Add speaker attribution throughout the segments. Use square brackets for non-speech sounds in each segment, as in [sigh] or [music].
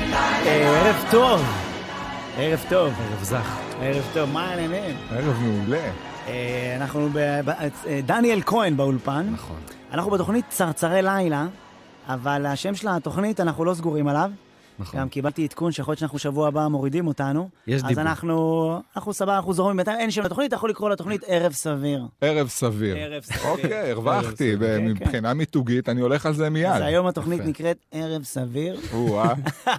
Speaker 1: אה, ערב טוב. ערב טוב. ערב זך. ערב טוב, מה העניינים?
Speaker 2: ערב מעולה.
Speaker 1: אה, אנחנו ב... ב- אה, דניאל כהן באולפן.
Speaker 2: נכון.
Speaker 1: אנחנו בתוכנית צרצרי לילה, אבל השם של התוכנית, אנחנו לא סגורים עליו.
Speaker 2: נכון.
Speaker 1: גם קיבלתי עדכון שיכול להיות שאנחנו שבוע הבא מורידים אותנו.
Speaker 3: יש
Speaker 1: אז
Speaker 3: דיבור.
Speaker 1: אנחנו, אנחנו סבבה, אנחנו זורמים בינתיים, אין שם לתוכנית, אתה יכול לקרוא לתוכנית ערב סביר.
Speaker 2: ערב סביר.
Speaker 1: ערב סביר.
Speaker 2: אוקיי, הרווחתי.
Speaker 1: סביר.
Speaker 2: ב-
Speaker 1: כן,
Speaker 2: מבחינה מיתוגית, אני הולך על זה מיד.
Speaker 1: אז היום התוכנית
Speaker 3: יפה.
Speaker 1: נקראת ערב סביר. [laughs]
Speaker 2: או-אה.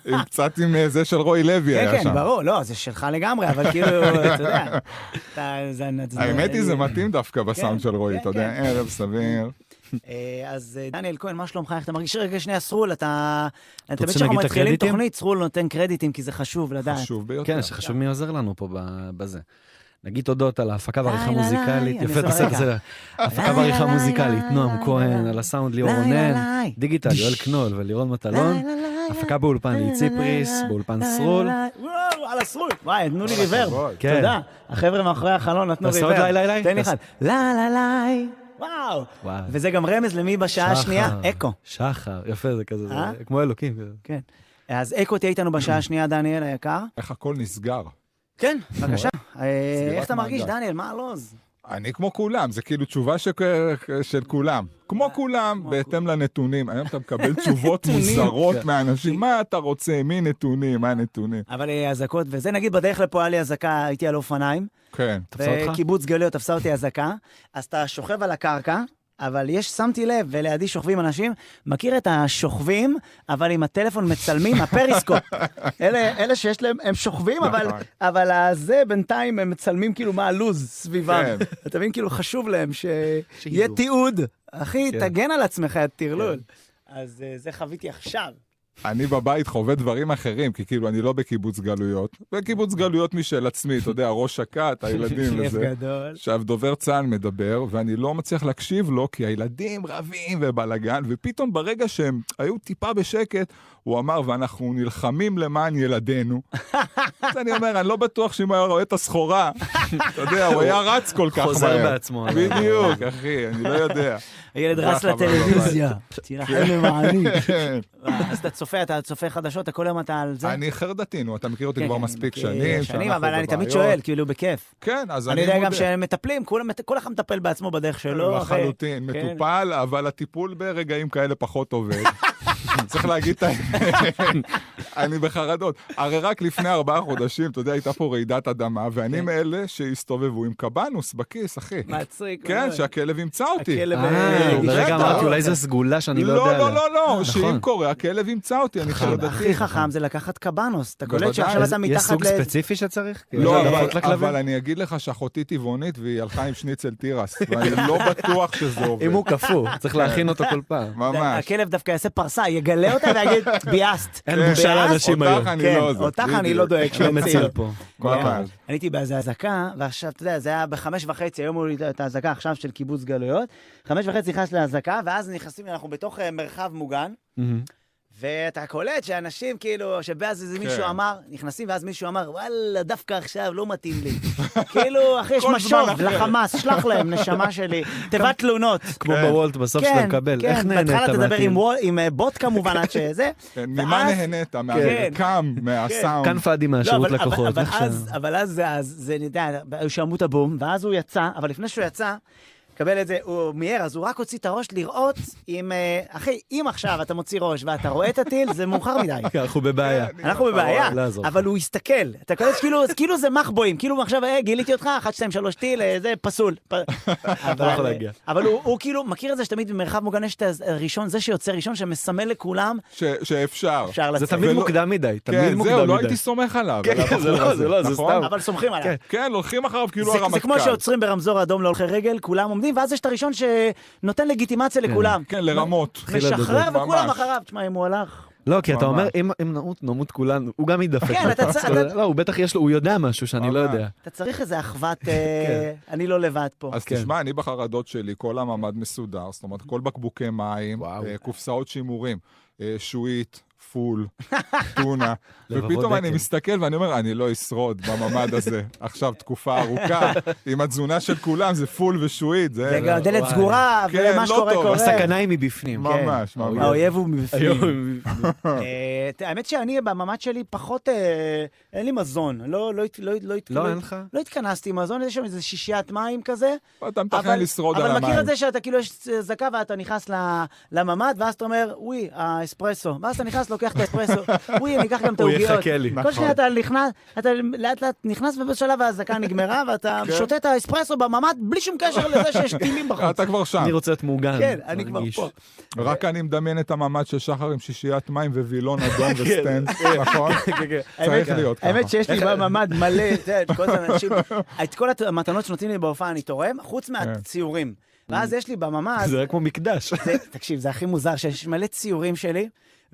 Speaker 2: עם קצת עם אה, זה של רוי לוי
Speaker 1: כן,
Speaker 2: היה
Speaker 1: כן,
Speaker 2: שם.
Speaker 1: ברור, לא, זה שלך לגמרי, אבל כאילו, אתה
Speaker 2: [laughs]
Speaker 1: יודע. אתה- זה- זה-
Speaker 2: האמת היא, זה
Speaker 1: אני-
Speaker 2: מתאים דווקא בסאונד של רוי,
Speaker 1: אה, כן,
Speaker 2: אתה יודע,
Speaker 1: כן.
Speaker 2: ערב סביר.
Speaker 1: אה, אז אה, דניאל כהן, מה שלומך? איך אתה מרגיש? רגע, שנייה, סרול, אתה... אתה
Speaker 3: רוצה
Speaker 1: תמיד כשאנחנו
Speaker 3: להגיד את
Speaker 1: מתחילים
Speaker 3: הקרדיטים?
Speaker 1: תוכנית, סרול נותן קרדיטים, כי זה חשוב לדעת.
Speaker 2: חשוב ביותר.
Speaker 3: כן, שחשוב מי עוזר לנו פה ב- בזה. נגיד תודות על ההפקה
Speaker 1: ליי,
Speaker 3: ועריכה
Speaker 1: ליי,
Speaker 3: מוזיקלית.
Speaker 1: אני
Speaker 3: יפה,
Speaker 1: זורק.
Speaker 3: תעשה את זה.
Speaker 1: ליי,
Speaker 3: הפקה ועריכה
Speaker 1: ליי,
Speaker 3: מוזיקלית,
Speaker 1: ליי,
Speaker 3: נועם
Speaker 1: ליי,
Speaker 3: כהן,
Speaker 1: ליי.
Speaker 3: על הסאונד ליאור
Speaker 1: ליי,
Speaker 3: רונן,
Speaker 1: ליי.
Speaker 3: דיגיטל יואל קנול ולירון מטלון. לא? הפקה באולפן
Speaker 1: ליי, ליי,
Speaker 3: ליצי
Speaker 1: ליי,
Speaker 3: פריס,
Speaker 1: ליי,
Speaker 3: באולפן
Speaker 1: ליי,
Speaker 3: סרול.
Speaker 1: ליי, וואו, על הסרול. וואי, תנו לי
Speaker 2: כל
Speaker 1: ריבר.
Speaker 2: הכבוד.
Speaker 3: כן.
Speaker 1: תודה. החבר'ה מאחורי החלון נתנו
Speaker 3: תעשה
Speaker 1: ריבר.
Speaker 3: עוד ליי, ליי, ליי.
Speaker 1: תן לי
Speaker 3: תעשה-
Speaker 1: אחד. לה, לה, ליי. וואו.
Speaker 3: וואו.
Speaker 1: וזה גם רמז למי בשעה השנייה?
Speaker 3: שחר,
Speaker 1: אקו.
Speaker 3: שחר, יפה, זה כזה, זה
Speaker 1: אה?
Speaker 3: כמו אלוקים. כזה.
Speaker 1: כן. אז אקו תהיה איתנו
Speaker 3: [clears throat]
Speaker 1: בשעה השנייה, דניאל היקר.
Speaker 2: איך הכל נסגר.
Speaker 1: כן, בבקשה. אה,
Speaker 2: סגירת
Speaker 1: איך אתה מרגיש,
Speaker 2: מעגל.
Speaker 1: דניאל? מה הלו"ז?
Speaker 2: אני כמו כולם, זה כאילו תשובה שכ- של כולם.
Speaker 1: אה,
Speaker 2: כמו כולם, בהתאם לנתונים. היום אתה
Speaker 1: [laughs]
Speaker 2: מקבל תשובות מוזרות מאנשים, מה אתה רוצה, מי נתונים, מה נתונים.
Speaker 1: אבל אה, אזעקות וזה, נגיד בדרך לפה היה לי אזעקה, הייתי על אופניים,
Speaker 2: כן.
Speaker 3: תפסה אותך?
Speaker 1: וקיבוץ גלויות תפסה אותי אזעקה, אז אתה שוכב על הקרקע, אבל יש, שמתי לב, ולידי שוכבים אנשים, מכיר את השוכבים, אבל עם הטלפון מצלמים, [laughs] הפריסקופ. אלה, אלה שיש להם, הם שוכבים, אבל,
Speaker 2: נכון.
Speaker 1: אבל הזה בינתיים הם מצלמים כאילו מה הלו"ז סביבם.
Speaker 2: כן.
Speaker 1: [laughs] אתה מבין, כאילו חשוב להם שיהיה
Speaker 3: שידעו.
Speaker 1: תיעוד. אחי,
Speaker 3: כן.
Speaker 1: תגן על עצמך, יא טרלול. אז אה, זה חוויתי עכשיו.
Speaker 2: אני בבית חווה דברים אחרים, כי כאילו אני לא בקיבוץ גלויות, וקיבוץ גלויות משל עצמי, אתה יודע, ראש הכת, הילדים
Speaker 1: [laughs] כיף
Speaker 2: וזה.
Speaker 1: גדול.
Speaker 2: עכשיו, דובר צה"ל מדבר, ואני לא מצליח להקשיב לו, כי הילדים רבים ובלאגן, ופתאום ברגע שהם היו טיפה בשקט, הוא אמר, ואנחנו נלחמים למען
Speaker 1: [laughs]
Speaker 2: ילדינו. אז אני אומר, אני לא בטוח שאם הוא היה רואה את הסחורה, אתה יודע, הוא היה רץ כל כך מהר.
Speaker 3: חוזר בעצמו.
Speaker 1: כן.
Speaker 2: בדיוק, אחי, אני לא יודע.
Speaker 1: הילד רץ
Speaker 2: ככה, אבל
Speaker 1: לטלוויזיה, תילחם למעני. [laughs]
Speaker 2: כן.
Speaker 1: אז אתה צופה, אתה צופה חדשות, אתה כל היום אתה על [laughs] זה?
Speaker 2: אני חרדתי, נו, אתה מכיר אותי
Speaker 1: כן,
Speaker 2: כבר
Speaker 1: כן,
Speaker 2: מספיק
Speaker 1: כי-
Speaker 2: שנים.
Speaker 1: שנים,
Speaker 2: שאנחנו
Speaker 1: אבל אני תמיד
Speaker 2: בבעיות.
Speaker 1: שואל, כאילו, בכיף.
Speaker 2: כן, אז
Speaker 1: אני
Speaker 2: אני
Speaker 1: יודע
Speaker 2: מודה.
Speaker 1: גם שהם מטפלים, כולם- כל אחד מטפל בעצמו בדרך שלו. אחי.
Speaker 2: לחלוטין,
Speaker 1: כן.
Speaker 2: מטופל, אבל הטיפול ברגעים כאלה
Speaker 1: [laughs]
Speaker 2: פחות עובד. צריך להגיד את האמת, אני בחרדות. הרי רק לפני ארבעה חודשים, אתה יודע, הייתה פה רעידת אדמה,
Speaker 1: כן.
Speaker 2: ואני מאלה שהסתובבו עם קבנוס בכיס, אחי.
Speaker 1: מצחיק.
Speaker 2: כן,
Speaker 1: מאוד.
Speaker 2: שהכלב ימצא אותי.
Speaker 1: לא. הכלב,
Speaker 3: אה,
Speaker 1: אה,
Speaker 2: בטח.
Speaker 3: לרגע אמרתי, אולי זו סגולה שאני לא יודע עליה.
Speaker 2: לא, לא, לא, לא,
Speaker 3: נכון.
Speaker 2: שאם קורה, הכלב ימצא אותי, אני חרדתי.
Speaker 1: הכי חכם זה לקחת קבנוס, אתה קולט
Speaker 2: בוודאי.
Speaker 1: שעכשיו
Speaker 3: אז
Speaker 1: אתה
Speaker 3: יש
Speaker 1: מתחת
Speaker 3: סוג
Speaker 1: ל...
Speaker 3: ספציפי שצריך?
Speaker 2: לא,
Speaker 3: כאילו,
Speaker 2: אבל,
Speaker 3: הדלפות לכלבים?
Speaker 2: אבל אני אגיד לך שאחותי טבעונית והיא הלכה עם שניצל תירס, ואני לא בטוח
Speaker 1: [laughs]
Speaker 2: שזה עובד.
Speaker 3: אם הוא קפוא, צריך להכין אותו כל פעם.
Speaker 2: ממש.
Speaker 1: הכלב דווקא יעשה פרסה, יגלה אותה ויגיד, ביאסת.
Speaker 3: אין בושה
Speaker 1: ביאסת?
Speaker 3: לאנשים היום.
Speaker 2: אותך אני
Speaker 1: כן,
Speaker 2: לא עוזר.
Speaker 1: אותך אני לא דואג
Speaker 3: לא
Speaker 1: שיוציאו.
Speaker 3: מציל פה.
Speaker 2: כל
Speaker 1: וואו.
Speaker 2: הכבוד.
Speaker 1: אני הייתי באיזה אזעקה, ועכשיו, אתה יודע, זה היה בחמש וחצי, היום הוא את האזעקה עכשיו של קיבוץ גלויות. חמש וחצי נכנס לאזעקה, ואז נכנסים, אנחנו בתוך אה, מרחב מוגן,
Speaker 3: מהמם.
Speaker 1: ואתה קולט שאנשים, כאילו, שבאז איזה מישהו
Speaker 2: כן.
Speaker 1: אמר, נכנסים, ואז מישהו אמר, וואלה, דווקא עכשיו לא מתאים לי. [laughs] כאילו, אחי, יש
Speaker 2: כל זמן
Speaker 1: משוב
Speaker 2: אחר.
Speaker 1: לחמאס, שלח להם, נשמה
Speaker 2: [laughs]
Speaker 1: שלי, תיבת תלונות. כן,
Speaker 3: כמו
Speaker 2: כן.
Speaker 3: בוולט בסוף שאתה מקבל, איך נהנית
Speaker 1: בהתחלה אתה מדבר
Speaker 3: מהטיל?
Speaker 1: עם וול- עם אה, בוט כמובן, עד שזה.
Speaker 2: [laughs] כן, ממה
Speaker 1: ואז-
Speaker 2: נהנית?
Speaker 1: כן.
Speaker 2: מהמרקם, מהסאונד.
Speaker 3: כאן פאדי מהשירות לקוחות.
Speaker 1: לא, אבל,
Speaker 3: איך ש-
Speaker 1: אבל, [laughs] אז, אבל אז, זה- אז זה, אני יודע, היו שמעו את הבום, ואז הוא יצא, אבל לפני שהוא יצא, קבל את זה, הוא מיהר, אז הוא רק הוציא את הראש לראות אם, אה, אחי, אם עכשיו אתה מוציא ראש ואתה רואה את הטיל, זה מאוחר מדי.
Speaker 3: [laughs] כן, אנחנו בבעיה.
Speaker 1: אנחנו בבעיה,
Speaker 3: לא יעזור.
Speaker 1: אבל הוא הסתכל, אתה קולט כאילו, כאילו זה מחבואים, כאילו עכשיו, אה, גיליתי אותך, 1, 2, 3 טיל, אה, זה פסול.
Speaker 3: [laughs]
Speaker 1: פ- אבל,
Speaker 3: לא יכול להגיע.
Speaker 1: אבל הוא, הוא כאילו מכיר את זה שתמיד במרחב מוגן יש את הראשון, זה שיוצא ראשון, שמסמל לכולם,
Speaker 2: ש- שאפשר.
Speaker 1: אפשר
Speaker 3: זה
Speaker 1: לצאת.
Speaker 3: תמיד
Speaker 2: ולא-
Speaker 3: מוקדם מדי, תמיד
Speaker 2: כן,
Speaker 3: מוקדם מדי.
Speaker 2: זהו, לא הייתי סומך עליו.
Speaker 3: כן,
Speaker 2: על הבחור
Speaker 3: זה לא,
Speaker 2: הזה,
Speaker 3: זה לא, זה
Speaker 2: נכון?
Speaker 3: סתם.
Speaker 1: אבל סומכים עליו.
Speaker 3: כן.
Speaker 2: כן, הולכים אחריו כאילו
Speaker 1: זה,
Speaker 2: הרמטכ"ל.
Speaker 1: זה כמו שעוצרים ברמזור אדום להולכי רגל, כולם עומדים, ואז יש את הראשון שנותן לגיטימציה לכולם.
Speaker 2: כן, לרמות.
Speaker 1: משחרר
Speaker 2: ממש.
Speaker 1: וכולם אחריו. תשמע, אם הוא הלך...
Speaker 3: לא, כי אתה
Speaker 2: ממש.
Speaker 3: אומר, אם אם נמות, נמות כולנו. הוא גם יידפק.
Speaker 1: כן, אתה צ- אתה-
Speaker 3: לא, הוא בטח יש לו, הוא יודע משהו שאני לא
Speaker 2: ממש.
Speaker 3: יודע.
Speaker 1: אתה צריך איזה אחוות, אה, אני לא לבד פה.
Speaker 2: כן. אז
Speaker 3: כן.
Speaker 2: תשמע, אני בחרדות שלי, כל המעמד מסודר, זאת אומרת, כל בקבוקי מים,
Speaker 3: וואו.
Speaker 2: אה, קופסאות שימורים, אה, שועית,
Speaker 3: [laughs]
Speaker 2: פול, טונה.
Speaker 3: לבבות
Speaker 2: ופתאום אני
Speaker 3: דקל.
Speaker 2: מסתכל ואני אומר, אני לא אשרוד בממ"ד הזה. עכשיו תקופה ארוכה, עם התזונה של כולם, זה פול ושועית. זה
Speaker 1: וגם דלת
Speaker 3: וואי.
Speaker 1: סגורה,
Speaker 2: כן,
Speaker 1: ומה
Speaker 2: לא
Speaker 1: שקורה
Speaker 2: טוב.
Speaker 1: קורה.
Speaker 3: הסכנה היא מבפנים. כן.
Speaker 2: ממש, ממש.
Speaker 1: האויב הוא מבפנים.
Speaker 3: היום-
Speaker 1: אה, ת- האמת שאני, בממ"ד שלי, פחות... אה, אין לי מזון. לא, לא, הת- לא, הת- לא, הת-
Speaker 3: לא, אין לך?
Speaker 1: לא התכנסתי עם מזון, יש שם איזה שישיית מים כזה.
Speaker 2: אתה מתכנן
Speaker 1: אבל-
Speaker 2: לשרוד על
Speaker 1: אבל מכיר
Speaker 2: המים.
Speaker 1: את זה שאתה כאילו יש זקה ואתה נכנס ל- לממ"ד, ואז אתה אומר, וואי, האספרסו. ואז אתה נכנס, לוקח את
Speaker 2: [laughs]
Speaker 1: האספרסו, וואי, אני אקח גם את
Speaker 3: הוא
Speaker 1: העוגיות.
Speaker 3: יחכה לי.
Speaker 2: נכון.
Speaker 1: כל שניה אתה נכנס, אתה לאט לאט נכנס, ובאיזשהו שלב ההזקה נגמרה, ואתה
Speaker 2: כן.
Speaker 1: שותה את האספרסו בממ"ד בלי שום
Speaker 2: [laughs]
Speaker 1: קשר לזה שיש טילים בחוץ.
Speaker 2: אתה כבר שם.
Speaker 3: אני רוצה להיות מעוגן.
Speaker 1: כן, אני כבר
Speaker 3: מרגיש.
Speaker 1: פה.
Speaker 2: רק אני מדמיין את הממ"ד של שחר עם שישיית מים ווילון אדום וסטנד, נכון? צריך
Speaker 1: האמת-
Speaker 2: להיות ככה.
Speaker 1: האמת שיש לי בממ"ד מלא,
Speaker 2: [laughs]
Speaker 1: אתה יודע, את כל האנשים, את כל הת- המתנות שנותנים לי בהופעה אני תורם,
Speaker 2: כן.
Speaker 1: חוץ מהציורים. ואז יש לי בממ"ד,
Speaker 3: זה רק כמו מקדש. [laughs]
Speaker 1: זה- תקשיב, זה הכי מוזר שיש מלא ציורים שלי.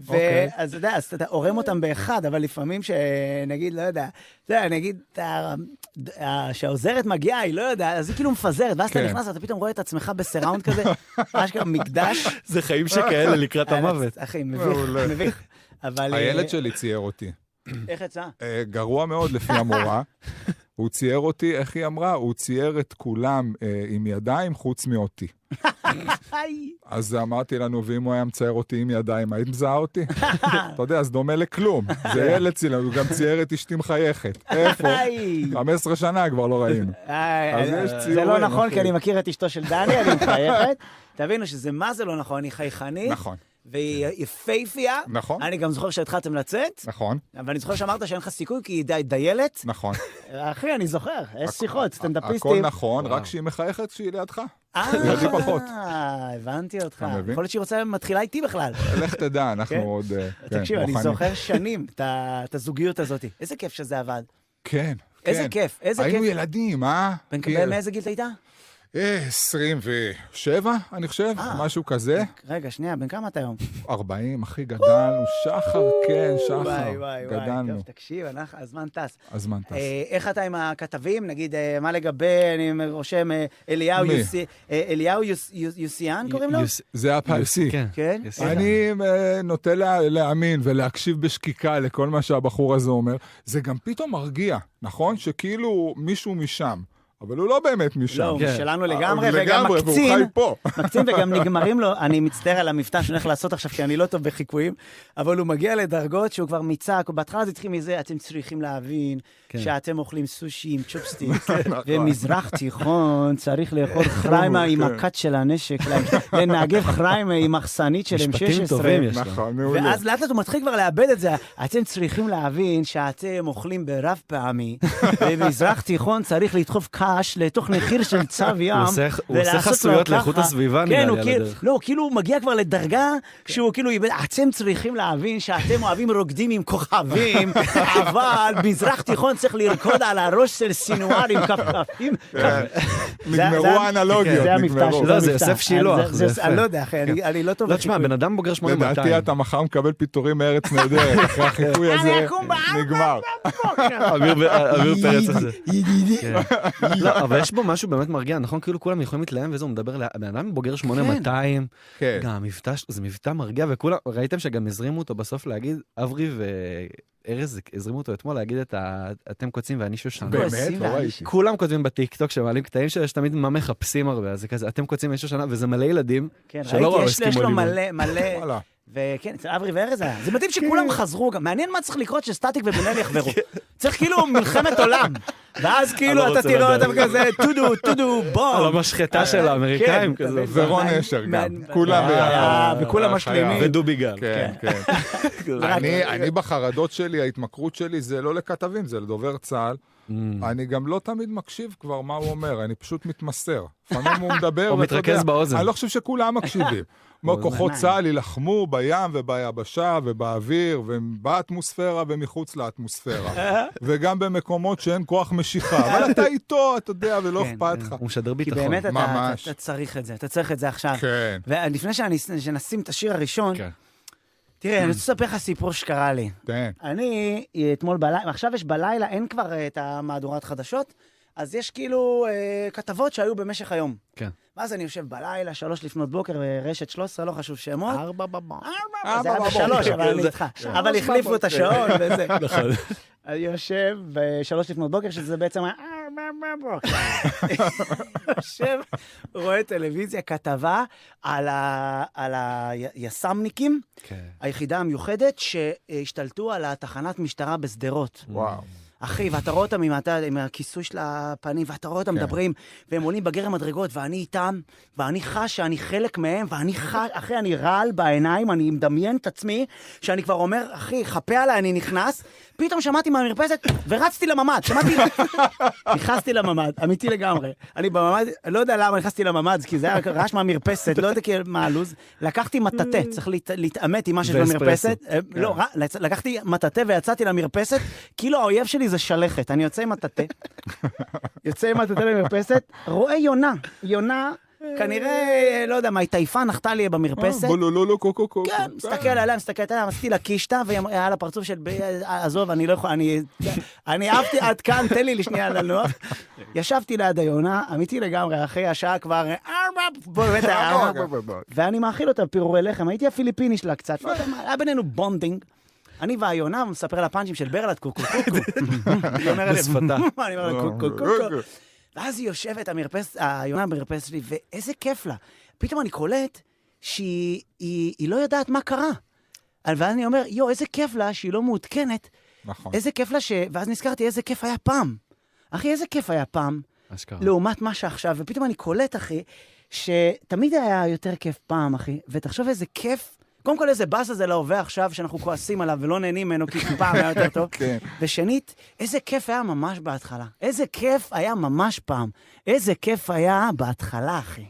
Speaker 2: אוקיי.
Speaker 1: ואז אתה יודע, אז אתה עורם אותם באחד, אבל לפעמים שנגיד, לא יודע, אתה יודע, נגיד, אתה- אה, שהעוזרת מגיעה, היא לא יודעת, אז היא כאילו מפזרת, ואז אתה
Speaker 2: כן.
Speaker 1: נכנס ואתה פתאום רואה את עצמך בסיראונד
Speaker 2: [laughs]
Speaker 1: כזה, אשכרה מקדש.
Speaker 3: זה
Speaker 2: אה.
Speaker 3: חיים שכאלה לקראת
Speaker 1: אה,
Speaker 3: המוות.
Speaker 1: אחי, מביך,
Speaker 2: מעולה.
Speaker 1: מביך. אבל... אה,
Speaker 2: הילד שלי צייר אותי.
Speaker 1: איך יצא?
Speaker 2: אה, גרוע מאוד לפי המורה. הוא צייר אותי, איך היא אמרה? הוא צייר את כולם אה, עם ידיים חוץ מאותי.
Speaker 1: היי.
Speaker 2: אז אמרתי לנו, ואם הוא היה מצייר אותי עם ידיים, היית מזהה
Speaker 1: [laughs]
Speaker 2: אותי? אתה יודע, זה דומה לכלום. זה ילד צילם, הוא גם צייר את אשתי מחייכת.
Speaker 1: [laughs]
Speaker 2: איפה?
Speaker 1: היי.
Speaker 2: 15 שנה כבר לא ראינו.
Speaker 1: אה,
Speaker 2: אז
Speaker 1: אה,
Speaker 2: יש
Speaker 1: זה
Speaker 2: ציורים,
Speaker 1: לא נכון,
Speaker 2: אחי.
Speaker 1: כי אני מכיר את אשתו של דני, אני מחייכת. תבינו שזה מה זה לא נכון, היא חייכנית,
Speaker 2: נכון,
Speaker 1: והיא יפייפייה.
Speaker 2: נכון.
Speaker 1: אני גם זוכר שהתחלתם לצאת,
Speaker 2: נכון,
Speaker 1: אבל אני זוכר שאמרת שאין לך סיכוי כי היא די דיילת.
Speaker 2: נכון.
Speaker 1: אחי, אני זוכר, יש שיחות,
Speaker 2: הכל
Speaker 1: [laughs] סטנדאפיסטים.
Speaker 2: נכון,
Speaker 3: וואו.
Speaker 2: רק שהיא מחייכת כשהיא לידך. [laughs]
Speaker 1: אה,
Speaker 2: לידי פחות.
Speaker 1: הבנתי אותך.
Speaker 2: אתה מבין?
Speaker 1: יכול להיות שהיא רוצה מתחילה איתי בכלל.
Speaker 2: לך תדע, אנחנו
Speaker 1: כן.
Speaker 2: עוד... אה, כן,
Speaker 1: תקשיב, אני
Speaker 2: בוחנים.
Speaker 1: זוכר שנים את ה- את הזוגיות הזאת. איזה כיף שזה עבד.
Speaker 2: כן, כן.
Speaker 1: איזה כיף, איזה
Speaker 2: היינו
Speaker 1: כיף.
Speaker 2: ילדים, אה?
Speaker 1: בן-
Speaker 2: כאילו,
Speaker 1: מאיזה גיל אתה איתה?
Speaker 2: אה, 27, אני חושב,
Speaker 1: אה.
Speaker 2: משהו כזה.
Speaker 1: רגע, שנייה, בן כמה אתה
Speaker 2: [laughs]
Speaker 1: היום?
Speaker 2: 40, אחי, גדלנו, שחר, כן,
Speaker 1: וואי,
Speaker 2: שחר,
Speaker 1: וואי, וואי,
Speaker 2: גדלנו.
Speaker 1: טוב, תקשיב, אנחנו- הזמן טס.
Speaker 2: הזמן טס.
Speaker 1: אה, איך אתה עם הכתבים? נגיד, אה, מה לגבי, אני רושם, אה, אליהו
Speaker 2: מי?
Speaker 1: יוסי- אה, אליהו יוס- יוס- יוסיאן קוראים לו?
Speaker 3: יוס-
Speaker 2: זה הפרסי.
Speaker 3: כן.
Speaker 1: כן?
Speaker 3: יוס-
Speaker 2: אני אה, נוטה לה- להאמין ולהקשיב בשקיקה לכל מה שהבחור הזה אומר. זה גם פתאום מרגיע, נכון? שכאילו מישהו משם, אבל הוא לא באמת משם.
Speaker 1: לא, הוא
Speaker 3: כן.
Speaker 1: שלנו
Speaker 2: אה,
Speaker 1: לגמרי, וגם
Speaker 2: לגמרי, והוא
Speaker 1: מקצין,
Speaker 2: חי פה.
Speaker 1: מקצין וגם נגמרים לו, אני מצטער על המבטא שאני הולך לעשות עכשיו, כי אני לא טוב בחיקויים, אבל הוא מגיע לדרגות שהוא כבר מיצק, בהתחלה זה התחיל מזה, אתם צריכים להבין
Speaker 3: כן.
Speaker 1: שאתם אוכלים סושי עם
Speaker 2: [laughs]
Speaker 1: צ'ופסטיק,
Speaker 2: כן, נכון.
Speaker 1: ומזרח תיכון צריך לאכול
Speaker 2: חומוס,
Speaker 1: חריימה עם
Speaker 2: כן.
Speaker 1: הקת של הנשק, לנגב חריימה עם מחסנית של M16.
Speaker 3: משפטים טובים יש לו.
Speaker 2: נכון, מעולה.
Speaker 1: ואז לאט לאט הוא מתחיל כבר לאבד את זה. אתם צריכים להבין שאתם אוכלים ברב
Speaker 3: [laughs]
Speaker 1: פעמי, ובמזרח תיכון צריך לדחוף קש לתוך נחיר של צו ים.
Speaker 3: הוא עושה- הוא עושה
Speaker 1: ולעשות לו
Speaker 3: חסויות
Speaker 1: ככה.
Speaker 3: לאיכות הסביבה, נראה
Speaker 1: כן,
Speaker 3: לי,
Speaker 1: הוא
Speaker 3: על
Speaker 1: כאילו-
Speaker 3: הדרך.
Speaker 1: לא, הוא כאילו מגיע כבר לדרגה שהוא כאילו איבד, אתם צריכים להבין שאתם אוהבים רוקדים עם
Speaker 3: [laughs]
Speaker 1: כוכבים, אבל מזרח תיכון צריך לרקוד על הראש של סינואר עם
Speaker 3: [laughs]
Speaker 1: כפכפים.
Speaker 2: נגמרו האנלוגיות,
Speaker 1: זה המבטא
Speaker 2: נגמרו.
Speaker 1: שלו.
Speaker 3: כן. לא, זה
Speaker 1: המבטא.
Speaker 3: יוסף שילוח,
Speaker 1: אני-
Speaker 3: זה יפה.
Speaker 1: אני לא יודע, אחי, אני- אני לא טוב.
Speaker 3: לא, תשמע,
Speaker 1: בחיקוי.
Speaker 3: בן אדם בוגר 8200.
Speaker 2: לדעתי אתה מחר מקבל פיטורים מארץ
Speaker 3: [laughs]
Speaker 2: נהדרת, אחרי החיקוי הזה,
Speaker 1: אני אקום בארבע
Speaker 2: נגמר.
Speaker 3: אביר [laughs] אביר
Speaker 1: [laughs]
Speaker 3: פרץ את זה.
Speaker 1: ידידי.
Speaker 3: כן. אוקיי. [laughs] לא, אבל יש בו משהו באמת מרגיע, נכון? כאילו כולם יכולים להתלהם וזה, הוא מדבר, ל- הבן אדם בוגר 8200,
Speaker 2: כן.
Speaker 3: גם המבטא, שלו- זה מבטא מרגיע, וכולם, ראיתם שגם הזרימו אותו בסוף להגיד, אברי וארז הזרימו אותו אתמול להגיד את ה... אתם קוצים ואני שושנה.
Speaker 1: באמת?
Speaker 2: לא ראיתי.
Speaker 3: כולם כותבים בטיקטוק שמעלים קטעים שלו, יש תמיד מה מחפשים הרבה, אז זה כזה, אתם קוצים ואני שושנה, וזה מלא ילדים.
Speaker 1: כן,
Speaker 3: שלא
Speaker 1: ראיתי,
Speaker 3: ראו
Speaker 1: יש, יש לו
Speaker 3: אסקימולים.
Speaker 1: מלא, מלא,
Speaker 2: וואלה.
Speaker 1: וכן, אצל אברי וארז היה. זה מדהים
Speaker 3: כן.
Speaker 1: שכולם חזרו גם, מעניין מה צריך לקרות שסטטיק ובן אל יחברו.
Speaker 3: [laughs]
Speaker 1: צריך כאילו מלחמת עולם. ואז
Speaker 3: אני
Speaker 1: כאילו
Speaker 3: לא
Speaker 1: אתה
Speaker 3: רוצה
Speaker 1: תראה
Speaker 3: לדעת.
Speaker 1: אותם כזה, טודו, טודו,
Speaker 3: על
Speaker 1: בום.
Speaker 3: המשחטה לא, של האמריקאים
Speaker 1: כן,
Speaker 3: כזה.
Speaker 1: אתה מבין?
Speaker 2: ורון
Speaker 1: מה-
Speaker 2: אשר
Speaker 1: מה-
Speaker 2: גם, כולם
Speaker 1: אה,
Speaker 2: ביחד.
Speaker 1: וכולם
Speaker 2: אה,
Speaker 1: משלימים.
Speaker 2: חייב.
Speaker 3: ודובי גל.
Speaker 2: כן, כן.
Speaker 1: רק-
Speaker 2: אני, אני בחרדות שלי, ההתמכרות שלי זה לא לכתבים, זה לדובר צה"ל. אני גם לא תמיד מקשיב כבר מה הוא אומר, אני פשוט מתמסר. לפעמים [laughs] הוא מדבר,
Speaker 3: או
Speaker 2: ואתה
Speaker 3: מתרכז
Speaker 2: יודע,
Speaker 3: באוזן.
Speaker 2: אני לא חושב שכולם [laughs] מקשיבים. כמו
Speaker 3: אוזן.
Speaker 2: כוחות צה"ל יילחמו בים וביבשה ובאוויר ובאטמוספירה ומחוץ לאטמוספירה. [laughs] וגם במקומות שאין כוח משיכה. [laughs] אבל אתה איתו, אתה יודע, ולא
Speaker 1: כן,
Speaker 2: אכפת לך.
Speaker 3: הוא משדר
Speaker 1: כי
Speaker 3: ביטחון.
Speaker 1: באמת אתה- אתה
Speaker 2: נכון, ממש.
Speaker 1: אתה צריך את זה, אתה צריך את זה עכשיו.
Speaker 2: כן.
Speaker 1: ולפני שאני- שנשים את השיר הראשון,
Speaker 3: כן.
Speaker 1: תראה, אני רוצה לספר לך סיפור שקרה לי.
Speaker 2: כן.
Speaker 1: אני אה, אתמול בלילה, עכשיו יש בלילה, אין כבר אה, את המהדורת חדשות, אז יש כאילו אה, כתבות שהיו במשך היום.
Speaker 3: כן.
Speaker 1: ואז אני יושב בלילה, שלוש לפנות בוקר, רשת 13, לא חשוב שמות.
Speaker 4: ארבע בבוקר.
Speaker 1: ארבע, זה היה בשלוש, אבל אני איתך. אבל החליפו את השעון וזה.
Speaker 4: נכון.
Speaker 1: אני יושב בשלוש לפנות בוקר, שזה בעצם היה ארבע בבוקר. יושב, רואה טלוויזיה, כתבה על ה- על היס"מניקים,
Speaker 3: כן.
Speaker 1: היחידה המיוחדת שהשתלטו על התחנת משטרה בשדרות.
Speaker 2: וואו.
Speaker 1: אחי, ואתה רואה אותם עם, ה- עם הכיסוי של הפנים, ואתה רואה אותם
Speaker 2: כן.
Speaker 1: מדברים, והם עולים בגר המדרגות, ואני איתם, ואני חש שאני חלק מהם, ואני חש, אחי, אני רעל בעיניים, אני מדמיין את עצמי, שאני כבר אומר, אחי, חפה עליי, אני נכנס, פתאום שמעתי מהמרפסת, ורצתי לממ"ד, שמעתי... נכנסתי לממ"ד, אמיתי לגמרי. אני בממ"ד, לא יודע למה נכנסתי לממ"ד, כי זה היה רעש מהמרפסת, לא יודע כאילו מה הלו"ז. לקחתי מטאטא, צריך להת- להתעמת עם מה שיש
Speaker 3: ואספרסו.
Speaker 1: במרפסת. אה, לא, ר- לקחתי מטאטא ויצאתי למרפסת, כאילו האויב שלי זה שלכת. אני יוצא עם מטאטא, יוצא עם מטאטא למרפסת, רואה יונה. יונה, כנראה, לא יודע מה, היא טייפה, נחתה לי
Speaker 2: אה,
Speaker 1: במרפסת.
Speaker 2: בולולולו קוקו קוקו.
Speaker 1: כן, מסתכל עליה, מסתכלת עליה, עשיתי לה קישטה, והיא אמרה, היה לה פרצוף של, ב- עזוב, אני לא יכול, אני אני עפתי עד כאן, תן לי לשנייה לנוח. ישבתי ליד היונה, אמיתי לגמרי, אחרי השעה כבר, ארבע, בוא, באמת היה
Speaker 2: אה, כן,
Speaker 1: ארבע,
Speaker 2: אוקיי.
Speaker 1: ואני מאכיל אותה פירורי לחם, הייתי הפיליפיני שלה קצת, לא יודע מה, היה בינינו בונדינג. אני והיונה, מספר לה פאנצ'ים של ברלת, קוקו קוקו. היא אומרת לי,
Speaker 3: בשפתה.
Speaker 1: אני
Speaker 2: לא,
Speaker 1: אומר לה, קוקו
Speaker 2: אה,
Speaker 1: קוקו. ואז היא יושבת, המרפס, היונה במרפסת שלי, ואיזה כיף לה. פתאום אני קולט שהיא היא, היא לא יודעת מה קרה. ואז אני אומר, יואו, איזה כיף לה שהיא לא מעודכנת.
Speaker 2: נכון.
Speaker 1: איזה כיף לה ש... ואז נזכרתי, איזה כיף היה פעם. אחי, איזה כיף היה פעם,
Speaker 3: אשכרה.
Speaker 2: נכון.
Speaker 1: לעומת מה שעכשיו. ופתאום אני קולט, אחי, שתמיד היה יותר כיף פעם, אחי. ותחשוב איזה כיף. קודם כל, איזה באסה זה להווה עכשיו, שאנחנו כועסים עליו ולא נהנים ממנו, כי פעם היה יותר טוב.
Speaker 2: [laughs] כן.
Speaker 1: ושנית, איזה כיף היה ממש בהתחלה. איזה כיף היה ממש פעם. איזה כיף היה בהתחלה, אחי.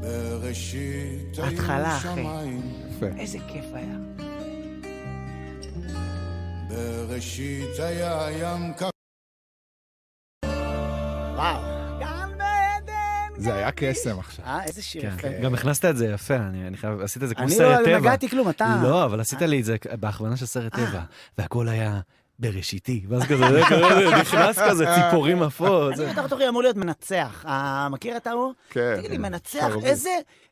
Speaker 5: בראשית
Speaker 1: התחלה,
Speaker 5: היו
Speaker 1: אחי.
Speaker 5: שמיים,
Speaker 2: יפה.
Speaker 1: איזה כיף היה.
Speaker 5: בראשית היה הים כ...
Speaker 1: וואו. גן ועדן.
Speaker 2: זה היה קסם עכשיו.
Speaker 1: אה, איזה שיר
Speaker 3: כן,
Speaker 1: יפה.
Speaker 3: גם הכנסת את זה יפה, אני אני חייב, עשית את זה כמו
Speaker 1: אני
Speaker 3: סרט
Speaker 1: לא
Speaker 3: טבע.
Speaker 1: נגעתי אה. כלום, אתה...
Speaker 3: לא, אבל עשית לי את זה בהכוונה של סרט טבע, והכל היה בראשיתי, ואז כזה, זה כזה, נכנס כזה, ציפורים עפות.
Speaker 1: אני בתור תורי אמור להיות מנצח. אה, מכיר את ההוא?
Speaker 2: כן.
Speaker 1: תגיד לי, מנצח,
Speaker 2: חרבי.
Speaker 1: איזה...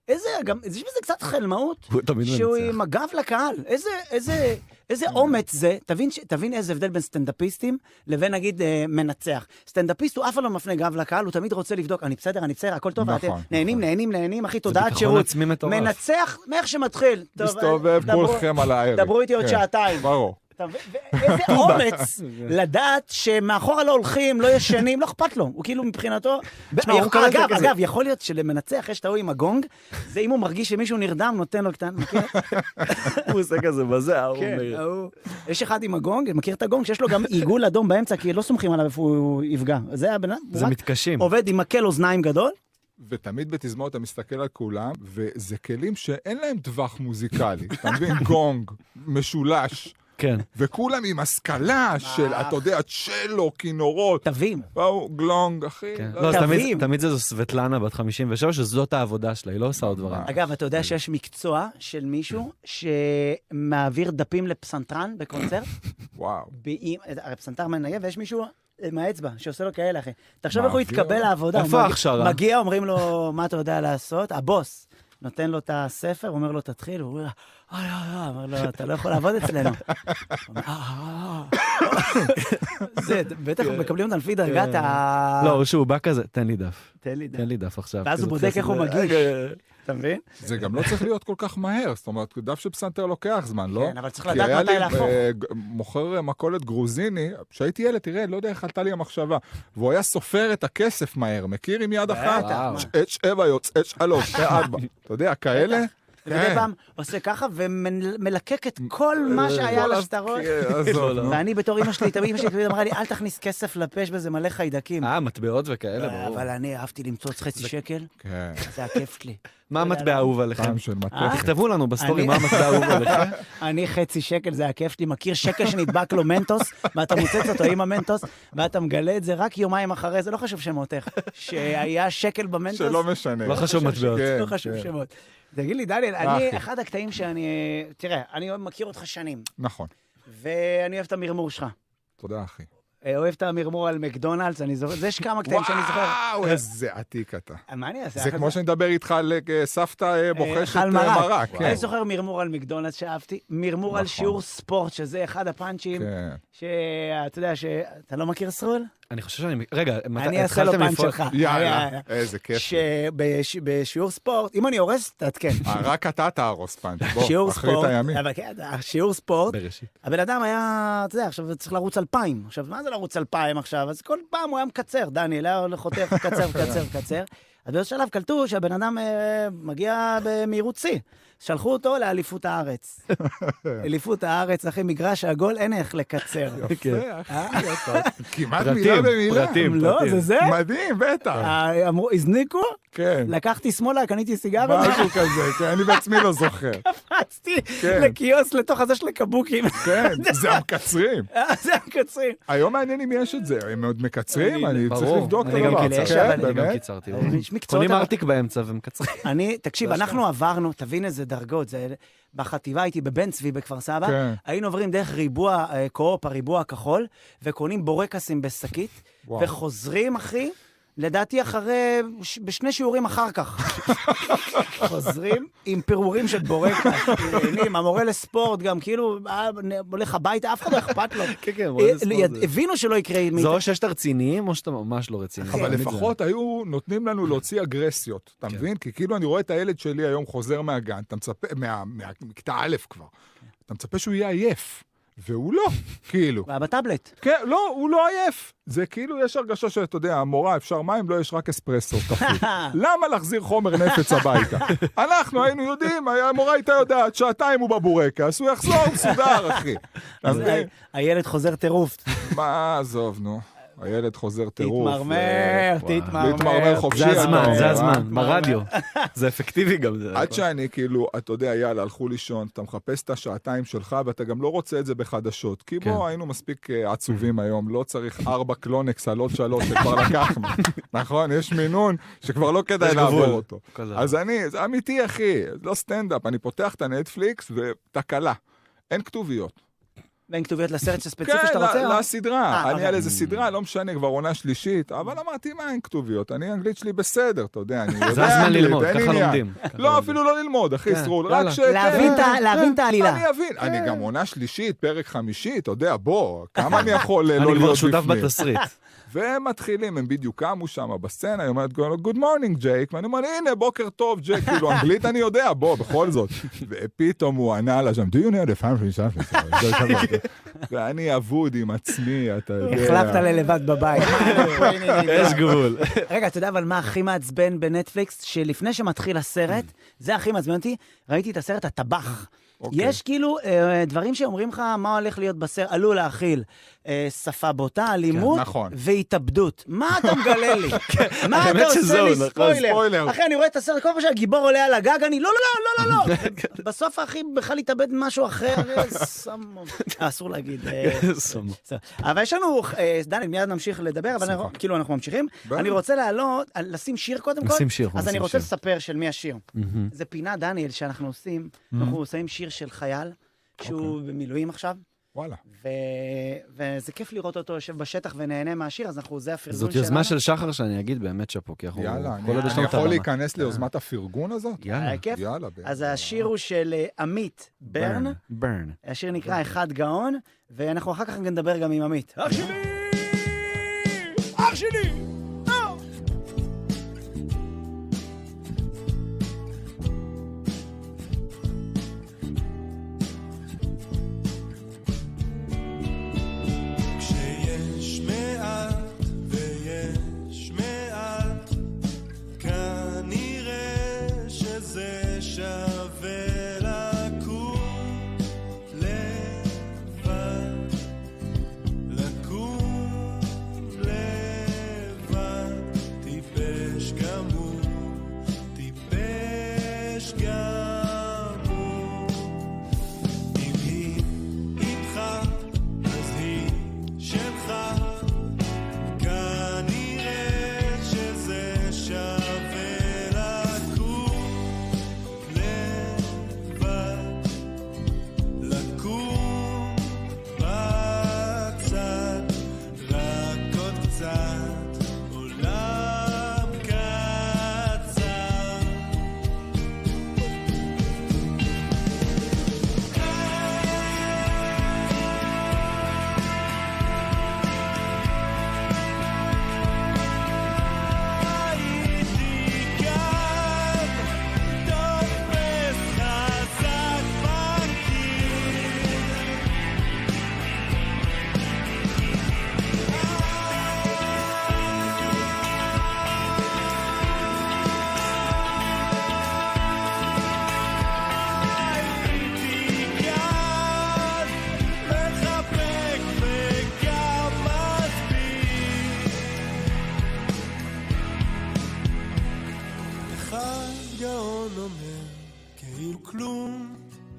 Speaker 1: איזה... גם... יש בזה קצת חלמאות?
Speaker 3: הוא תמיד
Speaker 1: שהוא
Speaker 3: מנצח.
Speaker 1: עם הגב לקהל. איזה, איזה, איזה אומץ זה. תבין, ש... תבין איזה הבדל בין סטנדאפיסטים לבין נגיד אה, מנצח. סטנדאפיסט הוא אף פעם לא מפנה גב לקהל, הוא תמיד רוצה לבדוק, אני בסדר, אני בסדר, הכל טוב,
Speaker 2: נכון,
Speaker 1: אתם
Speaker 2: נכון.
Speaker 1: נהנים, נהנים, נהנים, אחי, תודעת
Speaker 3: ביטחון
Speaker 1: שירות.
Speaker 3: עצמי מטורף.
Speaker 1: מנצח מאיך שמתחיל. טוב, אה,
Speaker 2: מסתובב
Speaker 1: דברו-
Speaker 2: כולכם על הערב.
Speaker 1: דברו איתי עוד
Speaker 2: כן,
Speaker 1: שעתיים.
Speaker 2: ברור.
Speaker 1: אתה מבין?
Speaker 3: [laughs]
Speaker 1: ואיזה אומץ לדעת שמאחורה לא הולכים, לא ישנים, לא אכפת לו. הוא כאילו מבחינתו...
Speaker 3: תשמע, הוא מקבל את זה
Speaker 1: אגב,
Speaker 3: כזה.
Speaker 1: אגב, יכול להיות שלמנצח יש את ההוא עם הגונג, זה אם הוא מרגיש שמישהו נרדם, נותן לו קטן, מכיר?
Speaker 3: הוא עושה כזה בזה, ההוא
Speaker 1: כן,
Speaker 3: אומר.
Speaker 1: ההוא. יש אחד עם הגונג, מכיר את הגונג, שיש לו גם עיגול אדום באמצע, כי לא סומכים עליו איפה הוא יפגע. זה הבן אדם, הוא
Speaker 3: זה
Speaker 1: רק
Speaker 3: מתקשים.
Speaker 1: עובד עם מקל אוזניים גדול.
Speaker 2: ותמיד בתזמורת אתה מסתכל על כולם, וזה כלים שאין להם טווח מוזיקלי. אתה מבין? [laughs] גונג, משולש,
Speaker 3: כן.
Speaker 2: וכולם עם השכלה של, אתה יודע, צ'לו, כינורות.
Speaker 1: תבין.
Speaker 2: באו גלונג, אחי.
Speaker 3: כן.
Speaker 2: לא
Speaker 3: לא, אז
Speaker 2: יודע.
Speaker 1: תבין.
Speaker 3: תמיד- תמיד זה זו סבטלנה בת 57, שזאת העבודה שלה, היא לא עושה עוד דברים.
Speaker 1: אגב, אתה יודע שיש מקצוע של מישהו שמעביר דפים לפסנתרן בקונצרט?
Speaker 2: וואו.
Speaker 1: באי... הרי פסנתר מנגב, ויש מישהו עם האצבע שעושה לו כאלה, אחי. תחשוב איך הוא
Speaker 2: מעביר.
Speaker 1: יתקבל לעבודה.
Speaker 3: אה, איפה
Speaker 1: הוא מגיע-
Speaker 3: ההכשרה?
Speaker 1: מגיע, אומרים לו, מה אתה יודע לעשות? הבוס נותן לו את הספר, אומר לו, תתחיל, הוא אומר, לו, אה, לא, לא, אומר לו, אתה לא יכול לעבוד
Speaker 3: [laughs]
Speaker 1: אצלנו. הוא אומר, "אה, אה, אה." זה, בטח מקבלים אותם לפי דרגת ה...
Speaker 3: כן. לא, שהוא בא כזה, תן לי דף,
Speaker 1: תן לי דעת.
Speaker 3: תן לי דף עכשיו.
Speaker 1: אה. ואז הוא
Speaker 3: כזה,
Speaker 1: בודק
Speaker 3: כזה,
Speaker 1: איך הוא
Speaker 3: כזה,
Speaker 1: מגיש.
Speaker 3: רגע.
Speaker 1: אתה מבין?
Speaker 2: זה גם לא צריך להיות כל כך מהר, זאת אומרת, דף של פסנתר לוקח זמן, לא?
Speaker 1: כן, אבל צריך
Speaker 2: כי
Speaker 1: לדעת
Speaker 2: היה
Speaker 1: מתי
Speaker 2: לי,
Speaker 1: להפוך.
Speaker 2: אה, ג- מוכר מכולת גרוזיני, כשהייתי ילד, תראה, לא יודע איך עלתה לי המחשבה, והוא היה סופר את הכסף מהר, מכיר עם יד אחת?
Speaker 1: וואו.
Speaker 2: את שבע יוצא, את שלוש, את ארבע, אתה יודע, כאלה? כן.
Speaker 3: אה.
Speaker 1: ומדי פעם עושה ככה ומלקק את כל
Speaker 3: אה,
Speaker 1: מה
Speaker 3: לא
Speaker 1: שהיה לשטרות.
Speaker 2: אה,
Speaker 3: [laughs]
Speaker 2: כן, עזוב, נו.
Speaker 1: ואני בתור אמא שלי, תמיד אמא שלי תמיד אמרה לי, אל תכניס כסף לפה, יש בזה מלא חיידקים.
Speaker 3: אה, מטבעות וכאלה, ברור.
Speaker 1: אבל אני אהבתי למצוץ חצי
Speaker 2: [laughs]
Speaker 1: שקל,
Speaker 2: כן,
Speaker 1: זה הכיף שלי.
Speaker 3: מה המטבע האהוב עליכם?
Speaker 2: פעם של
Speaker 1: אה?
Speaker 2: מתכת.
Speaker 3: תכתבו לנו בסטורי
Speaker 1: אני-
Speaker 3: מה המטבע האהוב עליכם.
Speaker 1: אני חצי שקל, זה הכיף שלי, מכיר שקל שנדבק לו מנטוס, ואתה מוצץ אותו עם המנטוס, ואתה מגלה את זה רק יומיים אחרי זה, לא חשוב שמותך, שהיה שקל במנטוס.
Speaker 2: שלא משנה.
Speaker 3: לא חשוב מטבעות.
Speaker 2: כן,
Speaker 1: לא חשוב
Speaker 2: כן.
Speaker 1: שמות. תגיד לי, דניאל,
Speaker 2: אחי.
Speaker 1: אני, אחד הקטעים שאני... תראה, אני מכיר אותך שנים,
Speaker 2: נכון,
Speaker 1: ואני אוהב את המרמור שלך.
Speaker 2: תודה אחי.
Speaker 1: אה, אוהב את המרמור על מקדונלדס, אני זוכר, זה יש כמה קטעים שאני זוכר.
Speaker 2: וואו, איזה עתיק אתה.
Speaker 1: מה אני אעשה?
Speaker 2: זה
Speaker 1: אחת-
Speaker 2: כמו שנדבר איתך על אה, סבתא אה, בוחשת
Speaker 1: חל
Speaker 2: אה,
Speaker 1: מרק.
Speaker 2: מרק. כן.
Speaker 1: אני זוכר מרמור על מקדונלדס שאהבתי, מרמור על
Speaker 2: נכון.
Speaker 1: שיעור ספורט, שזה אחד הפאנצ'ים,
Speaker 2: כן.
Speaker 1: שאתה יודע, שאתה לא מכיר סרול?
Speaker 3: [laughs] אני חושב שאני... רגע, מתי
Speaker 1: אני אעשה לו
Speaker 3: התחלתם
Speaker 1: פאנץ'
Speaker 3: לפעול?
Speaker 1: שלך. אה, היה-
Speaker 2: יאללה, איזה כיף.
Speaker 1: שבשיעור ספורט, אם אני הורס, תעדכן.
Speaker 2: אה, רק אתה תהרוס פאנץ', בוא,
Speaker 1: שיעור
Speaker 2: אחרית
Speaker 1: ספורט,
Speaker 2: הימים.
Speaker 1: אבל כן, שיעור ספורט,
Speaker 3: בראשית.
Speaker 1: הבן אדם היה, אתה יודע, עכשיו צריך לרוץ אלפיים. עכשיו, מה זה לרוץ אלפיים עכשיו? אז כל פעם הוא היה מקצר, דניאל היה הולך חותך, קצר, קצר, קצר. אז באיזשהו שלב קלטו שהבן אדם אה, מגיע במהירות שיא. שלחו אותו לאליפות
Speaker 2: [laughs]
Speaker 1: הארץ. אליפות הארץ, אחי, מגרש עגול, אין איך לקצר. אה,
Speaker 2: יפה, אה, אחי, אתה- כמעט
Speaker 3: פרטים,
Speaker 2: מילה במילה.
Speaker 3: פרטים,
Speaker 1: לא,
Speaker 3: פרטים.
Speaker 1: זה זה?
Speaker 2: מדהים, בטח.
Speaker 1: אה, אמרו, הזניקו,
Speaker 2: כן,
Speaker 1: לקחתי שמאלה, קניתי סיגריה,
Speaker 2: משהו כזה, כן, אני בעצמי לא זוכר.
Speaker 1: רצתי
Speaker 2: כן.
Speaker 1: לקיוסק לתוך הזה של הקבוקים. [laughs]
Speaker 2: כן, זה המקצרים.
Speaker 1: אה, זה הקוצרים.
Speaker 2: היום מעניין אם יש את זה, הם עוד מקצרים, כן, אני צריך
Speaker 3: ברור,
Speaker 2: לבדוק את
Speaker 3: אני גם כאילו
Speaker 2: הדבר.
Speaker 1: קיצרתי,
Speaker 2: כן,
Speaker 1: אבל
Speaker 3: אני גם
Speaker 2: באמת?
Speaker 3: קיצרתי.
Speaker 1: אה,
Speaker 3: ברור.
Speaker 1: יש מקצועות,
Speaker 3: קונים
Speaker 1: אבל-
Speaker 3: ארטיק באמצע ומקצרים.
Speaker 1: אני, תקשיב,
Speaker 3: לא אשכרה.
Speaker 1: אנחנו עברנו, תבין איזה דרגות, זה... בחטיבה הייתי בבן צבי בכפר סבא,
Speaker 2: כן.
Speaker 1: היינו עוברים דרך ריבוע אה, קו-אופ, הריבוע הכחול, וקונים בורקסים בשקית,
Speaker 2: וואו.
Speaker 1: וחוזרים, אחי, לדעתי אחרי, ש... בשני שיעורים אחר
Speaker 3: [laughs]
Speaker 1: כך. חוזרים עם פירורים של בורקס, נהנים, המורה לספורט גם, כאילו, אה, נ- הולך הביתה, אף אחד לא אכפת לו.
Speaker 3: כן, כן,
Speaker 1: אה, יד- הבינו שלא יקרה
Speaker 3: זה
Speaker 1: מאיתנו.
Speaker 3: או שיש את הרציניים, או שאתה ממש לא רציני.
Speaker 2: אבל
Speaker 3: תמיד זה-
Speaker 2: לפחות היו נותנים לנו להוציא אגרסיות, אתה מבין? כי כאילו אני רואה את הילד שלי היום חוזר מהגן, אתה מצפה, מה- מהכיתה א' כבר, אתה מצפה שהוא יהיה עייף, והוא לא, כאילו.
Speaker 1: אה, בטאבלט.
Speaker 2: כן, לא, הוא לא עייף. זה כאילו, יש הרגשה שאתה יודע, המורה, אפשר מים, לא, יש רק אספרסו,
Speaker 1: [laughs]
Speaker 2: תחליט.
Speaker 3: לא,
Speaker 1: אה,
Speaker 2: למה להחזיר חומר נפץ הביתה? אנחנו היינו יודעים, המורה הייתה יודעת, שעתיים הוא בבורקס, הוא יחזור מסודר, אחי. אתה
Speaker 1: אז
Speaker 2: מבין?
Speaker 1: ה- הילד חוזר טירוף.
Speaker 2: מה, עזוב, נו. הילד חוזר טירוף.
Speaker 1: תתמרמר,
Speaker 2: ו-
Speaker 1: תתמרמר.
Speaker 2: להתמרמר חופשי,
Speaker 3: זה הזמן,
Speaker 2: אה,
Speaker 3: זה
Speaker 2: אה,
Speaker 3: הזמן, ברדיו. זה אפקטיבי גם. זה-
Speaker 2: עד שאני כאילו, אתה יודע, יאללה, הלכו לישון, אתה מחפש את השעתיים שלך, ואתה גם לא רוצה את זה בחדשות. כי
Speaker 3: כן.
Speaker 2: בוא, היינו מספיק אה,
Speaker 3: Mm-hmm.
Speaker 2: עצובים היום, לא צריך ארבע קלונקס על עוד שלוש שכבר
Speaker 3: [laughs]
Speaker 2: לקחנו. נכון? יש מינון שכבר לא כדאי
Speaker 3: יש גבול. נכון.
Speaker 2: לעבור אותו.
Speaker 3: כל דבר.
Speaker 2: אז אני, זה אמיתי, אחי, לא סטנדאפ, אני פותח את הנטפליקס ותקלה. אין כתוביות.
Speaker 1: בין כתוביות לסרט הספציפי
Speaker 2: כן,
Speaker 3: לא-
Speaker 1: שאתה רוצה?
Speaker 2: ל-
Speaker 1: אה?
Speaker 2: לסדרה.
Speaker 1: אה, Mm.
Speaker 2: אני
Speaker 1: אוקיי.
Speaker 2: על איזה סדרה, לא משנה, כבר עונה שלישית, אבל אמרתי, מה, אין כתוביות, אני, האנגלית שלי בסדר, אתה יודע, אני יודע
Speaker 3: [laughs] זה הזמן
Speaker 2: אנגלית,
Speaker 3: ללמוד,
Speaker 2: אין
Speaker 3: ככה
Speaker 2: עניין.
Speaker 3: לומדים.
Speaker 2: לא, אפילו לא ללמוד, אחי
Speaker 3: כן,
Speaker 2: סרול, רק
Speaker 3: יאללה.
Speaker 2: ש... כן,
Speaker 1: להבין את ה-
Speaker 2: כן,
Speaker 1: להבין
Speaker 2: כן,
Speaker 1: את העלילה.
Speaker 2: אני אבין, אני גם עונה שלישית, פרק חמישי, אתה יודע, בוא, כמה אני יכול אה,
Speaker 3: אני
Speaker 2: לא
Speaker 3: כבר
Speaker 2: להיות
Speaker 3: שותף
Speaker 2: בפנים.
Speaker 3: בתסריט.
Speaker 1: [laughs]
Speaker 2: והם מתחילים, הם בדיוק קמו שם בסצנה, היא אומרת, Good morning, ג'ייק, ואני אומר, הנה, בוקר טוב, ג'ייק, כאילו, אנגלית אני יודע, בוא, בכל זאת. ופתאום הוא ענה לה שם, Do you know the family something?" זה שם. ואני אבוד עם עצמי, אתה יודע.
Speaker 1: החלפת ללבד
Speaker 3: [laughs]
Speaker 1: בבית.
Speaker 3: יש
Speaker 1: [laughs]
Speaker 3: גבול.
Speaker 1: רגע, אתה יודע אבל מה הכי מעצבן בנטפליקס? שלפני שמתחיל הסרט, זה הכי מעצבן אותי, ראיתי את הסרט הטבח.
Speaker 2: אוקיי.
Speaker 1: יש כאילו אה, דברים שאומרים לך מה הולך להיות בסרט, עלול להכיל אה, שפה בוטה, אלימות
Speaker 2: נכון.
Speaker 1: והתאבדות. מה אתה מגלה לי? מה אתה
Speaker 3: האמת
Speaker 1: עושה
Speaker 3: שזהו,
Speaker 1: לי
Speaker 3: נכון,
Speaker 1: ספוילר?
Speaker 2: ספוילר.
Speaker 1: אחי, אני רואה את הסרט, כל פעם שהגיבור עולה על הגג, אני לא, לא, לא, לא, לא. בסוף האחי בכלל התאבד משהו אחר, [laughs] אה, סמו. אה, אסור להגיד. אה,
Speaker 3: סומו.
Speaker 1: בסדר. אבל יש לנו, אה, דני, מיד נמשיך לדבר, אבל אנחנו- כאילו אנחנו ממשיכים.
Speaker 2: בטח.
Speaker 1: אני רוצה להעלות, אה, לשים שיר קודם כל.
Speaker 3: נשים שיר,
Speaker 1: אז
Speaker 3: נשים
Speaker 1: אני רוצה
Speaker 3: שיר.
Speaker 1: לספר של מי השיר. זה פינה, דניאל, שאנחנו עושים,
Speaker 3: Mm-hmm.
Speaker 1: אנחנו עושים שיר של חייל, שהוא
Speaker 3: אוקיי.
Speaker 1: במילואים עכשיו,
Speaker 2: וואלה.
Speaker 1: ו- וזה כיף לראות אותו יושב בשטח ונהנה מהשיר, אז אנחנו, זה הפרגון שלנו.
Speaker 3: זאת יוזמה של שחר שאני אגיד באמת שאפו, כי אנחנו...
Speaker 2: יאללה,
Speaker 3: כל
Speaker 2: אני
Speaker 3: עוד יש
Speaker 2: אני
Speaker 3: לנו את
Speaker 2: יכול
Speaker 3: הרמה.
Speaker 2: להיכנס ליוזמת הפרגון הזאת?
Speaker 3: יאללה.
Speaker 1: היה כיף.
Speaker 2: יאללה, בטח.
Speaker 1: אז השיר הוא של אה, עמית ברן,
Speaker 3: ברן.
Speaker 1: השיר נקרא אחד גאון, ואנחנו אחר כך גם נדבר גם עם עמית. אח שלי! אח שלי! אה!
Speaker 4: כשיש מעט ויש מעט, כנראה שזה שווה לקום לבד. לקום לבד.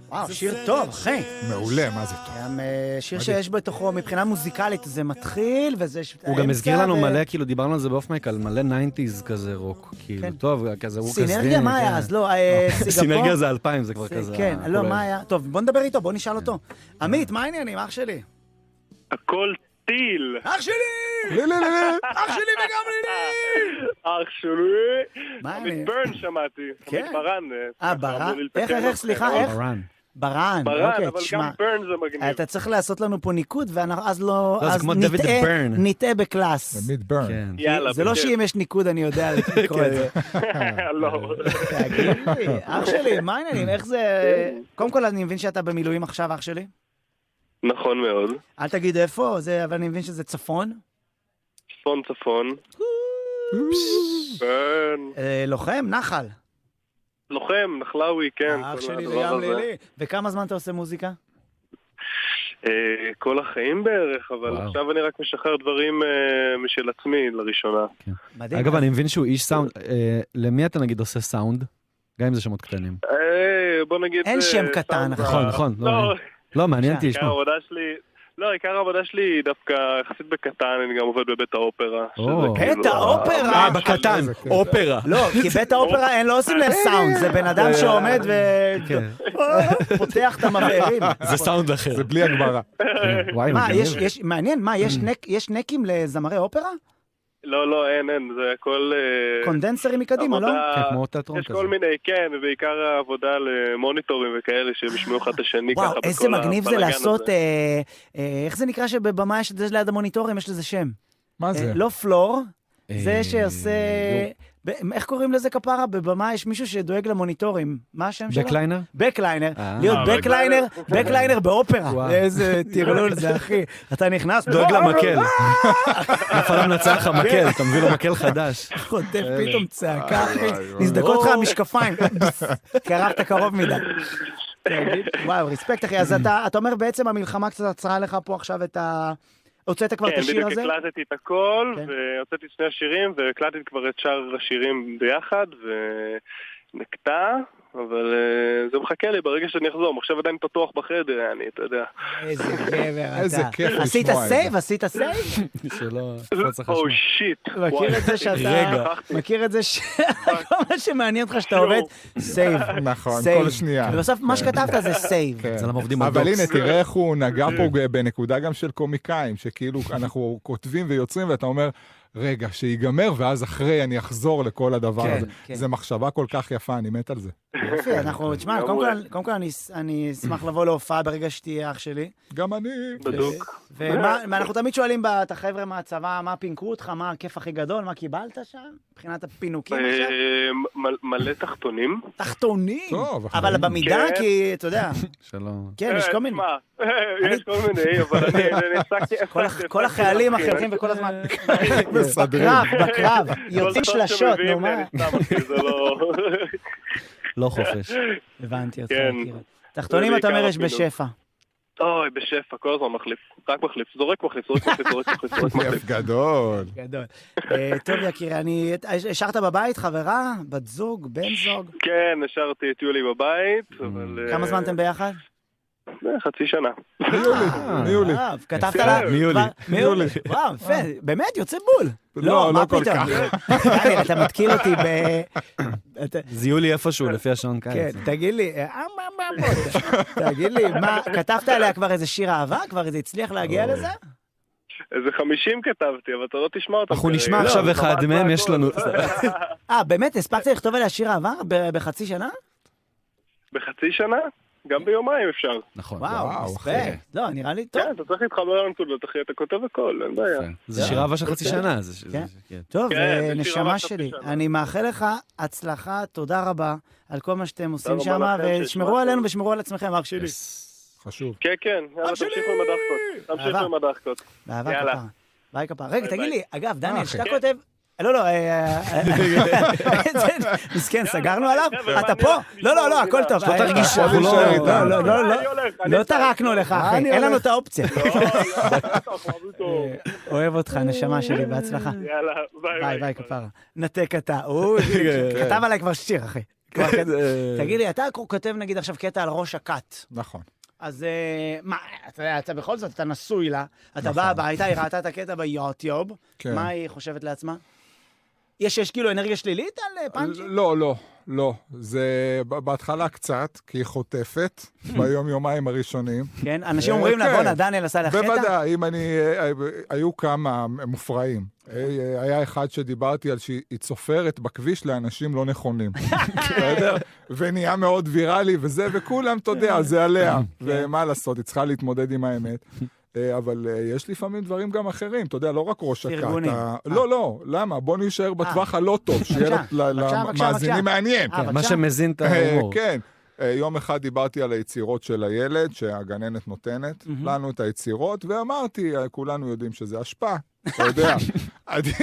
Speaker 1: וואו, שיר טוב, אחי.
Speaker 2: מעולה, מה זה טוב.
Speaker 1: גם אה, שיר שיש בתוכו, מבחינה מוזיקלית, זה מתחיל, וזה... ש- אה,
Speaker 3: הוא גם
Speaker 1: האמצע
Speaker 3: הזכיר לנו
Speaker 1: ו-
Speaker 3: מלא, כאילו דיברנו על זה באוף מייק, על מלא 90's כזה רוק. כאילו,
Speaker 1: כן.
Speaker 3: טוב, כזה רוק הסדין.
Speaker 1: סינרגיה, מה
Speaker 3: כן.
Speaker 1: היה? אז לא,
Speaker 3: [laughs]
Speaker 1: אה,
Speaker 3: סינרגיה
Speaker 1: סינגפור.
Speaker 3: זה 2000, זה כבר
Speaker 1: זה-
Speaker 3: כזה... אה,
Speaker 1: כן, לא,
Speaker 3: הכולל.
Speaker 1: מה היה? טוב, בוא נדבר איתו, בוא נשאל אותו. עמית, מה העניינים, אח שלי?
Speaker 6: הכל טיל.
Speaker 1: אח שלי!
Speaker 2: לא, לא, לא, לא.
Speaker 1: [laughs] אח שלי וגם
Speaker 6: [laughs]
Speaker 1: לילי!
Speaker 6: אח שלי.
Speaker 1: מה אני-
Speaker 6: עמית ברן שמעתי.
Speaker 1: אה, כן.
Speaker 6: עמית ברן.
Speaker 1: אה,
Speaker 6: ככה
Speaker 1: ברן?
Speaker 6: אמור
Speaker 1: איך, איך,
Speaker 6: לתקן
Speaker 1: איך, סליחה,
Speaker 6: אותנו.
Speaker 1: איך?
Speaker 3: ברן.
Speaker 1: ברן,
Speaker 6: ברן,
Speaker 1: אוקיי,
Speaker 6: אבל
Speaker 1: תשמע. אה,
Speaker 6: גם ברן זה מגניב.
Speaker 1: אתה צריך לעשות לנו פה ניקוד, ואז לא...
Speaker 3: לא, זה
Speaker 1: אז
Speaker 3: כמו דויד
Speaker 1: נטעה-
Speaker 3: ברן.
Speaker 1: נטעה בקלאס.
Speaker 2: תמיד
Speaker 1: [laughs]
Speaker 2: ברן.
Speaker 3: כן. [laughs]
Speaker 6: יאללה,
Speaker 1: זה לא
Speaker 6: בכיף.
Speaker 1: שאם יש ניקוד אני יודע לקרוא את זה.
Speaker 6: [laughs] לא.
Speaker 1: אה. תגיד
Speaker 3: [laughs]
Speaker 1: לי, אח שלי, מה העניינים? איך זה...
Speaker 3: כן.
Speaker 1: קודם כל, אני מבין שאתה במילואים עכשיו, אח שלי.
Speaker 6: נכון מאוד.
Speaker 1: אל תגיד איפה, זה- אבל אני מבין שזה צפון.
Speaker 6: צפון צפון. ברן.
Speaker 1: אה, לוחם, נחל.
Speaker 6: לוחם, נחלאווי, כן.
Speaker 1: האח
Speaker 6: כל
Speaker 1: שלי
Speaker 6: הדבר
Speaker 1: לים
Speaker 6: הזה.
Speaker 1: לילי. וכמה זמן אתה עושה מוזיקה?
Speaker 6: אה, כל החיים בערך, אבל
Speaker 3: וואו.
Speaker 6: עכשיו אני רק משחרר דברים אה, משל עצמי לראשונה.
Speaker 1: מדהים.
Speaker 3: אגב, אני מבין שהוא איש סאונד. אה, למי אתה נגיד עושה סאונד? גם אם זה שמות קטנים.
Speaker 6: אה, בוא נגיד...
Speaker 1: אין
Speaker 6: אה,
Speaker 1: שם קטן,
Speaker 6: סאונד
Speaker 1: נכון,
Speaker 6: ב-
Speaker 3: נכון, לא,
Speaker 6: לא,
Speaker 3: אני- לא, מעניין אותי
Speaker 6: עיקר
Speaker 3: לשמוע.
Speaker 6: [laughs] העבודה שלי... לא, עיקר העבודה שלי היא דווקא יחסית בקטן, אני גם עובד בבית האופרה. שזה
Speaker 3: או.
Speaker 6: כאילו
Speaker 1: בית
Speaker 6: ה-
Speaker 1: האופרה? אה,
Speaker 3: בקטן, אופרה.
Speaker 1: לא, כי בית
Speaker 6: [laughs]
Speaker 1: האופרה אין, לא עושים להם סאונד, זה בן אדם שעומד ו... [laughs] אה,
Speaker 3: כן.
Speaker 1: פותח את
Speaker 3: [laughs]
Speaker 1: המבערים.
Speaker 3: סאונד אחר.
Speaker 2: זה בלי הגברה.
Speaker 3: כן, וואי,
Speaker 1: מה,
Speaker 3: מגניב. Mm.
Speaker 1: יש, יש, מעניין, מה, יש, נק, יש נקים לזמרי אופרה?
Speaker 6: לא, לא, אין, אין, זה הכל... אה,
Speaker 1: קונדנסרים מקדימה, לא?
Speaker 6: עבודה-
Speaker 3: כן, כמו תיאטרון
Speaker 6: יש
Speaker 3: כזה.
Speaker 6: כל מיני, כן, ובעיקר העבודה למוניטורים וכאלה, שהם ישמעו אחד את השני ככה
Speaker 1: וואו,
Speaker 6: בכל
Speaker 1: איזה מגניב זה
Speaker 6: הבלגן
Speaker 1: לעשות,
Speaker 6: הזה.
Speaker 1: אה, אה, איך זה נקרא שבבמה יש את זה ליד המוניטורים, יש לזה שם.
Speaker 2: מה
Speaker 1: אה,
Speaker 2: זה?
Speaker 1: לא פלור,
Speaker 3: אה,
Speaker 1: זה שעושה...
Speaker 3: נו.
Speaker 1: ב- איך קוראים לזה כפרה? בבמה יש מישהו שדואג למוניטורים. מה השם שלו?
Speaker 3: בקליינר?
Speaker 1: בקליינר,
Speaker 3: אה.
Speaker 1: להיות
Speaker 6: אה,
Speaker 1: בקליינר, בקליינר באופרה.
Speaker 3: וואו.
Speaker 1: איזה טרלול זה, אחי. אתה נכנס, דואג
Speaker 3: [laughs]
Speaker 1: למקל.
Speaker 3: אף אחד לא מנצח לך מקל, אתה מביא לו מקל חדש.
Speaker 1: חוטף פתאום צעקה, אחי.
Speaker 2: וואי, וואי.
Speaker 1: נסדקות לך המשקפיים. קרחת קרוב מדי. תגיד, וואו, רספקט, אחי.
Speaker 2: [laughs]
Speaker 1: אז אתה אתה אומר בעצם המלחמה קצת עצרה לך פה עכשיו את ה... הוצאת כבר את
Speaker 6: כן,
Speaker 1: השיר
Speaker 6: בדיוק
Speaker 1: הזה?
Speaker 6: הקלטתי את הכל,
Speaker 1: כן.
Speaker 6: והוצאתי את שני השירים, והקלטתי כבר את שאר השירים ביחד, ונקטע, אבל אה, זה מחכה לי ברגע שאני אחזור. עכשיו עדיין פתוח בחדר, אני, אתה יודע.
Speaker 1: איזה גבר אתה.
Speaker 2: איזה כיף לשמוע
Speaker 1: עשית
Speaker 2: את זה.
Speaker 1: סייב? עשית סייב?
Speaker 3: שלא... לא צריך
Speaker 6: או
Speaker 3: לשמוע.
Speaker 6: שיט.
Speaker 1: מכיר את זה שאתה... מכיר את זה ש... כל מה שמעניין אותך שאתה עובד, סייב.
Speaker 2: נכון,
Speaker 1: סייב.
Speaker 2: כל שנייה.
Speaker 1: ובסוף מה שכתבת לא זה סייב.
Speaker 2: כן.
Speaker 3: אצל המעובדים
Speaker 2: אבל
Speaker 3: בדוקס.
Speaker 2: הנה, תראה איך הוא נגע פה בנקודה גם של קומיקאים, שכאילו אנחנו כותבים ויוצרים, ואתה אומר, רגע, שיגמר, ואז אחרי אני אחזור לכל הדבר
Speaker 1: כן,
Speaker 2: הזה.
Speaker 1: כן.
Speaker 2: זו מחשבה כל כך יפה, אני מת על זה.
Speaker 1: יופי, אנחנו, תשמע, קודם כל- קודם כל אני- אני אשמח לבוא להופעה ברגע שתהיה אח שלי. [laughs]
Speaker 2: גם אני...
Speaker 6: בדוק.
Speaker 1: ואנחנו תמיד שואלים ב- את החבר'ה מהצבא, מה פינקו אותך, מה הכיף הכי גדול, מה קיבלת שם, מבחינת הפינוקים עכשיו?
Speaker 6: אה, מ- מלא תחתונים.
Speaker 1: תחתונים!
Speaker 2: טוב, אחי.
Speaker 1: אבל במידה,
Speaker 6: כן.
Speaker 1: כי אתה יודע,
Speaker 3: שלום.
Speaker 1: כן, יש כל מיני...
Speaker 6: אה, תשמע, יש כל מיני, אבל
Speaker 1: [laughs]
Speaker 6: אני אני הפסקתי...
Speaker 1: כל הח-
Speaker 6: הפסקתי-
Speaker 1: כל החיילים
Speaker 6: הפסקתי.
Speaker 1: החרבים וכל הזמן... כן.
Speaker 2: מסדרים.
Speaker 1: בקרב, בקרב,
Speaker 6: כל
Speaker 1: יוצאים
Speaker 6: טוב
Speaker 1: שלשות,
Speaker 6: שמביאים,
Speaker 1: נו מה?
Speaker 6: לא אה, אני סתם, אחי, זה לא...
Speaker 3: לא חופש.
Speaker 1: הבנתי אותך,
Speaker 6: כן.
Speaker 1: יקירי. תחתונים
Speaker 6: זה
Speaker 1: אתה אומר
Speaker 6: בעיקר
Speaker 1: יש בשפע.
Speaker 6: [laughs] אוי, בשפע, כל הזמן מחליף. רק מחליף. זורק מחליף, זורק מחליף, זורק מחליף, זורק מחליף.
Speaker 2: כיף גדול.
Speaker 1: גדול. אה, טוב, יקירי, אני... השארת בבית חברה, בת זוג, בן זוג?
Speaker 6: [laughs] כן, השארתי את יולי בבית, אבל... אה,
Speaker 1: Mm. כמה זמן אתם ביחד? אה,
Speaker 6: אה, חצי שנה.
Speaker 2: מיולי, מיולי.
Speaker 1: וואו, כתבת
Speaker 3: יפה,
Speaker 1: לה...
Speaker 3: מיולי.
Speaker 1: כבר- מיולי. וואו, יפה, באמת, יוצא בול.
Speaker 2: לא, לא
Speaker 1: מה
Speaker 2: כל
Speaker 1: פתאום?
Speaker 2: כך.
Speaker 1: יאללה, אתה מתקיל אותי ב... אתה-
Speaker 3: זיהו לי איפשהו לפי השעון
Speaker 1: כן,
Speaker 3: קיץ.
Speaker 1: תגיד לי, אה, אה, מה, מה, בוא, ת- אמ. תגיד לי, מה, כתבת עליה כבר איזה שיר אהבה? כבר זה הצליח להגיע לזה?
Speaker 6: איזה חמישים כתבתי, אבל אתה לא תשמע אותם.
Speaker 3: אנחנו
Speaker 6: כרגע.
Speaker 3: נשמע
Speaker 6: לא,
Speaker 3: עכשיו
Speaker 6: זה
Speaker 3: אחד
Speaker 6: ממש
Speaker 3: מהם,
Speaker 6: לא
Speaker 3: יש
Speaker 6: הכל.
Speaker 3: לנו...
Speaker 1: אה, באמת, הספקת לכתוב עליה שיר אהבה ב- בחצי שנה?
Speaker 6: בחצי שנה? גם ביומיים אפשר.
Speaker 3: נכון.
Speaker 1: וואו,
Speaker 2: וואו,
Speaker 1: רספקט. לא, נראה לי טוב.
Speaker 6: כן, אתה צריך להתחבר לנקודות, אחי, אתה כותב הכל, אין בעיה.
Speaker 3: זה שיר אהבה של חצי שנה. זה- זה-
Speaker 1: כן.
Speaker 3: זה- כן.
Speaker 1: טוב,
Speaker 6: כן,
Speaker 1: אה,
Speaker 6: זה שיר
Speaker 1: נשמה
Speaker 6: אהבה של
Speaker 1: שלי,
Speaker 6: חצי שנה.
Speaker 1: אני מאחל לך הצלחה, תודה רבה על כל מה שאתם עושים
Speaker 6: רבה
Speaker 1: שם,
Speaker 6: לכם,
Speaker 1: ושמרו
Speaker 6: שהשמעתם.
Speaker 1: עלינו ושמרו על עצמכם, אח שלי.
Speaker 2: חשוב.
Speaker 6: כן, כן, יאללה, תמשיכו עם הדחקות. תמשיכו
Speaker 1: אהבה.
Speaker 6: עם הדחקות.
Speaker 1: באהבה
Speaker 6: יאללה.
Speaker 1: כפרה. ביי כפרה. רגע, תגיד
Speaker 6: ביי.
Speaker 1: לי, אגב, דניאל,
Speaker 2: אחי?
Speaker 1: שאתה
Speaker 6: כן.
Speaker 1: כותב... לא, לא, אה, אה, אה, אה, מסכן, סגרנו עליו?
Speaker 6: חבר'ה,
Speaker 1: אתה
Speaker 6: מה
Speaker 1: פה?
Speaker 6: אני הולך
Speaker 1: לא, לא, לא,
Speaker 6: לשמוע
Speaker 1: הכל טוב.
Speaker 3: לא
Speaker 1: אה,
Speaker 3: תרגיש,
Speaker 1: אה,
Speaker 3: אנחנו לא-
Speaker 1: לא, לא, לא, לא,
Speaker 6: אני הולך, אני
Speaker 1: לא
Speaker 6: הולך.
Speaker 1: טרקנו לך, אחי, אין לנו את האופציה.
Speaker 6: לא, לא, אנחנו אוהבים אותו.
Speaker 1: אוהב אותך, נשמה שלי, בהצלחה.
Speaker 6: יאללה, ביי
Speaker 2: [laughs]
Speaker 1: ביי, ביי, כפרה. נתק אתה. הוא כתב עליי כבר שיר, אחי. כבר כת-
Speaker 2: כן, זה-
Speaker 1: תגיד לי, אתה כותב נגיד עכשיו קטע על ראש הכת.
Speaker 2: נכון.
Speaker 1: אז אה, מה, אתה יודע, אתה בכל זאת, אתה נשוי לה, אתה
Speaker 2: נכון.
Speaker 1: בא הביתה, היא ראתה את הקטע ביוטיוב,
Speaker 2: כן.
Speaker 1: מה היא חושבת לעצמה? יש, יש כאילו אנרגיה שלילית על אה, פאנצ'י?
Speaker 2: לא, לא, לא. זה ב- בהתחלה קצת, כי היא
Speaker 1: [laughs]
Speaker 2: חוטפת ביום-יומיים הראשונים.
Speaker 1: כן, אנשים
Speaker 2: אה,
Speaker 1: אומרים לה,
Speaker 2: כן.
Speaker 1: בואנה, דניאל עשה לך קטע?
Speaker 2: בוודאי, אם אני... אה, אה, היו כמה מופרעים. אה, אה, היה אחד שדיברתי על שהיא צופרת בכביש לאנשים לא
Speaker 1: [laughs]
Speaker 2: נכונים. בסדר? ונהיה מאוד ויראלי וזה, וכולם, אתה יודע, זה
Speaker 1: כן.
Speaker 2: עליה. ומה לעשות, היא צריכה להתמודד עם האמת. אה, אבל אה, יש לפעמים דברים גם אחרים, אתה יודע, לא רק ראש הכת.
Speaker 1: ארגונים.
Speaker 2: ה- לא, לא, למה? בוא נישאר בטווח הלא טוב,
Speaker 1: אה. בבקשה,
Speaker 2: שיהיה
Speaker 1: בבקשה,
Speaker 2: ל-
Speaker 1: בבקשה, בבקשה.
Speaker 2: למאזינים מעניין.
Speaker 1: אה,
Speaker 3: כן, מה
Speaker 1: בבקשה.
Speaker 3: שמזין את
Speaker 2: אה,
Speaker 3: ההומור.
Speaker 2: כן. אה, יום אחד דיברתי על היצירות של הילד, שהגננת נותנת לנו את היצירות, ואמרתי, אה, כולנו יודעים שזה אשפה, אתה יודע. עדיף-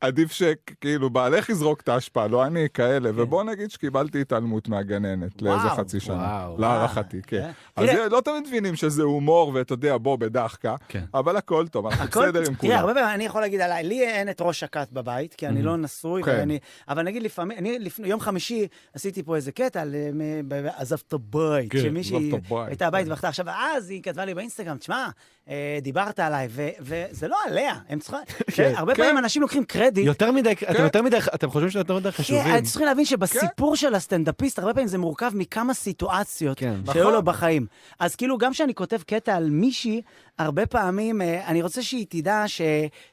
Speaker 2: עדיף שכאילו בעלך יזרוק את האשפה, לא אני, כאלה. ובוא נגיד שקיבלתי התעלמות מהגננת לאיזה
Speaker 1: וואו,
Speaker 2: חצי שנה,
Speaker 3: וואו.
Speaker 2: להערכתי, כן.
Speaker 1: אה,
Speaker 2: אז
Speaker 1: תראה-
Speaker 2: לא תמיד מבינים שזה הומור, ואתה יודע, בוא, בדחקה,
Speaker 3: כן.
Speaker 2: אבל הכל טוב, אנחנו
Speaker 1: הכל-
Speaker 2: בסדר עם
Speaker 1: תראה,
Speaker 2: כולם.
Speaker 1: הרבה פעמים אני יכול להגיד עליי, לי אין את ראש הכת בבית, כי אני לא נשוי,
Speaker 2: כן.
Speaker 1: ואני- אבל נגיד לפעמים, אני לפני, יום חמישי עשיתי פה איזה קטע, על, אה, מ- ב- ב- עזבת בית,
Speaker 2: כן,
Speaker 1: שמישהי
Speaker 2: עזבת בית,
Speaker 1: הייתה בבית ובכתה עכשיו, אז היא כתבה לי באינסטגרם, תשמע, אה, דיברת עליי, ו- וזה לא עליה, הם
Speaker 2: [laughs]
Speaker 1: צריכים,
Speaker 3: כן.
Speaker 1: הרבה פעמים אנשים לוקחים קרדיט.
Speaker 3: יותר מדי, אתם יותר מדי, אתם חושבים שאתם יותר מדי חשובים.
Speaker 1: כן, צריכים להבין שבסיפור של הסטנדאפיסט, הרבה פעמים זה מורכב מכמה סיטואציות
Speaker 3: כן.
Speaker 1: שהיו
Speaker 2: נכון.
Speaker 1: לו בחיים. אז כאילו, גם כשאני כותב קטע על מישהי, הרבה פעמים אה, אני רוצה שהיא תדע ש-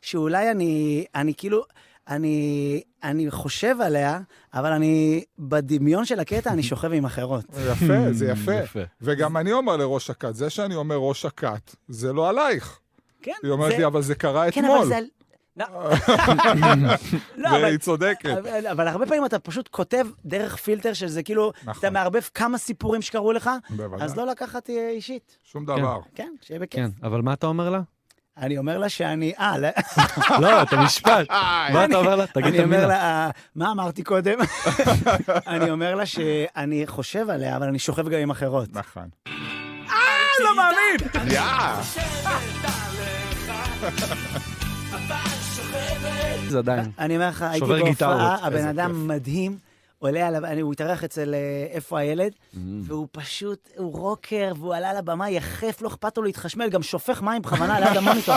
Speaker 1: שאולי אני אני כאילו... אני, אני חושב עליה, אבל אני, בדמיון של הקטע, אני שוכב עם אחרות.
Speaker 2: יפה, זה יפה.
Speaker 3: כן, [laughs] יפה.
Speaker 2: וגם אני אומר לראש הכת, זה שאני אומר ראש הכת, זה לא
Speaker 1: [laughs]
Speaker 2: עלייך.
Speaker 1: כן,
Speaker 2: היא אומרת
Speaker 1: זה-
Speaker 2: לי, אבל זה קרה
Speaker 1: כן, אבל
Speaker 2: אתמול.
Speaker 1: זה... לא, [laughs] לא, אבל-
Speaker 2: והיא צודקת.
Speaker 1: אבל, אבל הרבה פעמים אתה פשוט כותב דרך פילטר של זה, כאילו,
Speaker 2: נכון.
Speaker 1: אתה מערבב כמה סיפורים שקרו לך,
Speaker 2: בוודאי.
Speaker 1: אז לא לקחת אה, אישית.
Speaker 2: שום דבר.
Speaker 1: כן, שיהיה בכיף.
Speaker 3: כן, אבל מה אתה אומר לה?
Speaker 1: אני אומר לה שאני, אה, לא,
Speaker 3: לא, את המשפט. מה אתה אומר לה? תגיד
Speaker 1: אני
Speaker 3: את
Speaker 1: אומר
Speaker 3: המילה.
Speaker 1: לה, אה, מה אמרתי קודם? [laughs] אני אומר לה שאני חושב עליה, אבל אני שוכב גם עם אחרות.
Speaker 2: נכון.
Speaker 1: לא מאמין!
Speaker 2: יאה!
Speaker 3: זה [laughs] עדיין.
Speaker 1: אני אומר לך, הייתי
Speaker 3: שובר גיטרות,
Speaker 1: בהופעה, הבן
Speaker 3: איזה
Speaker 1: אדם מדהים. עולה על, אני- הוא התארח אצל אה, איפה הילד,
Speaker 3: Mm.
Speaker 1: והוא פשוט, הוא רוקר, והוא עלה לבמה יחף, לא אכפת לו להתחשמל, גם שופך מים בכוונה ליד המוניטור.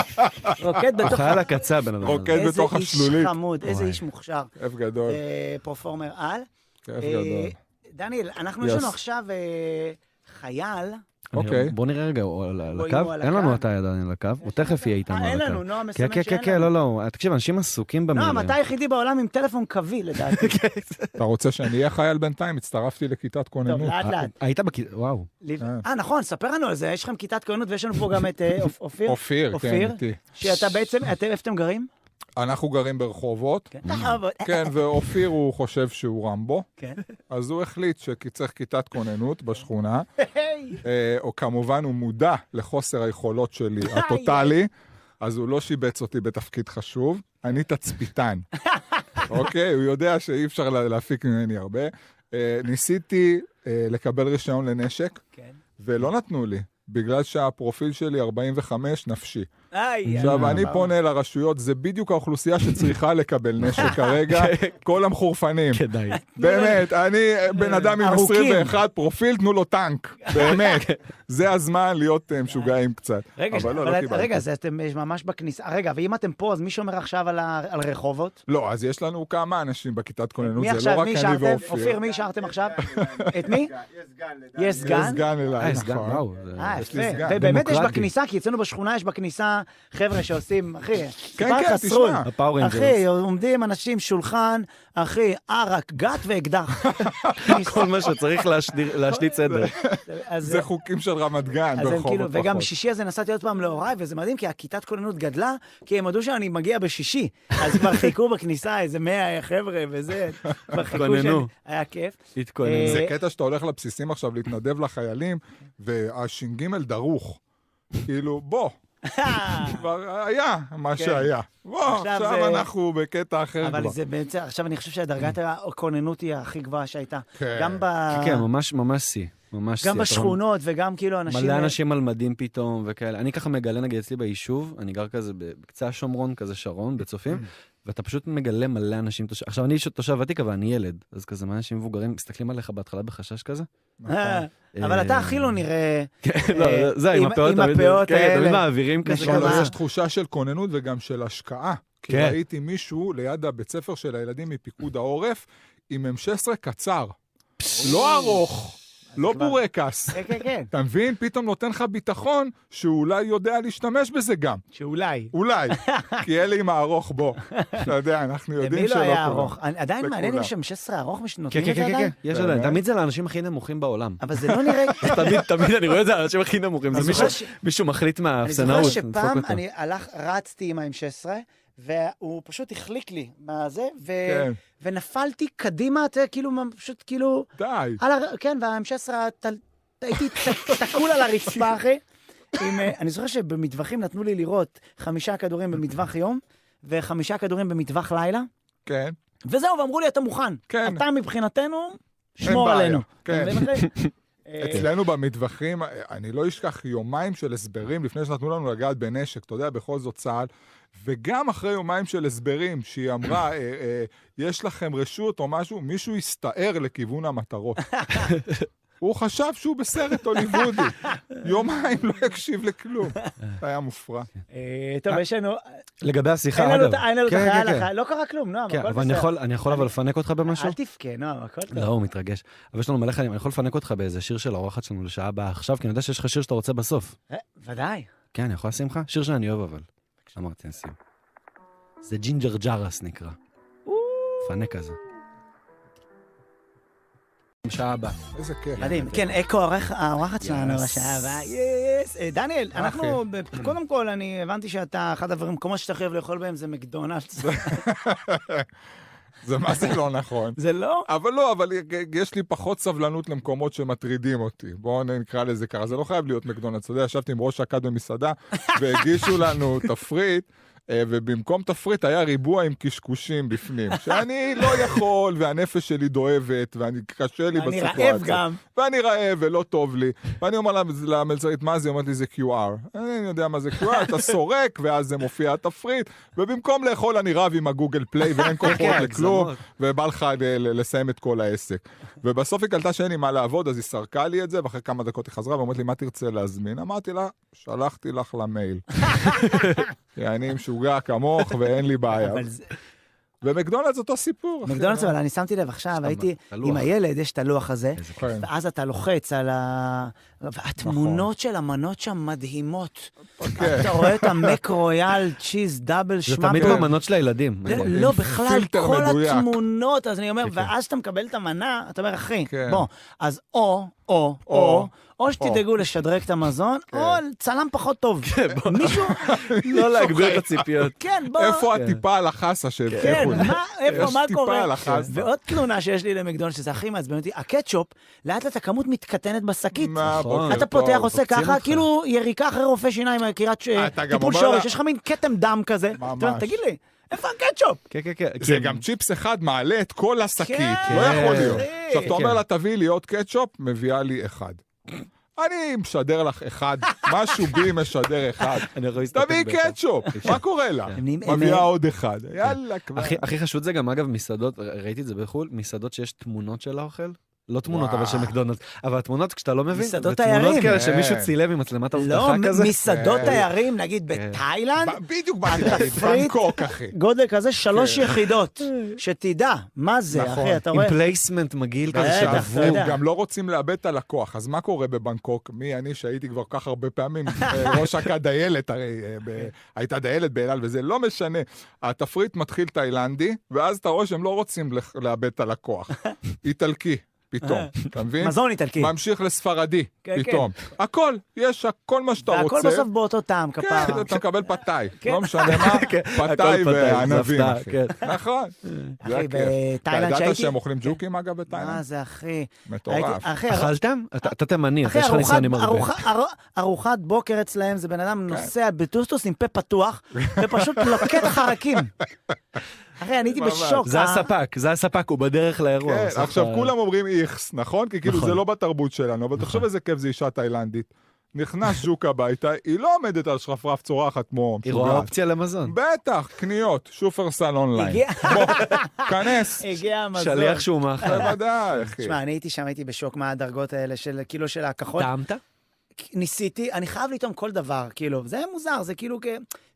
Speaker 1: רוקד
Speaker 3: הוא
Speaker 1: בתוך...
Speaker 3: חייל הקצה, בן אדם. הזה.
Speaker 2: אוקיי.
Speaker 1: איזה
Speaker 2: בתוך
Speaker 1: איש
Speaker 2: השלולית.
Speaker 1: חמוד, איזה איש מוכשר.
Speaker 2: כיף גדול,
Speaker 1: אה, פרפורמר על.
Speaker 2: כיף
Speaker 1: אה,
Speaker 2: גדול.
Speaker 1: דניאל, אנחנו יש
Speaker 2: Yes.
Speaker 1: לנו עכשיו אה, חייל.
Speaker 2: אוקיי.
Speaker 3: לא- בוא נראה רגע, הוא על- על
Speaker 1: בוא, אם
Speaker 3: הקו?
Speaker 1: הוא על
Speaker 3: אין לנו
Speaker 1: הקו.
Speaker 3: אתה עדיין על הקו, הוא תכף יהיה איתנו על
Speaker 1: אה,
Speaker 3: הקו.
Speaker 1: אין לנו, נועם
Speaker 3: כן,
Speaker 1: מסמן
Speaker 3: כן, כן,
Speaker 1: שאין
Speaker 3: כן,
Speaker 1: לנו. לא,
Speaker 3: לא, לא. תקשיב, אנשים עסוקים
Speaker 2: לא,
Speaker 3: במילים.
Speaker 1: נועם, אתה היחידי בעולם עם טלפון קווי, לדעתי.
Speaker 2: [laughs] אתה רוצה שאני אהיה חייל בינתיים? הצטרפתי לכיתת
Speaker 1: טוב, אה,
Speaker 2: כוננות.
Speaker 1: לאט לאט.
Speaker 3: אה, היית בכיתה, וואו.
Speaker 1: ליב-
Speaker 2: אה.
Speaker 1: אה, נכון, ספר לנו על זה, יש לכם כיתת כהנות ויש לנו פה גם את אה,
Speaker 2: [laughs]
Speaker 1: אופ- אופיר.
Speaker 2: אופיר, כן,
Speaker 1: אופיר?
Speaker 2: איתי.
Speaker 1: שאתה בעצם, אתם, איפה אתם גרים?
Speaker 2: אנחנו גרים ברחובות,
Speaker 1: כן. אבל-
Speaker 2: כן, ואופיר הוא חושב שהוא רמבו,
Speaker 1: כן.
Speaker 2: אז הוא החליט שצריך כיתת כוננות בשכונה.
Speaker 1: היי.
Speaker 2: אה, או כמובן הוא מודע לחוסר היכולות שלי, הטוטאלי, אז הוא לא שיבץ אותי בתפקיד חשוב, אני תצפיתן. אוקיי? הוא יודע שאי אפשר לה- להפיק ממני הרבה. אה, ניסיתי אה, לקבל רישיון לנשק,
Speaker 1: כן.
Speaker 2: ולא נתנו לי. בגלל שהפרופיל שלי 45 נפשי.
Speaker 1: היי,
Speaker 2: עכשיו,
Speaker 1: יאללה,
Speaker 2: אני לא
Speaker 1: ברור.
Speaker 2: פונה לרשויות, זה בדיוק האוכלוסייה שצריכה לקבל נשק כרגע, כל המחורפנים.
Speaker 3: כדאי.
Speaker 2: באמת, אני אה, בן אדם עם
Speaker 1: לא, אה, ארוכים.
Speaker 2: 21 פרופיל, תנו לו
Speaker 1: [laughs]
Speaker 2: טנק, באמת. זה הזמן להיות אה, משוגעים קצת.
Speaker 1: רגע,
Speaker 2: אבל לא,
Speaker 1: אבל
Speaker 2: לא
Speaker 1: את-
Speaker 2: קיבלתי.
Speaker 1: רגע, אז אתם אה, ממש בכניסה. רגע, ואם אתם פה, אז מי שומר עכשיו על ה- על רחובות?
Speaker 2: לא, אז יש לנו כמה אנשים בכיתת כוננות,
Speaker 1: מי
Speaker 2: זה לא
Speaker 1: עכשיו?
Speaker 2: רק
Speaker 1: מי
Speaker 2: אני
Speaker 1: השארתם?
Speaker 2: ואופיר.
Speaker 1: אופיר, מי השארתם [laughs] עכשיו? את מי? יש
Speaker 2: יש
Speaker 1: סגן?
Speaker 2: סגן אליי,
Speaker 3: אה, סגן,
Speaker 2: נכון.
Speaker 3: וואו. זה-
Speaker 1: אה,
Speaker 2: יש
Speaker 1: יפה.
Speaker 2: לי סגן.
Speaker 1: ובאמת יש
Speaker 3: דמוקרטי.
Speaker 1: בכניסה, כי אצלנו בשכונה יש בכניסה חבר'ה שעושים, אחי,
Speaker 2: כן,
Speaker 1: סיפר
Speaker 2: כן,
Speaker 1: לך סרול.
Speaker 2: תשמע.
Speaker 3: הפאור
Speaker 1: אחי,
Speaker 3: רנג'רס.
Speaker 1: עומדים אנשים, שולחן, אחי, ערק, גת
Speaker 2: [laughs]
Speaker 1: ואקדח.
Speaker 3: כל מה שצריך להשדיר-
Speaker 1: [laughs]
Speaker 3: להשליט סדר.
Speaker 1: אז-
Speaker 2: זה חוקים של רמת גן,
Speaker 1: אז הם כאילו,
Speaker 2: ברחובות
Speaker 1: וגם
Speaker 2: פחות.
Speaker 1: בשישי הזה נסעתי עוד פעם להוריי, וזה מדהים, כי הכיתת כוננות גדלה, כי הם ידעו שאני מגיע בשישי. אז כבר חיכו בכניסה איזה מאה חבר'ה וזה, כבר חיכו שאני...
Speaker 3: התכוננו.
Speaker 1: היה כיף. [laughs]
Speaker 3: התכונן.
Speaker 2: זה קטע שאתה הולך לבסיסים עכשיו להתנדב לחיילים, והש"ג דרוך. כאילו, בוא, כבר היה מה שהיה. בוא,
Speaker 1: כן. עכשיו
Speaker 2: עכשיו
Speaker 1: זה-
Speaker 2: אנחנו בקטע אחר כבר.
Speaker 1: אבל זה בעצם, עכשיו אני חושב שדרגת הכוננות היא הכי גבוהה שהייתה.
Speaker 2: כן.
Speaker 1: גם ב...
Speaker 3: כן, ממש ממש שיא. ממש
Speaker 1: גם
Speaker 3: תיאטרון.
Speaker 1: בשכונות וגם כאילו אנשים...
Speaker 3: מלא אנשים על מדים פתאום וכאלה. אני ככה מגלה, נגיד, אצלי ביישוב, אני גר כזה בקצה השומרון, כזה שרון, בצופים, ואתה פשוט מגלה מלא אנשים. תושב- עכשיו, אני ש- תושב ותיק, אבל אני ילד, אז כזה מלא אנשים מבוגרים מסתכלים עליך בהתחלה בחשש כזה.
Speaker 1: אה, אבל אתה הכי
Speaker 3: אה.
Speaker 1: לא נראה...
Speaker 3: כן, לא, זה עם
Speaker 1: אה, עם-
Speaker 3: הפאות
Speaker 1: עם
Speaker 3: תמיד,
Speaker 1: הפאות
Speaker 3: כן,
Speaker 1: האלה.
Speaker 3: תמיד מעבירים כזה.
Speaker 1: נשמה.
Speaker 3: כזה.
Speaker 2: כן, אבל יש תחושה של כוננות וגם של השקעה. כי
Speaker 3: כן.
Speaker 2: ראיתי מישהו ליד הבית ספר של הילדים מפיקוד העורף עם M16 קצר. לא ארוך, לא
Speaker 1: כבר-
Speaker 2: בורקס.
Speaker 1: כן, כן, כן,
Speaker 2: אתה מבין? פתאום נותן לך ביטחון שהוא אולי יודע להשתמש בזה גם.
Speaker 3: [laughs]
Speaker 1: שאולי. [laughs]
Speaker 2: אולי. כי אלה עם הארוך בו. אתה יודע, אנחנו יודעים
Speaker 1: למי
Speaker 2: שלא
Speaker 1: לא היה
Speaker 2: כולם.
Speaker 1: ארוך? אני- עדיין מעניין אם
Speaker 2: לכולם.
Speaker 1: שם 16 ארוך, מש-
Speaker 3: כן,
Speaker 1: נותנים
Speaker 3: כן,
Speaker 1: את זה
Speaker 3: כן, כן,
Speaker 1: עדיין?
Speaker 3: יש עדיין. תמיד זה לאנשים הכי נמוכים בעולם.
Speaker 1: אבל זה לא
Speaker 3: [laughs]
Speaker 1: נראה...
Speaker 3: אז תמיד, תמיד אני רואה את זה, האנשים הכי נמוכים.
Speaker 1: אני
Speaker 3: זה
Speaker 1: זוכר
Speaker 3: מישהו-
Speaker 1: ש-
Speaker 3: מישהו מחליט
Speaker 1: אני זוכר
Speaker 3: מהאפסנאות. לדפוק
Speaker 1: שפעם
Speaker 3: אותו.
Speaker 1: אני הלך, רצתי עם ה-M16, והוא פשוט החליק לי מהזה, ו...
Speaker 2: כן.
Speaker 1: ונפלתי קדימה, אתה יודע, כאילו, מה- פשוט כאילו,
Speaker 2: די.
Speaker 1: על הר... כן, וה-M16, טל- הייתי ת- תקול על הרצפה, אחי. עם, אה, אני זוכר שבמטווחים נתנו לי לראות חמישה כדורים במטווח יום, וחמישה כדורים במטווח לילה,
Speaker 2: כן.
Speaker 1: וזהו, ואמרו לי, אתה מוכן.
Speaker 2: כן.
Speaker 1: אתה מבחינתנו, שמור
Speaker 2: בעיה,
Speaker 1: עלינו.
Speaker 2: כן.
Speaker 1: אתה
Speaker 3: [laughs]
Speaker 1: מבין, אחי? אה,
Speaker 3: אוקיי.
Speaker 2: אצלנו במטווחים, אני לא אשכח יומיים של הסברים לפני שנתנו לנו לגעת בנשק, אתה יודע, בכל זאת צה"ל, וגם אחרי יומיים של הסברים, שהיא אמרה, אה, אה, יש לכם רשות או משהו, מישהו הסתער לכיוון המטרות. הוא חשב שהוא בסרט הוליוודי. יומיים לא הקשיב לכלום. היה מופרע.
Speaker 1: אה, טוב, יש לנו...
Speaker 3: לגבי השיחה,
Speaker 1: אין
Speaker 3: אגב.
Speaker 1: לנו את- אין לנו את
Speaker 3: כן, כן,
Speaker 1: החייל
Speaker 3: כן.
Speaker 1: החייל, לא קרה כלום, נועם,
Speaker 3: כן,
Speaker 1: הכל
Speaker 3: אבל אני
Speaker 1: בסדר.
Speaker 3: יכול- אני יכול אבל לפנק אותך במשהו?
Speaker 1: אל תבכה, נועם, הכל טוב.
Speaker 3: לא, הוא מתרגש. אבל יש לנו מלא חיילים, אני יכול לפנק אותך באיזה שיר של האורחת שלנו לשעה הבאה עכשיו, כי אני יודע שיש לך שיר שאתה רוצה בסוף.
Speaker 1: אה, ודאי.
Speaker 3: כן, אני יכול לשים לך? שיר שאני אוהב אבל. אמרתי, אני אשים. זה ג'ינג'ר ג'רס נקרא. פנק כזה. שעה הבאה.
Speaker 2: איזה כיף.
Speaker 1: מדהים. כן, אקו, העורך- האורחת שלנו
Speaker 3: יס.
Speaker 1: לשעה הבאה. יס. אה, דניאל, אנחנו, ב- קודם כל, אני הבנתי שאתה, אחד הדברים, כל מה שאתה חייב לאכול בהם זה מקדונלדס.
Speaker 2: זה מה זה לא נכון.
Speaker 1: [laughs] זה לא?
Speaker 2: אבל לא, אבל יש לי פחות סבלנות למקומות שמטרידים אותי. בואו נקרא לזה ככה. זה לא חייב להיות מקדונלדס. אתה יודע, ישבתי עם ראש הכת
Speaker 1: [laughs]
Speaker 2: במסעדה, והגישו לנו תפריט, אה, ובמקום תפריט היה ריבוע עם קשקושים בפנים. שאני לא יכול, והנפש שלי דואבת, ואני קשה לי
Speaker 1: אני
Speaker 2: בסיטואציה.
Speaker 1: רעב גם.
Speaker 2: ואני רעב ולא טוב לי. ואני אומר לה- למלצרית, מה זה? היא אומרת לי, זה QR. אני יודע מה זה
Speaker 1: [laughs]
Speaker 2: QR, אתה סורק, ואז זה מופיע התפריט, ובמקום לאכול אני רב עם הגוגל פליי
Speaker 1: [laughs]
Speaker 2: ואין כוחות
Speaker 3: כן,
Speaker 2: לכלום,
Speaker 3: הגזמות.
Speaker 2: ובא לך אה, ל- לסיים את כל העסק. ובסוף היא קלטה שאין לי מה לעבוד, אז היא סרקה לי את זה, ואחרי כמה דקות היא חזרה ואומרת לי, מה תרצה להזמין? אמרתי לה, שלחתי לך
Speaker 1: [laughs]
Speaker 2: למייל. כי אני משוגע כמוך ואין לי בעיה.
Speaker 1: אבל זה-
Speaker 2: ומקדונלדס אותו סיפור. אחי.
Speaker 1: מקדונלדס, אבל אני שמתי לב עכשיו, הייתי
Speaker 3: את הלוח.
Speaker 1: עם הילד, יש את הלוח הזה,
Speaker 2: כן.
Speaker 1: ואז אתה לוחץ על ה... והתמונות של המנות שם מדהימות. אתה רואה [laughs] את המק רויאל צ'יז דאבל
Speaker 3: זה
Speaker 1: שמאבל.
Speaker 3: תמיד במנות של הילדים.
Speaker 1: לא,
Speaker 3: אני-
Speaker 1: לא, בכלל,
Speaker 2: פילטר
Speaker 1: כל
Speaker 2: מדויק.
Speaker 1: התמונות, אז אני אומר, ואז אתה מקבל את המנה, אתה אומר, אחי,
Speaker 2: כן.
Speaker 1: בוא, אז או, או, או,
Speaker 2: או, כן.
Speaker 1: או שתדאגו לשדרג את המזון, או צלם פחות טוב.
Speaker 2: [laughs]
Speaker 1: מישהו,
Speaker 3: לא להגביר את
Speaker 1: [laughs]
Speaker 3: הציפיות.
Speaker 1: כן, בוא.
Speaker 2: איפה הטיפה על החסה
Speaker 1: כן,
Speaker 2: שהבטיחו לי?
Speaker 1: מה, איפה,
Speaker 2: יש
Speaker 1: מה
Speaker 2: טיפה
Speaker 1: קורה?
Speaker 2: על החסה.
Speaker 1: ועוד תלונה שיש לי למקדונלד, שזה הכי מעצבן אותי, הקטשופ, לאט לאט הכמות מתקטנת בשקית.
Speaker 2: מה,
Speaker 3: נכון.
Speaker 2: בוקר
Speaker 1: אתה
Speaker 2: טוב.
Speaker 1: פותח, עושה
Speaker 3: קופצים
Speaker 1: ככה,
Speaker 3: אותך.
Speaker 1: כאילו יריקה אחרי רופא שיניים, יקירת ש-
Speaker 2: אה, אתה גם
Speaker 1: טיפול
Speaker 2: אומר
Speaker 1: שורש,
Speaker 2: לה-
Speaker 1: יש לך מין כתם דם כזה. אתה אומר,
Speaker 2: ממש.
Speaker 1: תגיד לי, איפה הקטשופ?
Speaker 3: כן, כן, כן.
Speaker 2: זה גם צ'יפס אחד מעלה את כל השקית,
Speaker 1: כן,
Speaker 2: לא יכול להיות.
Speaker 1: אחי.
Speaker 2: עכשיו, אתה אומר
Speaker 3: כן.
Speaker 2: לה, תביאי לי עוד קטשופ, מביאה לי אחד. אני משדר לך אחד, משהו בי
Speaker 1: [laughs]
Speaker 2: משדר אחד.
Speaker 3: אני יכול להסתפק
Speaker 2: תביאי
Speaker 3: באחד.
Speaker 2: קטשופ, מה קורה לה?
Speaker 1: הם נהיים- הם-
Speaker 2: מביאה עוד אחד, יאללה כבר.
Speaker 3: הכי, הכי חשוד זה גם, אגב, מסעדות, ר- ראיתי את זה בחו"ל, מסעדות שיש תמונות של האוכל. לא תמונות, אבל של
Speaker 2: וואו.
Speaker 3: מקדונלדס. אבל התמונות, כשאתה לא מבין,
Speaker 1: מסעדות
Speaker 3: זה תמונות
Speaker 1: תיירים.
Speaker 3: כאלה שמישהו
Speaker 2: כן.
Speaker 3: צילם עם מצלמת
Speaker 1: לא,
Speaker 3: אבטחה כזה.
Speaker 1: מסעדות
Speaker 2: כן.
Speaker 1: תיירים, נגיד
Speaker 3: כן.
Speaker 1: בתאילנד,
Speaker 2: ב- בדיוק באתי להגיד,
Speaker 1: התפריט-
Speaker 2: בנקוק, אחי.
Speaker 1: אה. גודל כזה שלוש
Speaker 3: [laughs]
Speaker 1: יחידות,
Speaker 3: אה.
Speaker 1: שתדע, מה זה,
Speaker 2: כן. נכון.
Speaker 1: אחי, אתה רואה?
Speaker 3: עם פלייסמנט מגעיל כזה
Speaker 1: בטח, אתה
Speaker 3: שעבור.
Speaker 1: יודע.
Speaker 2: הם גם לא רוצים לאבד את הלקוח, אז מה קורה בבנקוק? מי אני שהייתי כבר כך הרבה פעמים אה,
Speaker 1: [laughs]
Speaker 2: ראש הכת דיילת, הרי אה, ב- הייתה דיילת באלעל וזה, לא משנה. התפריט מתחיל תאילנדי, ואז אתה רואה שהם לא רוצים לח- לאבד
Speaker 1: [laughs]
Speaker 2: את הלקוח. איטלקי, פתאום, אתה מבין?
Speaker 1: מזון איטלקי.
Speaker 2: ממשיך לספרדי,
Speaker 1: כן, כן.
Speaker 2: פתאום. הכל, יש הכל מה שאתה
Speaker 1: והכל
Speaker 2: רוצה.
Speaker 1: בסוף באותו טעם, כפרה.
Speaker 2: כן, אתה מקבל פתאי,
Speaker 1: [laughs] כן.
Speaker 2: לא משנה מה,
Speaker 3: הכל
Speaker 2: פתאי
Speaker 3: פתאי, זה
Speaker 2: וענבים,
Speaker 3: הפתעה,
Speaker 2: אחי.
Speaker 3: כן.
Speaker 1: [laughs]
Speaker 2: נכון,
Speaker 1: אחי,
Speaker 2: זה הכיף. אתה
Speaker 1: בתאילנד
Speaker 2: ידעת
Speaker 1: שהייתי-
Speaker 2: שהם אוכלים ג'וקים אגב
Speaker 1: מה
Speaker 2: בתאילנד?
Speaker 1: זה, אחי?
Speaker 2: מטורף.
Speaker 1: הייתי- אחי, הר-
Speaker 3: אכלתם? אתה אתה תימני, אז
Speaker 1: אחי,
Speaker 3: יש לך
Speaker 1: ארוחת-
Speaker 3: ניסיון עם הרבה.
Speaker 1: ארוחה- אר- ארוחת בוקר אצלהם
Speaker 2: כן. [laughs]
Speaker 1: זה בן אדם נוסע בטוסטוס עם פה פתוח, ופשוט לוקט חרקים. אחי, אני הייתי
Speaker 2: ממש.
Speaker 1: בשוק.
Speaker 3: זה
Speaker 1: אה?
Speaker 3: הספק, זה הספק, הוא בדרך לאירוע.
Speaker 2: כן,
Speaker 3: הוא עושה
Speaker 2: עכשיו
Speaker 3: לך-
Speaker 2: כולם אומרים איכס, נכון? כי כאילו
Speaker 3: נכון.
Speaker 2: זה לא בתרבות שלנו, אבל תחשוב איזה כיף זה אישה תאילנדית. נכנס ז'וק הביתה, היא לא עומדת על שרפרף צורחת כמו
Speaker 3: היא רואה
Speaker 2: משוגעת.
Speaker 3: אופציה למזון.
Speaker 2: בטח, קניות, שופרסל אונליין.
Speaker 1: הגיע-
Speaker 2: בוא,
Speaker 3: [laughs]
Speaker 2: כנס.
Speaker 1: הגיע המזון.
Speaker 3: שליח שהוא
Speaker 1: אה,
Speaker 3: מאכל.
Speaker 2: בוודאי, אחי.
Speaker 1: תשמע, אני הייתי שם, הייתי בשוק מהדרגות האלה של, כאילו, של הכחול.
Speaker 3: טעמת?
Speaker 1: ניסיתי, אני חייב לטעום כל דבר, כאילו, זה מוזר, זה כאילו, כ-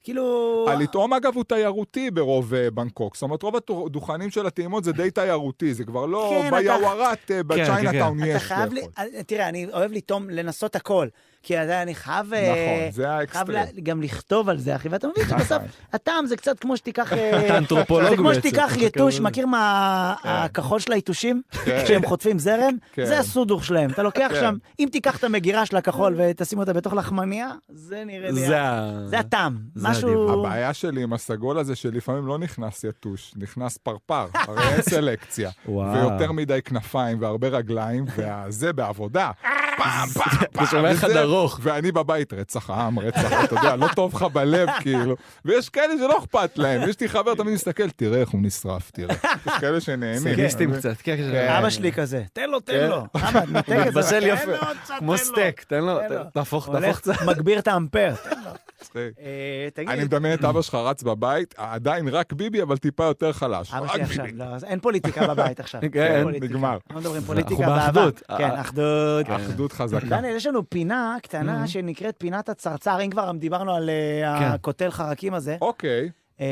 Speaker 1: כאילו...
Speaker 2: הלטעום אגב הוא תיירותי ברוב אה, בנקוק, זאת אומרת רוב הדוכנים של הטעימות זה די תיירותי, זה כבר לא
Speaker 1: כן, אתה-
Speaker 2: ביאווארת, אה, בצ'יינה
Speaker 3: כן,
Speaker 2: טאון
Speaker 1: אתה
Speaker 2: יש
Speaker 1: חייב,
Speaker 2: לאכול.
Speaker 1: לי- תראה, אני אוהב לטעום, לנסות הכל. כי אתה יודע, אני חייב... אה,
Speaker 2: נכון, זה
Speaker 1: חייב
Speaker 2: האקסטרים. נכון.
Speaker 1: לה- גם לכתוב על זה, אחי, ואתה מבין שבסוף, הטעם זה קצת כמו שתיקח... אה,
Speaker 3: אתה אנתרופולוג
Speaker 1: זה כמו
Speaker 3: בעצם.
Speaker 1: שתיקח
Speaker 3: אתה
Speaker 1: יתוש,
Speaker 3: כאילו-
Speaker 1: מכיר מה הכחול של היתושים?
Speaker 2: כן.
Speaker 1: כשהם חוטפים זרם?
Speaker 2: כן.
Speaker 1: זה הסודוך שלהם. אתה לוקח
Speaker 2: כן.
Speaker 1: שם, אם תיקח את המגירה של הכחול ותשים אותה בתוך לחמניה, זה נראה לי...
Speaker 3: זה ה...
Speaker 1: כן, זה הטעם.
Speaker 3: זה
Speaker 1: משהו...
Speaker 2: הבעיה שלי עם הסגול הזה שלפעמים לא נכנס יתוש, נכנס פרפר, הרי
Speaker 1: [laughs]
Speaker 2: אין סלקציה.
Speaker 3: וואו.
Speaker 2: ויותר מדי כנפיים והרבה רגליים, וזה בעבודה.
Speaker 1: [laughs]
Speaker 2: פעם, פעם, פעם.
Speaker 3: שומע
Speaker 2: וזה-
Speaker 3: אחד ארוך.
Speaker 2: ואני בבית, רצח עם, רצח, אתה יודע, לא טוב לך בלב, כאילו. ויש כאלה שלא אכפת להם, יש לי חבר תמיד מסתכל, תראה איך הוא נשרף, תראה. יש כאלה שנהנים.
Speaker 3: סגיסטים קצת, כן, כן.
Speaker 1: אבא שלי כזה, תן לו, תן
Speaker 3: כן.
Speaker 1: לו. אבא, תנתק את זה.
Speaker 3: מתבשל
Speaker 1: תן לו
Speaker 3: יפה,
Speaker 1: עוד קצת,
Speaker 3: כמו
Speaker 1: לא, תן לו.
Speaker 3: סטייק, תן לו,
Speaker 1: תן לו.
Speaker 3: תהפוך, תהפוך
Speaker 1: הולך,
Speaker 3: קצת.
Speaker 1: מגביר את
Speaker 3: [laughs]
Speaker 1: האמפר. תן לו.
Speaker 2: מצחיק.
Speaker 1: אה,
Speaker 2: אני
Speaker 1: תגיד,
Speaker 2: מדמיין את אבא שלך רץ בבית, עדיין רק ביבי, אבל טיפה יותר חלש.
Speaker 1: אבא
Speaker 2: רק
Speaker 1: שלי עכשיו,
Speaker 2: ביבי.
Speaker 1: לא, אז אין פוליטיקה בבית עכשיו.
Speaker 3: [laughs] כן,
Speaker 1: אין פוליטיקה.
Speaker 2: נגמר.
Speaker 1: לא מדברים פוליטיקה
Speaker 3: אנחנו
Speaker 1: באהבה.
Speaker 3: באחדות.
Speaker 1: כן,
Speaker 3: אה, [coughs]
Speaker 1: אחדות.
Speaker 2: אחדות חזקה.
Speaker 1: דניאל, יש לנו פינה קטנה שנקראת פינת הצרצר, אם כבר דיברנו על אה,
Speaker 3: Mm-hmm. כן.
Speaker 1: הקוטל חרקים הזה.
Speaker 2: אוקיי,
Speaker 1: אה,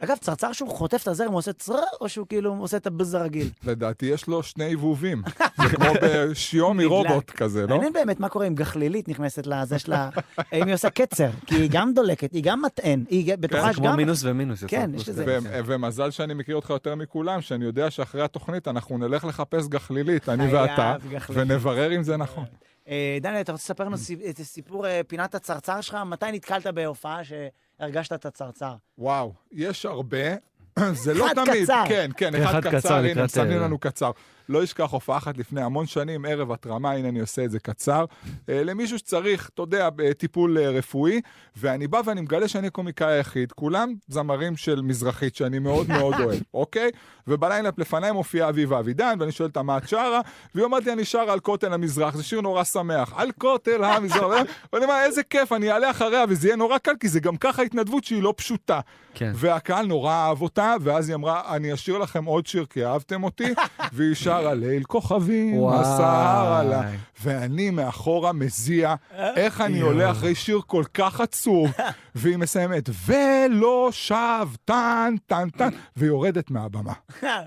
Speaker 1: אגב, צרצר שהוא חוטף את הזרם, הוא עושה צר, או שהוא כאילו עושה את הבז הרגיל?
Speaker 2: לדעתי יש לו שני הבהובים. זה כמו בשיומי
Speaker 1: נדלק.
Speaker 2: רובוט כזה, לא?
Speaker 1: מעניין באמת מה קורה אם גחלילית נכנסת לזה שלה, אם היא עושה קצר, כי היא גם דולקת, היא גם מטען, היא גם- בתוכה
Speaker 3: כן, זה
Speaker 1: יש
Speaker 3: כמו
Speaker 1: גם...
Speaker 3: מינוס ומינוס. יצא
Speaker 1: כן,
Speaker 3: פלוס
Speaker 1: יש לזה-
Speaker 3: כזה.
Speaker 2: ו- ומזל שאני מכיר אותך יותר מכולם, שאני יודע שאחרי התוכנית אנחנו נלך לחפש גחלילית, אני
Speaker 1: חייב
Speaker 2: ואתה,
Speaker 1: גחלילית.
Speaker 2: ונברר אם זה נכון.
Speaker 1: אה, דניאל, אתה רוצה לספר
Speaker 3: Mm.
Speaker 1: לנו סיפ- את סיפור אה, פינת הצרצר שלך? מתי נתקלת בהופעה שהרגשת את הצרצר? [laughs]
Speaker 2: וואו, יש הרבה. [clears throat] זה לא
Speaker 1: אחד
Speaker 2: תמיד,
Speaker 1: קצר.
Speaker 2: כן, כן,
Speaker 3: כן,
Speaker 2: אחד
Speaker 3: אחד קצר
Speaker 2: קצר, הנה,
Speaker 3: לקראת,
Speaker 2: מסמנים
Speaker 3: אה,
Speaker 2: לנו קצר. לא אשכח הופעה אחת לפני המון שנים, ערב התרמה, הנה אני עושה את זה קצר. אה, למישהו שצריך, אתה יודע, אה, טיפול אה, רפואי, ואני בא ואני מגלה שאני הקומיקאי היחיד, כולם זמרים של מזרחית שאני מאוד מאוד אוהב, אוקיי? ובליינאפ לפניי מופיעה אביבה אבידן, ואני שואל אותה מה את שרה, והיא אומרת לי, אני שרה על כותל המזרח, זה שיר נורא שמח, על כותל המזרח, ואני אומר, איזה כיף, אני אעלה אחריה, וזה יהיה נורא קל, כי זה גם ככה התנדבות שהיא לא פשוטה.
Speaker 3: כן.
Speaker 2: והקהל נורא אהב אותה, ואז היא אמרה, אני אשאיר לכם עוד שיר כי אהבתם אותי, והיא שרה ליל כוכבים,
Speaker 3: וואי.
Speaker 2: הסהר עלה. ואני מאחורה מזיע, איך אני עולה אחרי שיר כל כך עצוב, והיא מסיימת, ולא שב, טן, טן, טן, ויורדת מהבמה.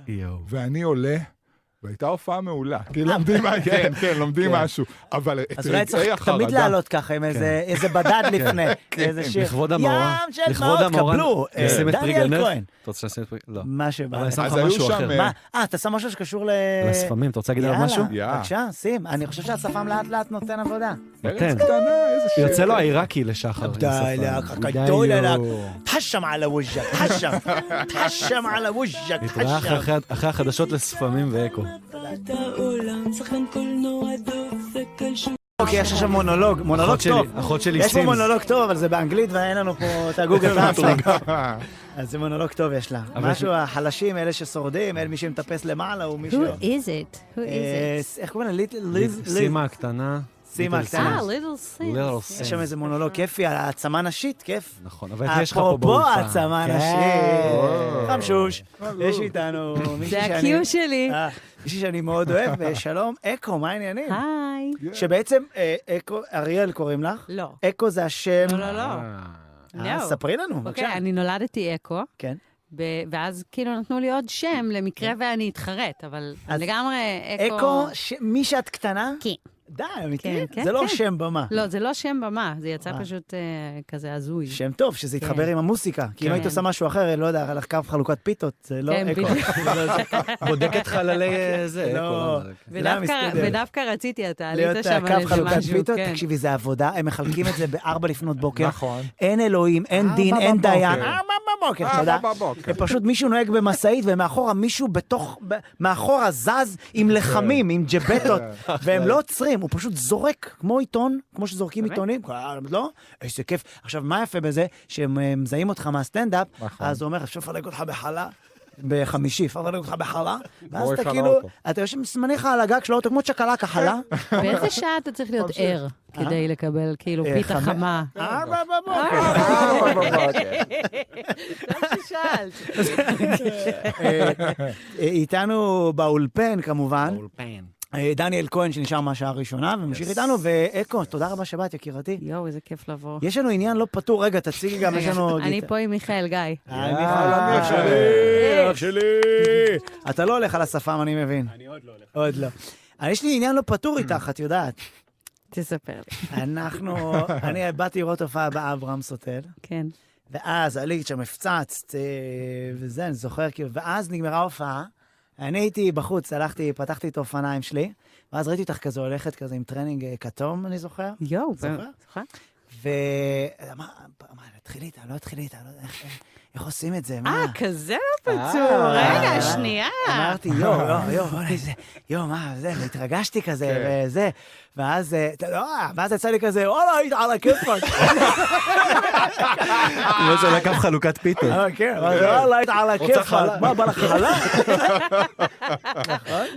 Speaker 3: יואו.
Speaker 2: ואני עולה. והייתה הופעה מעולה, כי לומדים, כן, כן, לומדים משהו. אבל את
Speaker 1: אז אולי
Speaker 3: אה,
Speaker 2: רגעי
Speaker 1: צריך תמיד
Speaker 2: החרדה,
Speaker 1: לעלות ככה עם איזה איזה
Speaker 3: [laughs]
Speaker 1: בדד לפני, איזה שיר.
Speaker 3: כן. לכבוד המאורע.
Speaker 1: ים של
Speaker 3: לכבוד
Speaker 1: דמעות,
Speaker 3: המאורע, כן.
Speaker 1: קבלו, אה,
Speaker 3: נשים את פרי
Speaker 1: דניאל
Speaker 3: גנר?
Speaker 1: כהן.
Speaker 3: אתה רוצה שנשים את פרי? לא.
Speaker 1: מה שבא
Speaker 3: אבל אני
Speaker 1: לך.
Speaker 3: שם לך
Speaker 2: אז היו
Speaker 3: משהו
Speaker 2: שם,
Speaker 3: אחר.
Speaker 2: אה,
Speaker 1: מה? אה, אתה שם משהו שקשור ל...
Speaker 3: לשפמים, אתה רוצה להגיד עליו
Speaker 1: יאללה,
Speaker 3: משהו?
Speaker 2: יאללה.
Speaker 1: בבקשה, שים. אני חושב שהשפם לאט לאט נותן עבודה.
Speaker 2: ארץ
Speaker 3: נותן.
Speaker 2: קטנה, איזה שיר.
Speaker 3: כן. יוצא לו העיראקי לשחר. עם השפם. די, לא. יואו.
Speaker 1: תחשם על הווג'ה,
Speaker 3: [laughs]
Speaker 1: תחשם. תחשם על הווג'ה,
Speaker 3: נתראה
Speaker 1: תחשם.
Speaker 3: אחרי- אחרי החדשות לשפמים ואקו.
Speaker 7: את העולם, שחקן קולנוע דוב, סקל שוב.
Speaker 1: אוקיי, יש עכשיו מונולוג, מונולוג
Speaker 3: אחות שלי-
Speaker 1: טוב.
Speaker 3: אחות שלי
Speaker 1: יש פה
Speaker 3: סימס.
Speaker 1: מונולוג טוב, אבל זה באנגלית ואין לנו פה את
Speaker 3: [laughs]
Speaker 1: הגוגל טרנסלייט. אז זה מונולוג טוב יש לה. משהו, החלשים, אלה ששורדים, אלה מי שמטפס למעלה, הוא מישהו...
Speaker 8: Who is it? Who
Speaker 1: אה,
Speaker 8: is it?
Speaker 1: ס- איך קוראים לה? ליט- ליז? ליז-
Speaker 3: סימה הקטנה.
Speaker 1: סימה
Speaker 9: Ah,
Speaker 3: ליטל
Speaker 1: הקטנה.
Speaker 8: אה, ליטל סין.
Speaker 3: Little
Speaker 1: יש
Speaker 3: Sims.
Speaker 1: שם איזה מונולוג כיפי על העצמה נשית, כיף.
Speaker 3: נכון, אבל יש לך פה
Speaker 1: אפרופו
Speaker 3: באולפן.
Speaker 1: העצמה
Speaker 3: כן.
Speaker 1: נשית, חמשוש, יש איתנו מישהי
Speaker 8: זה
Speaker 1: שאני...
Speaker 8: ה-Q שלי.
Speaker 1: אה, מישהי שאני מאוד אוהב, ושלום, אקו, מה העניינים?
Speaker 8: היי.
Speaker 2: כן.
Speaker 1: שבעצם אה, אקו, אריאל קוראים לך?
Speaker 8: לא.
Speaker 1: אקו זה השם...
Speaker 8: לא, לא, לא.
Speaker 1: אה,
Speaker 8: לא.
Speaker 1: ספרי לנו, בבקשה.
Speaker 8: אוקיי, אני נולדתי אקו,
Speaker 1: כן.
Speaker 8: ב- ואז כאילו נתנו לי עוד שם למקרה ואני אתחרט, אבל
Speaker 1: אז
Speaker 8: לגמרי אקו...
Speaker 1: אקו, ש- מי שאת קטנה?
Speaker 8: כן.
Speaker 1: די, אמיתי?
Speaker 8: כן, כן,
Speaker 1: זה לא
Speaker 8: כן.
Speaker 1: שם במה.
Speaker 8: לא, זה לא שם במה, זה יצא
Speaker 1: אה.
Speaker 8: פשוט אה, כזה הזוי.
Speaker 1: שם טוב, שזה
Speaker 8: כן.
Speaker 1: יתחבר עם המוסיקה. כי אם
Speaker 8: כן.
Speaker 1: היית עושה משהו אחר, לא יודע, לך קו חלוקת פיתות, זה [laughs] לא
Speaker 8: כן,
Speaker 1: אקו.
Speaker 8: בדיוק.
Speaker 3: בודקת חללי אה, זה,
Speaker 1: לא.
Speaker 3: אקו. למה?
Speaker 8: ודווקא,
Speaker 1: מסתדר.
Speaker 8: ודווקא רציתי, אתה עלית
Speaker 1: להיות
Speaker 8: שם על
Speaker 1: הקו
Speaker 8: איזה
Speaker 1: חלוקת
Speaker 8: משהו,
Speaker 1: פיתות,
Speaker 8: כן.
Speaker 1: תקשיבי, זה עבודה, הם מחלקים את זה בארבע לפנות בוקר.
Speaker 2: נכון.
Speaker 1: אין אלוהים, אין דין, אין
Speaker 2: בבוקר.
Speaker 1: דיין.
Speaker 2: ארבע
Speaker 1: ארבע בבוקר,
Speaker 2: אה,
Speaker 1: אתה יודע?
Speaker 2: בבוקר.
Speaker 1: ופשוט מישהו נוהג במשאית, ומאחורה מישהו בתוך, ב- מאחורה זז עם
Speaker 2: כן.
Speaker 1: לחמים, עם
Speaker 2: [laughs]
Speaker 1: ג'בטות, והם לא עוצרים, הוא פשוט זורק, כמו עיתון, כמו שזורקים
Speaker 9: באמת?
Speaker 1: עיתונים, אה, לא? איזה כיף. עכשיו, מה יפה בזה? שהם אה, מזהים אותך מהסטנדאפ,
Speaker 2: נכון.
Speaker 1: אז הוא אומר, אפשר לפרק אותך בחלה? בחמישי, אפשר לפרק אותך
Speaker 2: [laughs]
Speaker 1: בחלה? ואז
Speaker 2: בואי
Speaker 1: אתה
Speaker 2: חלה
Speaker 1: כאילו,
Speaker 2: אותו.
Speaker 1: אתה יושב זמניך על הגג של האוטו כמו צ'קלקה
Speaker 2: [laughs]
Speaker 1: חלה.
Speaker 9: באיזה שעה אתה צריך להיות ער כדי לקבל כאילו
Speaker 1: אה,
Speaker 9: פיתה
Speaker 1: חמש-
Speaker 9: חמה?
Speaker 1: ארבע בבוקר.
Speaker 2: ארבע בבוקר.
Speaker 8: לא
Speaker 9: טוב ששאלת.
Speaker 1: אה, אה, איתנו באולפן, כמובן,
Speaker 3: אולפן.
Speaker 1: אה, דניאל כהן שנשאר מהשעה הראשונה וממשיך איתנו, ואקו, תודה רבה שבאת, יקירתי.
Speaker 9: יואו, איזה כיף לבוא.
Speaker 1: יש לנו עניין לא פתור, רגע, תציגי גם, יש לנו...
Speaker 9: אני
Speaker 1: גיטה. אה,
Speaker 9: פה עם מיכאל גיא.
Speaker 1: היי, מיכאל.
Speaker 2: אח שלי,
Speaker 1: אח שלי. אתה לא הולך על השפם, אני מבין. אני עוד לא הולך. עוד לא. אה, יש לי עניין לא פתור איתך, את יודעת.
Speaker 9: תספר לי.
Speaker 1: אנחנו, אני באתי לראות הופעה באברהם סוטל,
Speaker 9: כן.
Speaker 1: ואז עלית שם, הפצצת, אה, וזה, אני זוכר, כאילו, ואז נגמרה ההופעה. אני הייתי בחוץ, הלכתי, פתחתי את האופניים שלי, ואז ראיתי אותך כזה הולכת, כזה עם טרנינג אה, כתום, אני זוכר.
Speaker 9: יואו,
Speaker 1: זוכר?
Speaker 9: באמת, נכון? זוכר?
Speaker 1: ואמר, תתחיל איתה, לא תתחיל איתה, לא יודע איך- איך- איך עושים את זה, מה?
Speaker 9: אה, כזה לא פצור. רגע, שנייה.
Speaker 1: אמרתי, יואו, יואו, יואו, בוא'נה, איזה, יואו, מה, זה, והתרגשתי כזה, וזה, ואז, אה, אתה- לא, ואז יצא לי כזה, וואלה, היית על הכיפאק.
Speaker 3: כמו שעולה קו חלוקת פיתות.
Speaker 1: אה, כן, ואז, וואלה, היית על הכיפאק, מה, בא לך חלה?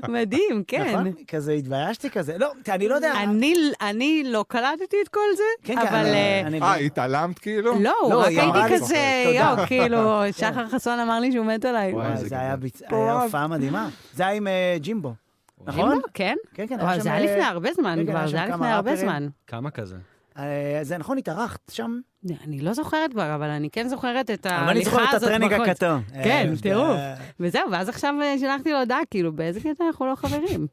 Speaker 9: מדהים, כן.
Speaker 1: נכון, כזה התביישתי כזה, לא, תראה, אני לא יודע.
Speaker 9: אני, אני לא קלטתי את כל זה,
Speaker 1: כן, כן,
Speaker 9: אבל... אה,
Speaker 1: אני-
Speaker 2: אה,
Speaker 1: אני-
Speaker 2: התעלמת כאילו?
Speaker 9: לא,
Speaker 1: לא,
Speaker 9: רק
Speaker 1: היא אמרה
Speaker 9: הייתי
Speaker 1: לי,
Speaker 9: כזה,
Speaker 1: אוקיי, תודה.
Speaker 9: יואו, כאילו, שחר חסון אמר לי שהוא מת עליי.
Speaker 3: וואי,
Speaker 1: וואי,
Speaker 3: איזה
Speaker 1: זה היה
Speaker 3: גדול.
Speaker 1: ביצ- היה הופעה מדהימה. זה היה עם אה, ג'ימבו, נכון?
Speaker 9: אימא, כן?
Speaker 1: כן, כן,
Speaker 9: אבל זה היה
Speaker 1: אה,
Speaker 9: לפני הרבה זמן
Speaker 1: כן, כן, היה
Speaker 9: כבר, זה
Speaker 1: שם
Speaker 9: היה
Speaker 1: כמה
Speaker 9: לפני הרבה
Speaker 1: ראפרים.
Speaker 9: זמן.
Speaker 3: כמה כזה?
Speaker 1: אה, זה נכון, התארחת שם?
Speaker 9: אני לא זוכרת כבר, אבל אני כן זוכרת את
Speaker 1: אבל אני זוכר
Speaker 9: ההליכה
Speaker 1: את
Speaker 9: הזאת
Speaker 1: הטרנינג
Speaker 9: בחוץ.
Speaker 1: הכתום.
Speaker 9: כן,
Speaker 1: אה,
Speaker 9: טירוף.
Speaker 1: אה,
Speaker 9: וזהו, ואז עכשיו אה, שלחתי לו הודעה, כאילו, באיזה קטע אנחנו לא חברים.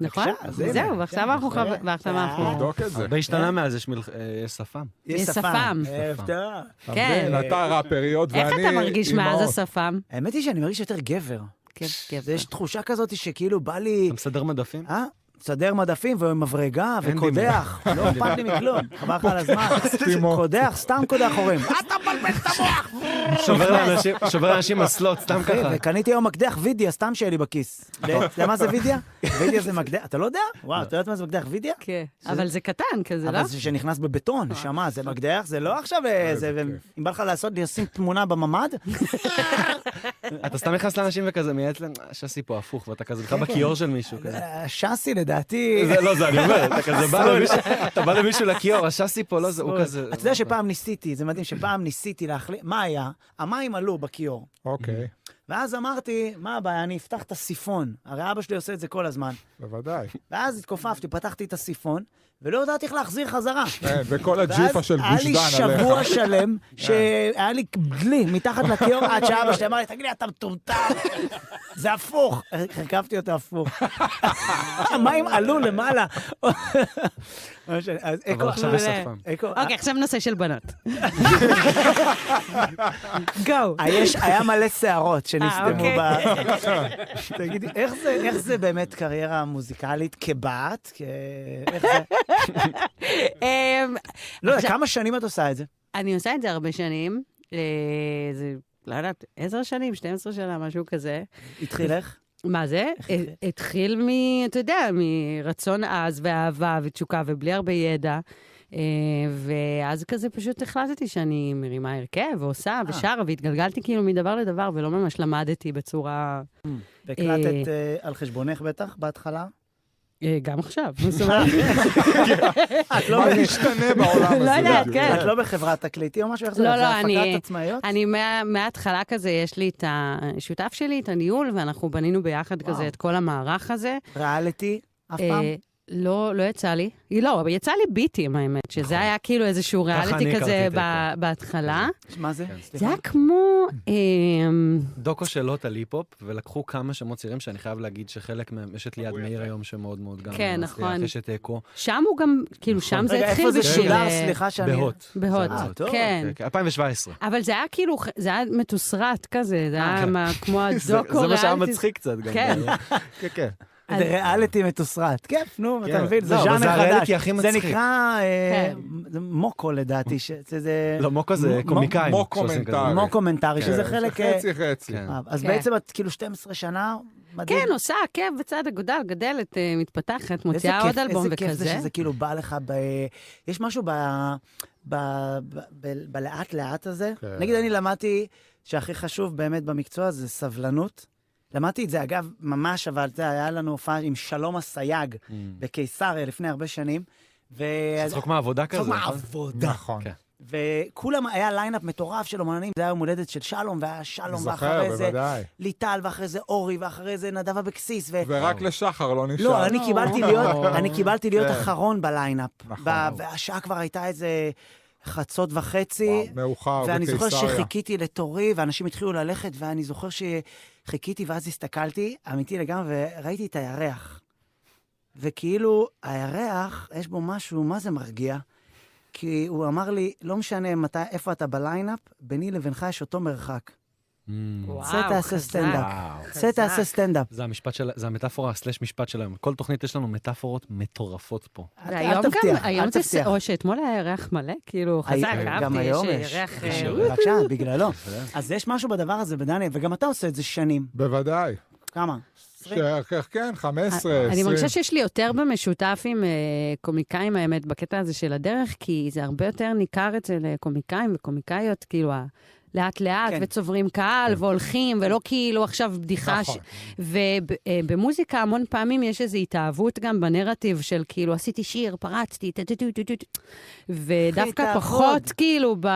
Speaker 9: נכון?
Speaker 1: בבקשה, אז הנה,
Speaker 9: זהו,
Speaker 1: כן, אה,
Speaker 9: ועכשיו אנחנו
Speaker 1: בהחלט.
Speaker 9: חברים, ועכשיו אנחנו...
Speaker 2: תבדוק את זה.
Speaker 3: הרבה
Speaker 1: כן.
Speaker 3: השתנה מאז, יש מלח- אה, יש שפם.
Speaker 1: יש
Speaker 9: יש
Speaker 1: שפם.
Speaker 9: שפם.
Speaker 1: אה, הפתעה.
Speaker 9: כן.
Speaker 2: אתה ראפריות ואני
Speaker 9: איך אתה מרגיש מאז
Speaker 2: אימהות.
Speaker 9: השפם?
Speaker 1: האמת היא שאני מרגיש יותר גבר.
Speaker 9: כיף, כיף.
Speaker 1: זה יש תחושה כזאת שכאילו בא לי,
Speaker 3: אתה מסדר מדפים?
Speaker 1: אה? מסדר מדפים ומברגה
Speaker 3: אין
Speaker 1: וקודח. לא אכפת לי מכלום, חבל לך על
Speaker 3: [laughs]
Speaker 1: הזמן.
Speaker 2: סתימות.
Speaker 1: קודח, סתם קודח הורים.
Speaker 3: שובר לאנשים- שובר לאנשים מסלות, סתם
Speaker 1: אה, אחי,
Speaker 3: ככה.
Speaker 1: וקניתי היום מקדח וידיה, סתם שיהיה לי
Speaker 3: [laughs]
Speaker 1: בכיס. אתה יודע מה זה וידיה? וידיה זה מקדח, אתה לא יודע? וואו, אתה יודעת מה זה מקדח וידיה?
Speaker 9: כן, אבל זה קטן כזה, לא?
Speaker 1: אבל זה שנכנס בבטון,
Speaker 3: אה.
Speaker 1: נשמה, זה מקדח, זה לא עכשיו איזה... אם בא לך לעשות, לשים תמונה בממ"ד,
Speaker 3: אתה סתם נכנס לאנשים וכזה מייעץ להם, "אה, שעשי פה הפוך, ואתה כזה
Speaker 1: כן,
Speaker 3: בכלל בכיור של מישהו כזה.
Speaker 1: אה, שסי לדעתי...
Speaker 3: זה לא זה, אני אומר, אתה כזה בא למישהו, אתה בא למישהו לכיור, השסי פה, לא זה, הוא כזה...
Speaker 1: אתה יודע שפעם ניסיתי, זה מדהים, שפעם ניסיתי להחליט, מה היה? המים עלו בכיור.
Speaker 2: אוקיי,
Speaker 1: ואז אמרתי, מה הבעיה, אני אפתח את הסיפון. הרי אבא שלי עושה את זה כל הזמן. [laughs]
Speaker 2: בוודאי.
Speaker 1: ואז התכופפתי, פתחתי את הסיפון, ולא ידעתי איך להחזיר חזרה.
Speaker 2: כן, וכל הג'יפה
Speaker 1: ואז
Speaker 2: של
Speaker 1: היה
Speaker 2: גוש
Speaker 1: לי
Speaker 2: דן עליך. כן.
Speaker 1: שבוע לא
Speaker 2: [laughs]
Speaker 1: שלם, שהיה לי דלי מתחת לכיור, עד שאבא שלי אמר לי, תגיד לי, אתה מטומטם? [laughs] זה הפוך. הרכבתי אותו הפוך. [laughs] המים עלו למעלה. [laughs] אז
Speaker 3: אבל
Speaker 1: אקו,
Speaker 3: עכשיו יש שפם.
Speaker 1: אקו,
Speaker 9: אוקיי, עכשיו נושא של
Speaker 1: [laughs]
Speaker 9: בנות. גו.
Speaker 1: היש, אה, היה מלא שערות שנסתמו
Speaker 9: אוקיי.
Speaker 1: ב...
Speaker 3: [laughs]
Speaker 1: תגידי, איך זה, איך זה באמת קריירה מוזיקלית כבת? כ... איך זה?
Speaker 9: אמ,
Speaker 3: [laughs]
Speaker 1: לא יודע, כמה שנים את עושה את זה?
Speaker 9: אני עושה את זה הרבה שנים. אה, זה, לא יודעת, עשר שנים, 12 שנה, משהו כזה.
Speaker 1: התחיל איך?
Speaker 9: מה זה? אה, התחיל מ... אתה יודע, מרצון עז ואהבה ותשוקה ובלי הרבה ידע. אה, ואז כזה פשוט החלטתי שאני מרימה הרכב ועושה ושרה, והתגלגלתי כאילו מדבר לדבר ולא ממש למדתי בצורה...
Speaker 1: והקלטת אה, על חשבונך בטח, בהתחלה?
Speaker 9: אה, גם עכשיו, זאת אומרת,
Speaker 1: את לא
Speaker 2: מה
Speaker 1: ב-
Speaker 2: משתנה בעולם הזה?
Speaker 9: לא יודעת,
Speaker 2: בדיוק?
Speaker 9: כן.
Speaker 1: את [laughs] לא בחברת תקליטים או משהו? איך זה?
Speaker 9: לא,
Speaker 1: זה
Speaker 9: לא, אני-
Speaker 1: הפקת עצמאיות?
Speaker 9: אני מה- מההתחלה כזה, יש לי את השותף שלי, את הניהול, ואנחנו בנינו ביחד
Speaker 1: וואו.
Speaker 9: כזה את כל המערך הזה.
Speaker 1: ריאליטי? אף
Speaker 9: אה,
Speaker 1: פעם?
Speaker 9: לא, לא יצא לי. היא לא, אבל יצא לי ביטים, האמת, שזה היה כאילו איזשהו
Speaker 3: אני
Speaker 9: ריאליטי
Speaker 3: הכרתי
Speaker 9: כזה
Speaker 3: את
Speaker 9: ב- בהתחלה.
Speaker 1: מה זה?
Speaker 9: אה,
Speaker 10: כן,
Speaker 9: זה
Speaker 1: סליחה.
Speaker 9: היה כמו... אמ,
Speaker 3: דוקו של לוט על היפ-הופ, ולקחו כמה שמות צעירים שאני חייב להגיד שחלק מהם, יש את ליעד מאיר היום שמאוד מאוד גם
Speaker 9: כן,
Speaker 3: מצליח,
Speaker 9: נכון.
Speaker 3: יש את אה, אקו,
Speaker 9: שם הוא גם, כאילו, שם
Speaker 1: נכון. רגע,
Speaker 9: זה התחיל
Speaker 1: איפה זה
Speaker 9: בשביל...
Speaker 1: שודר?
Speaker 9: אה,
Speaker 1: סליחה שאני...
Speaker 3: בהוט.
Speaker 9: בהוט,
Speaker 3: זה בהוט.
Speaker 1: טוב.
Speaker 9: כן.
Speaker 3: כן, 2017.
Speaker 9: אבל זה היה כאילו, זה היה מתוסרט כזה, זה היה
Speaker 3: כן.
Speaker 1: אה,
Speaker 9: מה- כמו
Speaker 1: [laughs]
Speaker 3: זה
Speaker 9: הדוקו
Speaker 3: זה מה שהיה
Speaker 9: ריאליטי.
Speaker 3: מצחיק קצת גם.
Speaker 9: כן.
Speaker 3: ב- כן, כן.
Speaker 1: זה ריאליטי מתוסרט. כיף, נו, אתה
Speaker 10: כן.
Speaker 1: מבין? זה
Speaker 10: לא, אבל
Speaker 1: ז'אנר חדש.
Speaker 10: זה הריאליטי הכי מצחיק.
Speaker 1: זה נקרא אה,
Speaker 9: כן.
Speaker 1: זה מוקו לדעתי, שזה- זה
Speaker 10: לא, מוקו זה כן.
Speaker 1: מ-
Speaker 10: קומיקאים.
Speaker 2: מוקו
Speaker 10: שעושים כזה.
Speaker 2: מנטרי.
Speaker 1: מוקומנטרי, שזה חלק... אה,
Speaker 2: חצי חצי.
Speaker 3: כן.
Speaker 1: אה, אז
Speaker 9: כן.
Speaker 1: בעצם את כאילו 12 שנה, מדהים.
Speaker 9: כן, עושה עקב בצד אגודל, גדלת, אה, מתפתחת,
Speaker 1: איזה
Speaker 9: מוציאה
Speaker 1: כיף-
Speaker 9: עוד אלבום
Speaker 1: איזה כיף זה
Speaker 9: וכזה.
Speaker 1: שזה כאילו בא לך ב... יש משהו ב... ב... ב... ב... בלאט לאט הזה.
Speaker 10: כן.
Speaker 1: נגיד, אני למדתי שהכי חשוב באמת במקצוע זה סבלנות. למדתי את זה, אגב, ממש, אבל אתה יודע, היה לנו הופעה עם שלום אסייג
Speaker 3: Mm.
Speaker 1: בקיסריה לפני הרבה שנים. ו...
Speaker 10: צחוק מהעבודה כזה.
Speaker 1: אה, צחוק
Speaker 10: נכון?
Speaker 1: מהעבודה.
Speaker 10: נכון.
Speaker 3: כן.
Speaker 1: וכולם, היה ליינאפ מטורף של אומנים, זה היה יום הולדת של שלום, והיה שלום,
Speaker 10: זוכר,
Speaker 1: ואחרי זה
Speaker 10: בוודאי.
Speaker 1: ליטל, ואחרי זה אורי, ואחרי זה נדב אבקסיס, ו...
Speaker 2: ורק לשחר לא נשאר.
Speaker 1: אה, לא, אני קיבלתי להיות, אני קיבלתי להיות
Speaker 2: כן.
Speaker 1: אחרון בליינאפ.
Speaker 2: נכון.
Speaker 1: ב- והשעה כבר הייתה איזה חצות וחצי,
Speaker 2: וואו, מאוחר,
Speaker 1: ואני זוכר
Speaker 2: בקיסריה.
Speaker 1: שחיכיתי לתורי, ואנשים התחילו ללכת, ואני זוכר שחיכיתי, ואז הסתכלתי, אמיתי לגמרי, וראיתי את הירח. וכאילו, הירח, יש בו משהו, מה זה מרגיע? כי הוא אמר לי, לא משנה מתי, איפה אתה בליינאפ, ביני לבינך יש אותו מרחק.
Speaker 9: וואו,
Speaker 1: צא תעשה
Speaker 9: חזק.
Speaker 1: סטנדאפ.
Speaker 10: וואו.
Speaker 1: צא תעשה סטנדאפ.
Speaker 3: Mm. זה המשפט של, זה המטאפורה סלש משפט שלהם. כל תוכנית יש לנו מטאפורות מטורפות פה.
Speaker 1: אל- אל
Speaker 9: והיום גם,
Speaker 1: תבטיח, אל
Speaker 9: היום זה,
Speaker 1: תבטיח.
Speaker 9: או שאתמול היה ירח מלא, כאילו, חזק,
Speaker 1: היום-
Speaker 9: אהבתי,
Speaker 1: גם היום יש.
Speaker 9: יש ירח... אה,
Speaker 1: יש-
Speaker 9: וואו.
Speaker 1: בבקשה, בגללו. אז יש משהו בדבר הזה, בדניאל, וגם אתה עושה את זה שנים.
Speaker 2: בוודאי.
Speaker 1: כמה?
Speaker 2: ש- כן, 15, 20.
Speaker 9: אני מרגישה שיש לי יותר במשותף עם אה, קומיקאים, האמת, בקטע הזה של הדרך, כי זה הרבה יותר ניכר אצל אה, קומיקאים וקומיקאיות, כאילו, ה- לאט-לאט,
Speaker 1: כן.
Speaker 9: וצוברים קהל, והולכים, ולא כאילו עכשיו בדיחה. ש- ובמוזיקה המון פעמים יש איזו התאהבות גם בנרטיב של כאילו, עשיתי שיר, פרצתי, טה-טה-טה-טה-טה. ודווקא
Speaker 1: תעבוד.
Speaker 9: פחות כאילו ב...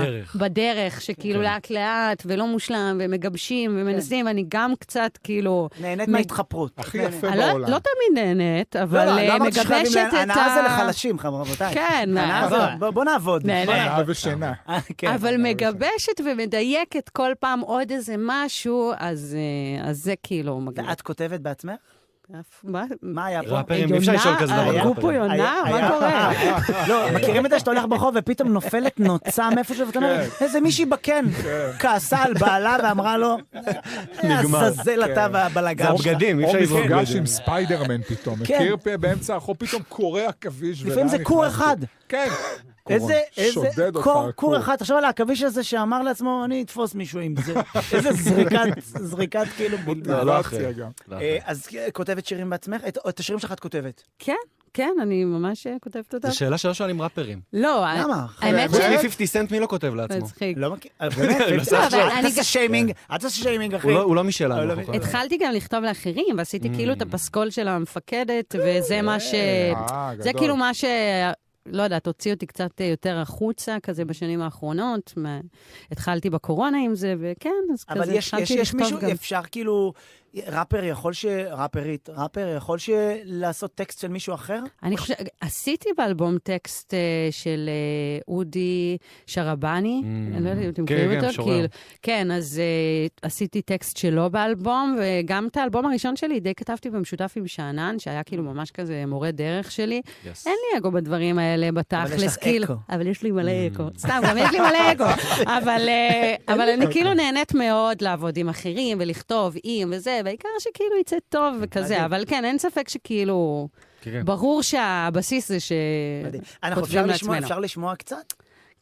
Speaker 3: בדרך.
Speaker 9: בדרך, שכאילו
Speaker 3: כן.
Speaker 9: לאט-לאט, ולא מושלם, ומגבשים, ומנסים, אני גם קצת כאילו...
Speaker 1: נהנית
Speaker 9: מ-
Speaker 1: מההתחפרות.
Speaker 2: הכי
Speaker 1: נהנית.
Speaker 2: יפה
Speaker 9: אני לא,
Speaker 2: בעולם.
Speaker 9: לא תמיד נהנית, אבל
Speaker 1: לא, לא,
Speaker 9: אה,
Speaker 1: לא אמרתי שחייבים
Speaker 9: מגבשת
Speaker 1: לה-
Speaker 9: את ה...
Speaker 1: הנאה זה לחלשים, חבר- רבותיי.
Speaker 9: כן,
Speaker 1: הנאה
Speaker 9: אבל-
Speaker 1: זה- בוא- בוא נעבוד.
Speaker 9: נהנה.
Speaker 1: בוא נעבוד.
Speaker 2: שעה ושינה.
Speaker 1: אה, כן.
Speaker 9: אבל מגבשת ומדייקת כל פעם עוד איזה משהו, אז, אה, אז זה כאילו מגניב.
Speaker 1: ואת כותבת בעצמך?
Speaker 9: מה?
Speaker 1: מה היה פה?
Speaker 3: ראפרים, אי אפשר לשאול כזה דבר.
Speaker 9: הרגו פה אה, יונה?
Speaker 1: היה- היה-
Speaker 9: מה קורה?
Speaker 1: [laughs] לא, מכירים את זה שאתה הולך ברחוב ופתאום נופלת נוצה מאיפשהו ואתה אומר, איזה מישהי בקן. כעסה על בעלה ואמרה לו,
Speaker 3: נגמר.
Speaker 1: עזאזל אתה
Speaker 3: זה
Speaker 1: והבלאגן שלך.
Speaker 3: הבגדים, אי
Speaker 2: או
Speaker 3: אפשר לזרוק
Speaker 2: מפגש
Speaker 3: בגדים.
Speaker 2: עם ספיידרמן פתאום.
Speaker 1: כן.
Speaker 2: מכיר פה באמצע הרחוב, פתאום קורע עכביש.
Speaker 1: לפעמים
Speaker 2: ולאן
Speaker 1: זה כור
Speaker 2: נכנסתי?
Speaker 1: אחד.
Speaker 2: כן.
Speaker 1: איזה, איזה,
Speaker 2: שודד אותך,
Speaker 1: קור,
Speaker 2: הכור.
Speaker 1: כור אחד, תחשוב על העכביש הזה שאמר לעצמו, אני אתפוס מישהו עם זה. איזה זריקת, זריקת כאילו בולטה.
Speaker 3: לא, לא אחרי.
Speaker 2: גם.
Speaker 3: לא,
Speaker 1: אה, אז אה, כותבת שירים בעצמך? את, את השירים שלך את כותבת.
Speaker 9: כן, כן, אני ממש אה, כותבת אותם.
Speaker 3: זו שאלה שלא שואלים ראפרים.
Speaker 9: לא, ה-
Speaker 1: למה?
Speaker 9: האמת
Speaker 2: באמת?
Speaker 9: ש...
Speaker 3: חוץ מ-50 סנט מי לא כותב לעצמו?
Speaker 9: מצחיק.
Speaker 1: לא מכיר, אה, באמת?
Speaker 9: לא, אבל
Speaker 1: אל
Speaker 9: אני
Speaker 1: תעשה
Speaker 9: גם-
Speaker 1: שיימינג, אל תעשה שיימינג, אחי.
Speaker 3: הוא לא- הוא לא
Speaker 1: אה,
Speaker 3: משלנו.
Speaker 1: לא
Speaker 3: אנחנו-
Speaker 1: מבין.
Speaker 9: התחלתי גם לכתוב לאחרים, ועשיתי כאילו
Speaker 3: Mm.
Speaker 9: את הפסקול של המפקדת, וזה מה ש...
Speaker 2: אה, גדול.
Speaker 9: זה כאילו מה ש... לא יודעת, הוציא אותי קצת אה, יותר החוצה, כזה בשנים האחרונות. מה- התחלתי בקורונה עם זה, וכן, אז
Speaker 1: אבל
Speaker 9: כזה
Speaker 1: יש, יש,
Speaker 9: התחלתי
Speaker 1: יש
Speaker 9: לכתוב
Speaker 1: מישהו,
Speaker 9: גם.
Speaker 1: אפשר כאילו, ראפר יכול ש... ראפרית, ראפר יכול ש... לעשות טקסט של מישהו אחר?
Speaker 9: אני חושבת, עשיתי באלבום טקסט אה, של אה, אודי שרבני,
Speaker 3: Mm.
Speaker 9: אני לא יודעת אם אתם
Speaker 3: כן,
Speaker 9: מכירים
Speaker 3: כן,
Speaker 9: אותו,
Speaker 3: משורר.
Speaker 9: כאילו- כן, אז אה, עשיתי טקסט שלו באלבום, וגם את האלבום הראשון שלי די כתבתי במשותף עם שאנן, שהיה כאילו ממש כזה מורה דרך שלי.
Speaker 3: Yes.
Speaker 9: אין לי אגו בדברים האלה
Speaker 1: אבל יש
Speaker 9: בתכלס,
Speaker 1: לך
Speaker 9: כאילו.
Speaker 1: אקו.
Speaker 9: אבל יש לי מלא
Speaker 3: Mm.
Speaker 9: אקו. סתם, גם יש לי מלא אקו. אבל,
Speaker 1: [laughs]
Speaker 9: אה, אבל
Speaker 3: אוקיי.
Speaker 9: אני כאילו נהנית מאוד לעבוד עם אחרים ולכתוב עם וזה, והעיקר שכאילו יצא טוב וכזה,
Speaker 1: מדהים.
Speaker 9: אבל כן, אין ספק שכאילו...
Speaker 3: כן, כן.
Speaker 9: ברור שהבסיס זה ש...
Speaker 1: מדהים. אנחנו
Speaker 9: כותבים
Speaker 1: אפשר לשמוע,
Speaker 9: כן. לעצמנו.
Speaker 1: אפשר לשמוע קצת?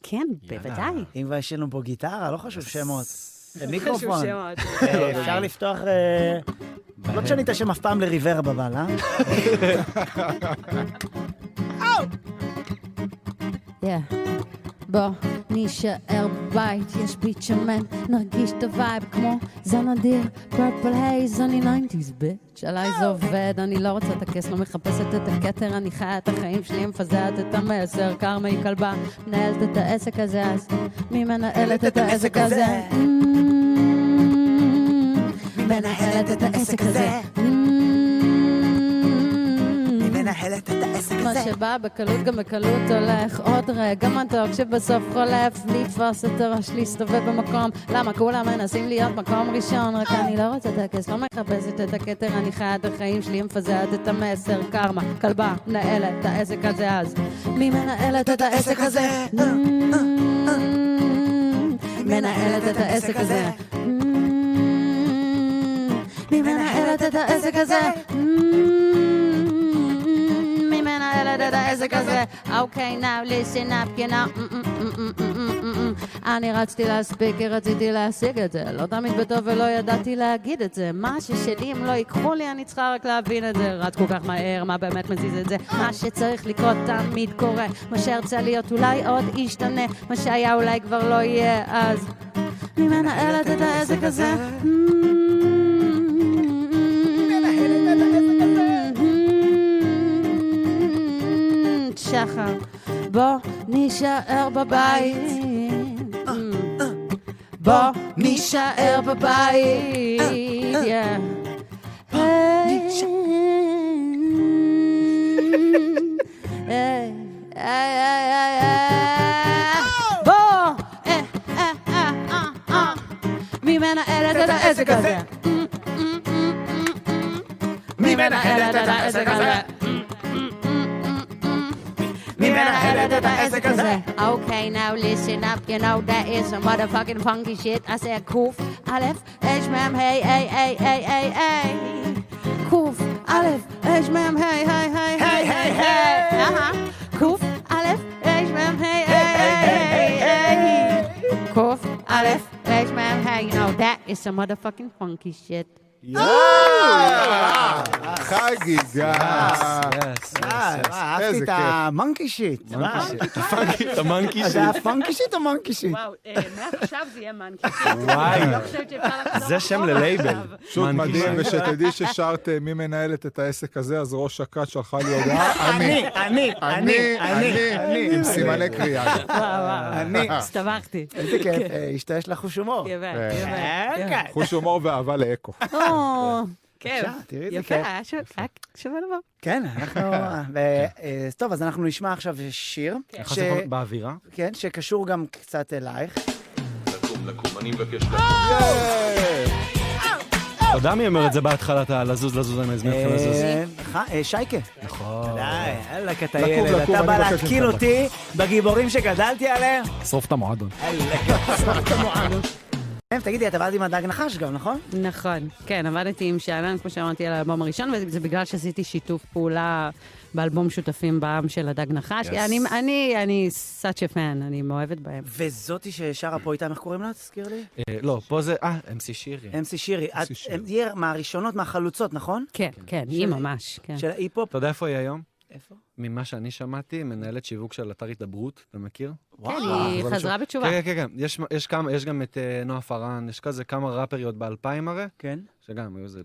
Speaker 9: כן, בוודאי.
Speaker 1: אם כבר יש לנו פה גיטרה, לא חשוב שמות. מיקרופון. [laughs]
Speaker 9: שמות.
Speaker 1: אה, אפשר לפתוח... אה, לא תשני את השם אף פעם לריברב אבל, אה?
Speaker 11: Yeah. בוא נישאר בית, יש ביט שמן, נרגיש את הווייב כמו זן אדיר, פרפל הייז, אני ניינטיז ביץ', עליי זה עובד, אני לא רוצה את הכס, לא מחפשת את הכתר, אני חיה את החיים שלי, מפזרת את המסר, קרמה היא כלבה, מנהלת את העסק הזה, אז מי מנהלת את העסק הזה? מי מנהלת את העסק הזה? מי
Speaker 1: מנהלת את העסק
Speaker 11: מה שבא בקלות גם בקלות הולך עוד רגע מתוק שבסוף חולף לתפוס את הראש להסתובב במקום למה כולם מנסים להיות מקום ראשון רק אני לא רוצה טקס לא מחפשת את הכתר אני חיה את החיים שלי מפזרת את המסר קרמה כלבה מנהלת את העסק הזה אז מי מנהלת את העסק הזה? אה, מנהלת את העסק הזה? מי מנהלת
Speaker 9: מנהלת את העסק הזה? Mm, מי מנהלת את העסק הזה? אוקיי, now listen up, you know. Mm, mm, mm, mm, mm, mm, mm. אני רצתי להספיק כי רציתי להשיג את זה. לא תמיד בטוב ולא ידעתי להגיד את זה. מה ששלי אם לא ייקחו לי, אני צריכה רק להבין את זה. רץ כל כך מהר, מה באמת מזיז את זה? מה שצריך לקרות תמיד קורה. מה שהרצה להיות אולי עוד ישתנה. מה שהיה אולי כבר לא יהיה אז. מי מנהלת את העסק הזה? שחר, בוא נישאר בבית. בוא נישאר בבית. Yeah. היי, היי, היי, היי. בוא! אה, אה, אה, אה, אה. מי מנהלת את העסק הזה? מי מנהלת את העסק הזה? מי מנהלת את העסק הזה? אוקיי, now listen up, you know that is some motherfucking funky shit. I said קוף, א', אש, מ', ה', ה', ה', ה', ה', ה', קוף, א', אש, מ', ה', ה', ה', ה', ה', ה', אהה. קוף, א', אש, מ', ה', ה', ה', ה', קוף, א', אש, מ', ה', you know that is some motherfucking funky shit.
Speaker 2: חגיגה.
Speaker 1: אה, אהבתי את המונקי שיט. [laughs]
Speaker 12: את המנקי
Speaker 1: זה היה פאנקי שיט או מונקי שיט?
Speaker 13: וואו, אה, מעכשיו זה יהיה מנקי.
Speaker 8: כן,
Speaker 12: וואי.
Speaker 13: אני לא חושבת שאפשר לחזור
Speaker 12: זה שם
Speaker 13: אחורה.
Speaker 12: ללייבל.
Speaker 2: שוב
Speaker 12: מנקי
Speaker 2: מדהים,
Speaker 12: שיט.
Speaker 2: ושתדעי ששרת אה, מי מנהלת את העסק הזה, אז ראש הכת שלחה לי
Speaker 1: [laughs]
Speaker 2: הודעה.
Speaker 1: אני, אני, אני, אני, אה, אני.
Speaker 2: עם סימני קריאה.
Speaker 8: וואו, וואו.
Speaker 1: אני.
Speaker 8: הסתבכתי.
Speaker 1: איזה כיף, אה, אשתה יש לה חוש הומור.
Speaker 8: כן.
Speaker 13: יפה,
Speaker 2: אה.
Speaker 13: יפה.
Speaker 1: רגע.
Speaker 2: חוש הומור ואהבה לאקו.
Speaker 8: או,
Speaker 13: כיף.
Speaker 1: בבקשה, תראי איזה
Speaker 13: יפה,
Speaker 1: כיף.
Speaker 13: היה שו- היה שווה לבוא.
Speaker 1: כן, אנחנו... ו- אה, טוב, אז אנחנו נשמע עכשיו שיר.
Speaker 3: איך
Speaker 1: ש-
Speaker 3: זה קורה? באווירה?
Speaker 1: כן, שקשור גם קצת אלייך.
Speaker 3: כן,
Speaker 14: לקום, לקום, אני מבקש לקום.
Speaker 3: תודה מי אומר את זה בהתחלה, אתה לזוז, לזוז, אני מזמין אתכם לזוז.
Speaker 1: אה, ח- אה, שייקה. נכון. די, יאללה, אתה
Speaker 3: לקום,
Speaker 1: ילד.
Speaker 3: לקום,
Speaker 1: אתה
Speaker 3: אני
Speaker 1: בא
Speaker 3: מבקש
Speaker 1: להתקיל
Speaker 3: ממך.
Speaker 1: אותי בגיבורים שגדלתי עליהם?
Speaker 3: שרוף את המועדון. [laughs]
Speaker 1: אה, תגידי, את עבדת עם הדג נחש גם, נכון?
Speaker 8: נכון, כן, עבדתי עם שאנן, כמו שאמרתי, על האלבום הראשון, וזה בגלל שעשיתי שיתוף פעולה באלבום שותפים בעם של הדג נחש.
Speaker 1: Yes.
Speaker 8: אני, אני, אני such a fan, אני מאוהבת בהם.
Speaker 1: וזאתי ששרה פה איתם, איך קוראים לה? תזכיר לי.
Speaker 3: אה, לא, פה זה, אה, MC שירי.
Speaker 1: אמסי שירי. את- היא מהראשונות, מהחלוצות, נכון?
Speaker 8: כן, כן, היא ממש, כן.
Speaker 1: של ההיפ-הופ.
Speaker 3: אתה יודע איפה היא היום?
Speaker 1: איפה?
Speaker 3: ממה שאני שמעתי, מנהלת שיווק של אתר התדברות, אתה מכיר?
Speaker 8: היא
Speaker 3: אבל
Speaker 8: חזרה
Speaker 3: עכשיו-
Speaker 8: בתשובה.
Speaker 3: כן, כן, כן. יש- יש כמה- יש גם את אה, נועה פארן, יש כזה כמה ראפריות באלפיים הרי.
Speaker 1: כן.
Speaker 3: שגם, היו איזה,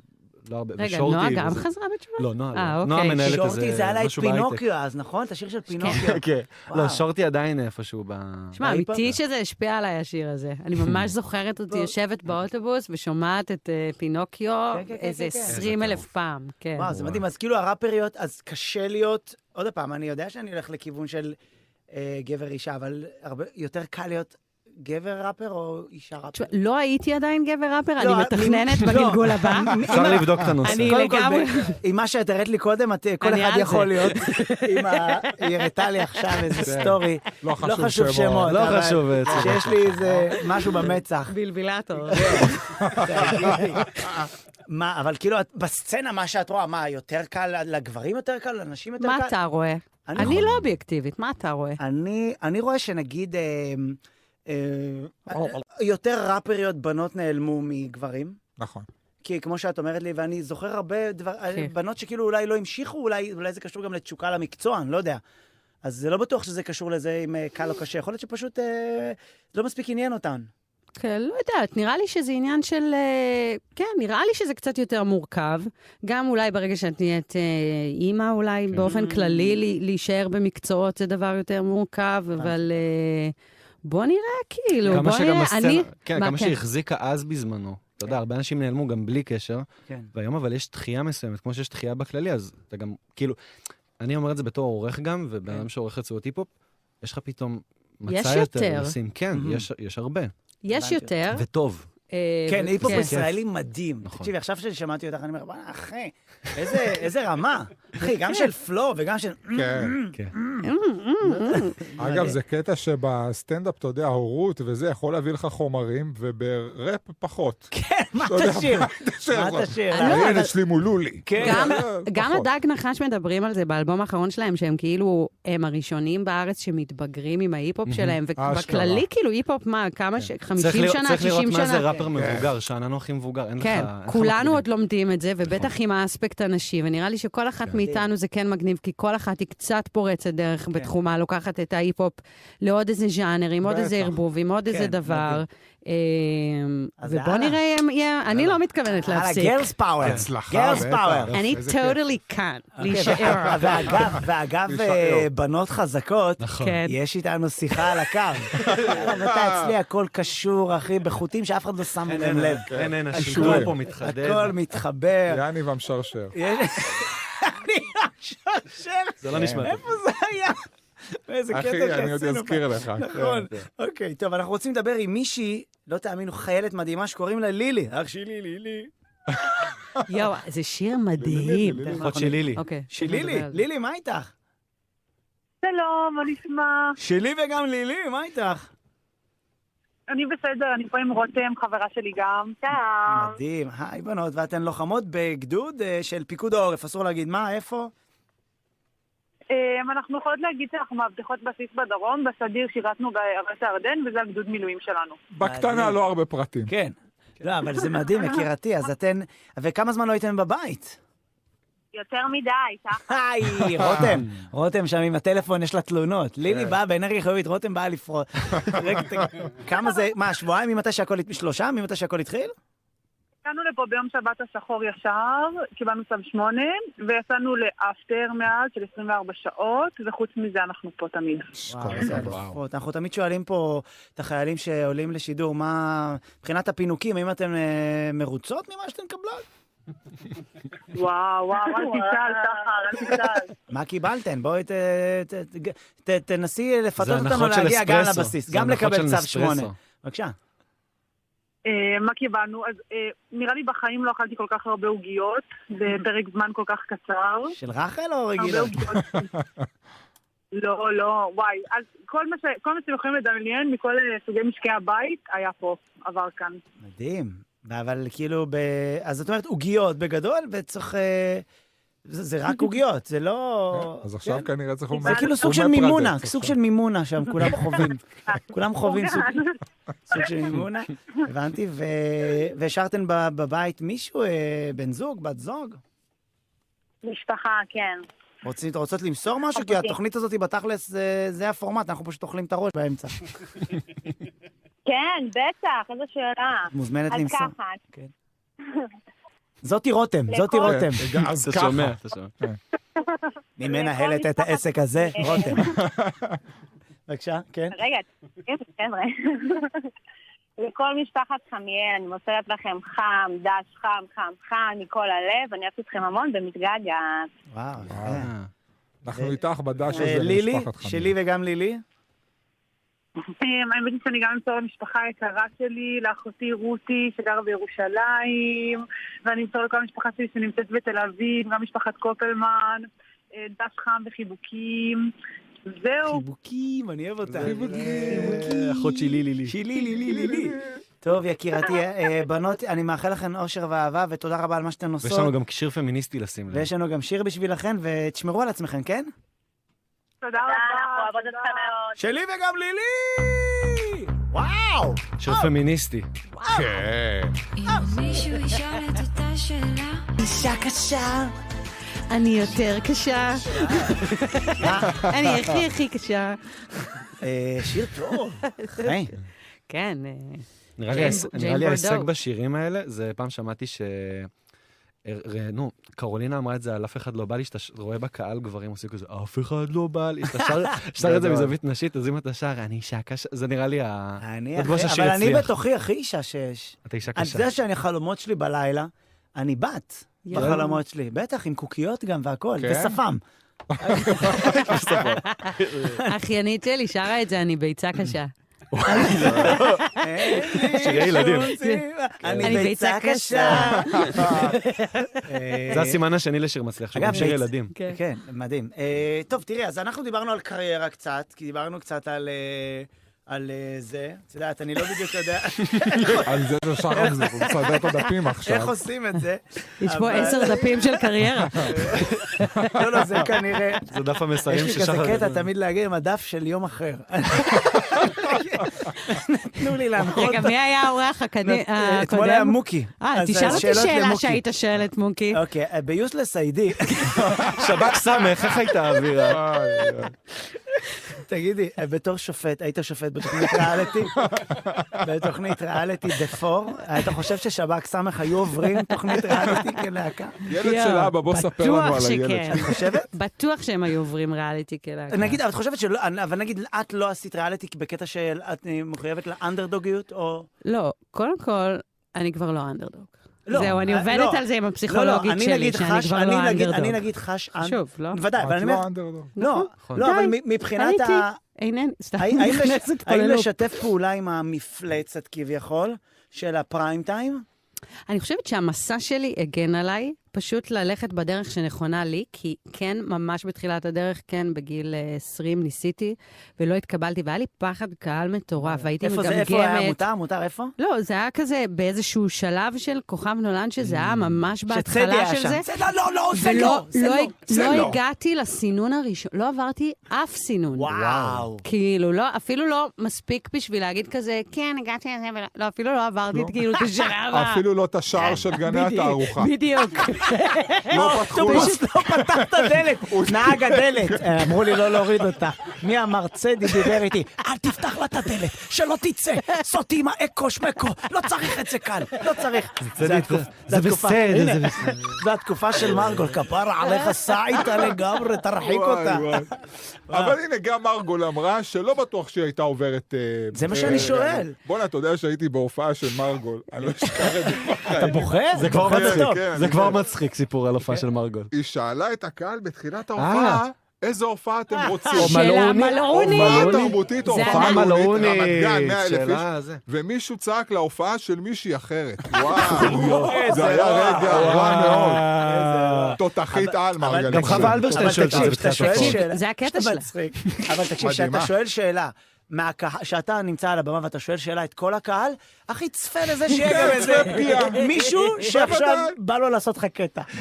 Speaker 3: לא הרבה.
Speaker 8: רגע,
Speaker 3: ושורטי
Speaker 8: נועה גם
Speaker 3: וזה-
Speaker 8: חזרה בתשובה?
Speaker 3: לא, נועה
Speaker 8: אה,
Speaker 3: לא.
Speaker 8: אוקיי.
Speaker 3: נועה מנהלת איזה
Speaker 1: שורטי זה היה לה את
Speaker 3: משהו בהייטק.
Speaker 1: פינוקיו אז, נכון? את השיר של פינוקיו.
Speaker 3: כן.
Speaker 1: וואו.
Speaker 3: לא, שורטי עדיין איפשהו ב...
Speaker 8: שמע, אמיתי שזה השפיע עליי, השיר הזה.
Speaker 1: [laughs]
Speaker 8: אני ממש זוכרת אותי יושבת באוטובוס ושומעת את אה, פינוקיו
Speaker 1: כן, כן,
Speaker 8: איזה
Speaker 1: כן, כן.
Speaker 8: 20 אלף פעם. כן.
Speaker 1: וואו, זה מדהים. אז כאילו הראפריות, אז קשה להיות, עוד פעם, אני יודע שאני הולך לכיוון של אה, גבר אישה, אבל הרבה יותר קל להיות גבר ראפר או אישה ראפר?
Speaker 8: תשמע, לא הייתי עדיין גבר ראפר,
Speaker 1: לא,
Speaker 8: אני מתכננת
Speaker 1: לא.
Speaker 8: בגלגול
Speaker 1: [laughs]
Speaker 8: הבא.
Speaker 3: אפשר לבדוק את הנושא.
Speaker 8: אני
Speaker 1: קודם כל,
Speaker 8: לגמרי...
Speaker 1: ב- עם מה שאת הראת לי קודם, את- אה, כל
Speaker 8: אני
Speaker 1: אחד
Speaker 8: על
Speaker 1: יכול
Speaker 8: זה.
Speaker 1: להיות. עם ה-
Speaker 8: [laughs]
Speaker 1: היא הראתה לי עכשיו איזה
Speaker 2: כן.
Speaker 1: סטורי.
Speaker 2: לא
Speaker 1: לא
Speaker 2: חשוב
Speaker 1: חשוב
Speaker 2: שמות.
Speaker 1: שמות.
Speaker 3: לא
Speaker 1: אבל
Speaker 3: חשוב, אה, צודקת.
Speaker 1: שיש לי איזה משהו
Speaker 2: [laughs]
Speaker 1: במצח.
Speaker 8: בלבילטור.
Speaker 1: מה, אבל כאילו, את- בסצנה, מה שאת רואה, מה, יותר קל, לגברים יותר קל, לנשים יותר קל?
Speaker 8: מה אתה רואה?
Speaker 1: אני
Speaker 8: אני
Speaker 1: יכול-
Speaker 8: לא אובייקטיבית, מה אתה רואה?
Speaker 1: אני, אני רואה שנגיד אה, אה, יותר ראפריות בנות נעלמו מגברים. [laughs]
Speaker 2: נכון.
Speaker 1: כי כמו שאת אומרת לי, ואני זוכר הרבה דבר, אה,
Speaker 8: כן.
Speaker 1: בנות שכאילו אולי לא המשיכו, אולי, אולי זה קשור גם לתשוקה למקצוע, אני לא יודע. אז זה לא בטוח שזה קשור לזה אם אה, קל או קשה. יכול להיות שפשוט אה, זה לא מספיק עניין אותן.
Speaker 8: כן, לא יודעת, נראה לי שזה עניין של... אה, כן, נראה לי שזה קצת יותר מורכב. גם אולי ברגע שאת נהיית אה, אימא, אולי כן. באופן כללי לי, להישאר במקצועות זה דבר יותר מורכב, אבל אה, בוא נראה, כאילו,
Speaker 3: כמה
Speaker 8: בוא
Speaker 3: שגם
Speaker 8: נראה.
Speaker 3: הסצנה-
Speaker 8: אני...
Speaker 3: כן,
Speaker 8: מה,
Speaker 3: כמה שהיא החזיקה אז בזמנו. אתה יודע, הרבה אנשים נעלמו גם בלי קשר,
Speaker 1: כן.
Speaker 3: והיום אבל יש דחייה מסוימת, כמו שיש דחייה בכללי, אז אתה גם, כאילו, אני אומר את זה בתור עורך גם, ובן אדם שעורך רצועות היפ-הופ, יש לך פתאום
Speaker 8: יש
Speaker 3: מצע יותר
Speaker 8: יותר.
Speaker 3: לשים. כן,
Speaker 1: Mhm.
Speaker 3: יש- יש הרבה,
Speaker 8: יש
Speaker 1: הבנתי.
Speaker 8: יותר,
Speaker 3: וטוב.
Speaker 8: אה,
Speaker 1: כן, נכון.
Speaker 8: ו-
Speaker 1: היפ-הופ
Speaker 8: כן.
Speaker 1: ישראלי מדהים. תקשיבי, עכשיו ששמעתי אותך, אני אומר, בואנה, אחי, איזה- איזה [laughs] רמה. אחי, גם של פלו וגם של... [laughs]
Speaker 2: כן.
Speaker 1: Mm-hmm.
Speaker 2: אגב, זה קטע שבסטנדאפ, אתה יודע, הורות וזה יכול להביא לך חומרים, ובראפ פחות.
Speaker 1: כן,
Speaker 8: מה
Speaker 1: תשאיר? מה תשאיר? לא, אבל- כן.
Speaker 2: הילד שלי מולולי.
Speaker 3: [laughs]
Speaker 8: גם,
Speaker 2: אה,
Speaker 8: גם
Speaker 2: פחות.
Speaker 8: הדג נחש מדברים על זה באלבום האחרון שלהם, שהם כאילו, הם הראשונים בארץ שמתבגרים עם ההיפ-הופ
Speaker 3: מהמם.
Speaker 8: שלהם,
Speaker 3: אשכרה.
Speaker 8: ובכללי כאילו היפ-הופ, מה, כמה, ש... 50
Speaker 3: צריך לראות-
Speaker 8: שנה, כן. 60 שנה?
Speaker 3: צריך לראות מה זה ראפר מבוגר, שאננו הכי מבוגר, אין לך...
Speaker 8: כן,
Speaker 3: אין לך
Speaker 8: כולנו עוד לומדים את זה, ובטח עם האספקט הנשי, ונראה לי שכל אחת מאיתנו זה כן מגניב, כי כל אחת היא קצת פורצת דרך בתחומה, לוקחת את ההיפ-הופ לעוד איזה ז'אנר, עם עוד
Speaker 13: בטח.
Speaker 8: איזה ערבוב, עם עוד
Speaker 13: כן,
Speaker 8: איזה דבר. אמ, ובוא
Speaker 13: הלאה.
Speaker 8: נראה, אם יהיה- אני לא מתכוונת
Speaker 1: הלאה,
Speaker 8: להפסיק.
Speaker 1: girls power. הצלחה, Girls בטח. power.
Speaker 8: אני
Speaker 1: איזה כיף.
Speaker 8: totally כאן,
Speaker 1: [laughs] אוקיי,
Speaker 8: להישאר.
Speaker 1: ואגב, ואגב,
Speaker 8: להישאר.
Speaker 1: אה, בנות חזקות,
Speaker 8: כן.
Speaker 1: יש איתנו שיחה על הקו. אתה אצלי הכל קשור, אחי, בחוטים שאף אחד לא שם
Speaker 3: אין,
Speaker 1: אליהם
Speaker 3: אין,
Speaker 1: לב.
Speaker 3: אין, אין,
Speaker 1: הכל-
Speaker 3: השידור כן, פה מתחדד.
Speaker 1: הכל מתחבר.
Speaker 2: יעני והמשרשר.
Speaker 1: יש- [laughs] אני השרשר.
Speaker 2: זה לא נשמע טוב.
Speaker 1: איפה זה היה? איזה קטע
Speaker 2: אחי,
Speaker 1: שעשינו.
Speaker 2: אני עוד אזכיר
Speaker 1: פה.
Speaker 2: לך, כן,
Speaker 1: נכון.
Speaker 2: כן.
Speaker 1: אוקיי, טוב, אנחנו רוצים לדבר עם מישהי, לא תאמינו, חיילת מדהימה שקוראים לה לילי. אח שלי, לילי.
Speaker 8: יואו, זה שיר מדהים.
Speaker 1: לילי, לילי.
Speaker 3: אחות של לילי.
Speaker 8: אוקיי.
Speaker 1: שלילי, לילי, מה איתך?
Speaker 15: שלום, מה נשמע?
Speaker 1: שלי וגם לילי, מה איתך?
Speaker 15: אני בסדר, אני פה עם רותם, חברה שלי גם. שלום.
Speaker 1: מדהים, היי בנות, ואתן לוחמות בגדוד אה, של פיקוד העורף, אסור להגיד מה, איפה?
Speaker 15: אמ, אנחנו יכולות להגיד שאנחנו מאבטחות בסיס בדרום, בסדיר שירתנו בארץ הירדן, וזה הגדוד מילואים שלנו.
Speaker 2: בקטנה לא הרבה פרטים.
Speaker 1: כן. לא, אבל זה מדהים, יקירתי, אז אתן... וכמה זמן לא הייתן בבית?
Speaker 15: יותר מדי, שחר.
Speaker 1: היי, רותם, רותם שם עם הטלפון, יש לה תלונות. לילי באה באנרגיה חיובית, רותם באה לפרוט. רגע, תגיד, כמה זה, מה, שבועיים ממתי שהכל, הת- שלושה ממתי שהכל התחיל?
Speaker 15: הגענו לפה ביום שבת השחור ישר, קיבלנו צו שמונה, ויצאנו לאפטר מאז של 24 שעות, וחוץ מזה אנחנו פה תמיד.
Speaker 1: וואו, איזה אלופות. אנחנו תמיד שואלים פה את החיילים שעולים לשידור, מה, מבחינת הפינוקים, האם אתן אה, מרוצות ממה שאתן מקבלות?
Speaker 15: וואו, וואו, אל תשאל, שחר, אל תשאל.
Speaker 1: מה קיבלתן? בואי ת, ת, ת, ת, תנסי
Speaker 15: זה
Speaker 1: לפתות אותנו
Speaker 15: הנחות של
Speaker 1: להגיע גם
Speaker 15: אספרסו.
Speaker 1: לבסיס,
Speaker 15: זה
Speaker 1: גם
Speaker 15: הנחות
Speaker 1: לקבל
Speaker 15: של
Speaker 1: צו 8.
Speaker 15: אספרסו.
Speaker 1: בבקשה.
Speaker 15: אה, מה קיבלנו? אז אה, נראה לי בחיים לא אכלתי כל כך הרבה עוגיות, בפרק זמן כל כך קצר.
Speaker 1: של רחל או רגילה?
Speaker 15: הרבה עוגיות. לא, לא, וואי. אז כל מה ש- כל מה שאתם יכולים לדמיין מכל אה, סוגי משקי הבית היה פה, עבר כאן.
Speaker 1: מדהים. אבל כאילו, ב... אז את אומרת עוגיות בגדול, וצריך... אה, זה, זה רק עוגיות, זה לא...
Speaker 2: אז עכשיו כנראה צריך...
Speaker 1: זה כאילו סוג של מימונה, סוג של מימונה שם, כולם חווים. כולם חווים
Speaker 15: [laughs]
Speaker 1: סוג סוג של מימונה. הבנתי, ו... והשארתן ב- בבית מישהו, אה, בן זוג, בת זוג?
Speaker 15: משפחה, כן.
Speaker 1: רוצים, רוצות למסור משהו? כי
Speaker 15: אוקיי.
Speaker 1: התוכנית הזאת היא בתכלס, זה, זה הפורמט, אנחנו פשוט אוכלים את הראש באמצע.
Speaker 15: כן, בטח, איזו שאלה.
Speaker 1: מוזמנת למסור.
Speaker 15: אז ככה,
Speaker 1: זאתי רותם, זאתי
Speaker 15: לכל-
Speaker 1: רותם.
Speaker 2: כן, אז אתה ככה. שומע, אתה
Speaker 3: שומע.
Speaker 1: אני מנהלת את העסק הזה,
Speaker 15: אה,
Speaker 1: רותם.
Speaker 15: [laughs]
Speaker 1: בבקשה, כן.
Speaker 15: רגע, תקשיבו, חבר'ה. [laughs] לכל משפחת חמיאל, אני מוסרת לכם חם, דש, חם, חם, חם, מכל הלב, אני אוהבת אתכם המון ומתגעגעת.
Speaker 1: וואו. כן. אה.
Speaker 2: אנחנו איתך בדש הזה
Speaker 1: לילי,
Speaker 2: אה, למשפחת חמיאל.
Speaker 1: שלי וגם לילי.
Speaker 15: [laughs] אמ, האמת היא שאני גם אמסור למשפחה היקרה שלי, לאחותי רותי שגרה בירושלים, ואני אמסור לכל המשפחה שלי שנמצאת בתל אביב, גם משפחת קופלמן, אה, דש חם וחיבוקים. זהו.
Speaker 1: חיבוקים, אני אוהב אותה. אה,
Speaker 3: חיבוקים. אחות שלי, לילי.
Speaker 1: שלי, לילי, לילי. טוב, יקירתי, אה, בנות, אני מאחל לכן אושר ואהבה, ותודה רבה על מה שאתן עושות.
Speaker 3: ויש לנו גם שיר פמיניסטי לשים לב.
Speaker 1: ויש לנו גם שיר בשבילכן, ותשמרו על עצמכם, כן?
Speaker 15: תודה רבה. אנחנו אוהבות אותך מאוד.
Speaker 1: שלי וגם לילי! וואו!
Speaker 3: שיר פמיניסטי.
Speaker 2: כן.
Speaker 7: אם מישהו ישאל את אותה שאלה,
Speaker 8: אישה קשה, אני יותר קשה. [laughs] אני הכי הכי קשה.
Speaker 1: אה, שיר [laughs] טוב. חיים.
Speaker 8: כן. אה,
Speaker 3: נראה לי
Speaker 8: ג'יין-
Speaker 3: ההיש-
Speaker 8: ג'יין
Speaker 3: נראה לי ההישג
Speaker 8: בורדו.
Speaker 3: בשירים האלה, זה פעם שמעתי ש... הר- הר- נו, קרולינה אמרה את זה על אף אחד לא בא לי, שאתה ש- רואה בקהל גברים עושים כזה, אף אחד לא בא לי, שאתה
Speaker 1: [laughs]
Speaker 3: שר- שר את זה
Speaker 1: גדול.
Speaker 3: מזווית נשית, אז אם אתה שר, אני אישה קשה, זה נראה לי ה...
Speaker 1: אני
Speaker 3: זה כמו
Speaker 1: אחי,
Speaker 3: שהשיר
Speaker 1: אבל אני
Speaker 3: יצליח.
Speaker 1: בתוכי הכי אישה שיש.
Speaker 3: אתה אישה
Speaker 1: אני
Speaker 3: קשה.
Speaker 1: יודע שאני, החלומות שלי בלילה, אני בת
Speaker 3: יואו.
Speaker 1: בחלומות שלי. בטח, עם קוקיות גם והכול,
Speaker 3: כן?
Speaker 1: [laughs] ושפם.
Speaker 8: האחיינית שלי שרה את זה, אני ביצה קשה.
Speaker 12: שירי ילדים.
Speaker 1: כן. אני ביצה קשה. אה,
Speaker 3: זה הסימן השני לשיר מצליח, שהוא גם שיר
Speaker 1: ביצ-
Speaker 3: ילדים.
Speaker 1: כן, מדהים. אה, טוב, תראי, אז אנחנו דיברנו על קריירה קצת, כי דיברנו קצת על... אה, על אה, זה, את יודעת, אני לא בדיוק יודע...
Speaker 2: [laughs] על זה ששרון זה, הוא מסדר את הדפים עכשיו.
Speaker 1: איך עושים את זה?
Speaker 8: יש פה
Speaker 1: אבל-
Speaker 8: עשר דפים של
Speaker 1: [laughs]
Speaker 8: קריירה.
Speaker 1: לא, לא, זה כנראה...
Speaker 2: [laughs]
Speaker 3: זה דף המסרים
Speaker 1: יש לי
Speaker 3: ששחר-
Speaker 1: כזה קטע תמיד להגיד עם הדף של יום
Speaker 2: [laughs]
Speaker 1: אחר. [laughs] תנו לי להנחות.
Speaker 8: רגע, מי היה האורח הקני-
Speaker 1: נת- אה,
Speaker 8: הקודם?
Speaker 1: אתמול היה מוקי.
Speaker 8: אה,
Speaker 1: אז
Speaker 8: תשאל אותי
Speaker 1: שאלות
Speaker 8: שאלה
Speaker 1: למוקי.
Speaker 8: שהיית שואלת, מוקי.
Speaker 1: אוקיי, אה, ביוסלס איי-די,
Speaker 3: [laughs] שב"כ סמך, איך הייתה
Speaker 1: [laughs]
Speaker 3: האווירה?
Speaker 1: תגידי, אה, בתור שופט, היית שופט בתוכנית [laughs] ריאליטי? בתוכנית ריאליטי דה פור? היית חושב ששב"כ סמך היו עוברים תוכנית ריאליטי כלהקה?
Speaker 2: ילד של אבא, בוא ספר לנו על
Speaker 8: בטוח
Speaker 2: הילד.
Speaker 8: שכן.
Speaker 1: את חושבת?
Speaker 8: בטוח שהם היו עוברים ריאליטי כלהקה.
Speaker 1: נגיד, אבל את חושבת שלא, אבל נגיד, את לא עשית ריאליטי בקטע שאת אה, מחויבת לאנדרדוגיות, או...
Speaker 8: לא, קודם כל, אני כבר לא אנדרדוג.
Speaker 1: לא,
Speaker 8: זהו, אני
Speaker 1: אה,
Speaker 8: עובדת
Speaker 1: לא.
Speaker 8: על זה עם
Speaker 1: לא, לא,
Speaker 8: הפסיכולוגית
Speaker 1: אני
Speaker 8: שלי,
Speaker 1: נגיד
Speaker 8: שאני
Speaker 1: חש-
Speaker 8: כבר
Speaker 1: אני
Speaker 8: לא
Speaker 1: נגיד-
Speaker 8: אנדרדוג.
Speaker 1: אני נגיד חש אנד-
Speaker 8: שוב, לא?
Speaker 1: בוודאי, אבל אני
Speaker 2: לא
Speaker 1: אומר...
Speaker 2: אנדרדוג.
Speaker 1: לא,
Speaker 3: נכון.
Speaker 1: לא, אבל
Speaker 8: די,
Speaker 1: מ- מבחינת
Speaker 8: עליתי.
Speaker 1: ה...
Speaker 8: אינני, סתם,
Speaker 1: האם- האם לש-
Speaker 8: נכנסת פה
Speaker 1: האם
Speaker 8: ללופ.
Speaker 1: לשתף פעולה עם המפלצת כביכול של הפריים טיים?
Speaker 8: אני חושבת שהמסע שלי הגן עליי, פשוט ללכת בדרך שנכונה לי, כי כן, ממש בתחילת הדרך, כן, בגיל אה, 20 ניסיתי, ולא התקבלתי, והיה לי פחד קהל מטורף, והייתי
Speaker 1: אה, איפה זה,
Speaker 8: מגמגמת.
Speaker 1: איפה היה מותר? מותר איפה?
Speaker 8: לא, זה היה כזה באיזשהו שלב של כוכב נולד, שזה היה ממש
Speaker 1: Mm. שצדי היה
Speaker 8: בהתחלה של
Speaker 1: שם.
Speaker 8: זה.
Speaker 1: זה לא, לא, לא, זה
Speaker 8: ולא-
Speaker 1: לא, זה לא,
Speaker 8: הג-
Speaker 1: זה
Speaker 8: לא
Speaker 1: לא.
Speaker 8: הגעתי לסינון הראשון, לא עברתי אף סינון.
Speaker 1: [laughs] וואו.
Speaker 8: כאילו, לא, אפילו לא מספיק בשביל להגיד כזה, כן, הגעתי לזה, ולא, לא, אפילו לא עברתי את כאילו את
Speaker 1: [laughs]
Speaker 8: השלב ה...
Speaker 2: אפילו לא את
Speaker 1: כן.
Speaker 2: השער של גני
Speaker 8: בדיוק,
Speaker 2: התערוכה.
Speaker 9: [laughs]
Speaker 8: בדיוק.
Speaker 2: לא פתחו לו.
Speaker 1: פשוט לא פתח את הדלת, נהג הדלת. אה, אמרו לי לא להוריד אותה. מי המרצה דיבר איתי? אל תפתח לה את הדלת, שלא תצא. סוטי עם האקו שמקו, לא צריך את זה כאן, לא צריך. זה התקופ-
Speaker 3: זה
Speaker 1: התקופה-
Speaker 3: בסדר, זה
Speaker 1: הנה, זה התקופה של מרגול, כפרה עליך, סע איתה לגמרי, תרחיק
Speaker 2: וואי,
Speaker 1: אותה.
Speaker 2: וואי. אבל הנה, גם מרגול אמרה שלא בטוח שהיא הייתה עוברת... אה,
Speaker 1: זה מה
Speaker 2: אה,
Speaker 1: שאני שואל.
Speaker 2: בואנה, אתה יודע שהייתי בהופעה של מרגול, [laughs] אני לא אשכח את זה.
Speaker 1: אתה בוכה?
Speaker 3: זה כבר
Speaker 2: כן,
Speaker 3: מצחיק,
Speaker 2: כן,
Speaker 3: זה
Speaker 2: אני
Speaker 3: כבר
Speaker 2: כן.
Speaker 3: מצחיק סיפור על הופעה של מרגול.
Speaker 2: היא שאלה את הקהל בתחילת
Speaker 1: אה.
Speaker 2: ההופעה, איזה הופעה אתם רוצים?
Speaker 3: שאלה מלעוני. מלעוני.
Speaker 2: הופעה
Speaker 3: מלעוני.
Speaker 2: תרבותית,
Speaker 3: לא זה
Speaker 2: הופעה
Speaker 3: אנחנו.
Speaker 2: מלעונית,
Speaker 3: מלעונית,
Speaker 2: רמת גן, 100 אלף
Speaker 3: שאלה,
Speaker 2: איש,
Speaker 3: זה.
Speaker 2: ומישהו צעק להופעה של מישהי אחרת. וואו,
Speaker 1: איזה
Speaker 2: זה היה
Speaker 1: רע.
Speaker 2: רגע רע מאוד. תותחית על מרגלית.
Speaker 3: גם חווה אלברשטיין
Speaker 1: אבל
Speaker 3: שואלת את זה
Speaker 1: תקשיב,
Speaker 3: בתחילת
Speaker 1: אתה שואל
Speaker 3: ההופעות.
Speaker 1: שאלה-
Speaker 8: זה הקטע
Speaker 1: שאתה
Speaker 8: שלה.
Speaker 1: מצחיק. אבל תקשיב,
Speaker 2: מדהימה.
Speaker 1: כשאתה שואל שאלה, מהקה- שאתה נמצא על הבמה ואתה שואל שאלה את כל הקהל, הכי צפה לזה שיהיה גם איזה
Speaker 2: צפה כן, פגיעה.
Speaker 1: [laughs] מישהו שעכשיו
Speaker 2: בוודאי.
Speaker 1: בא לו לעשות לך קטע.
Speaker 2: בטח.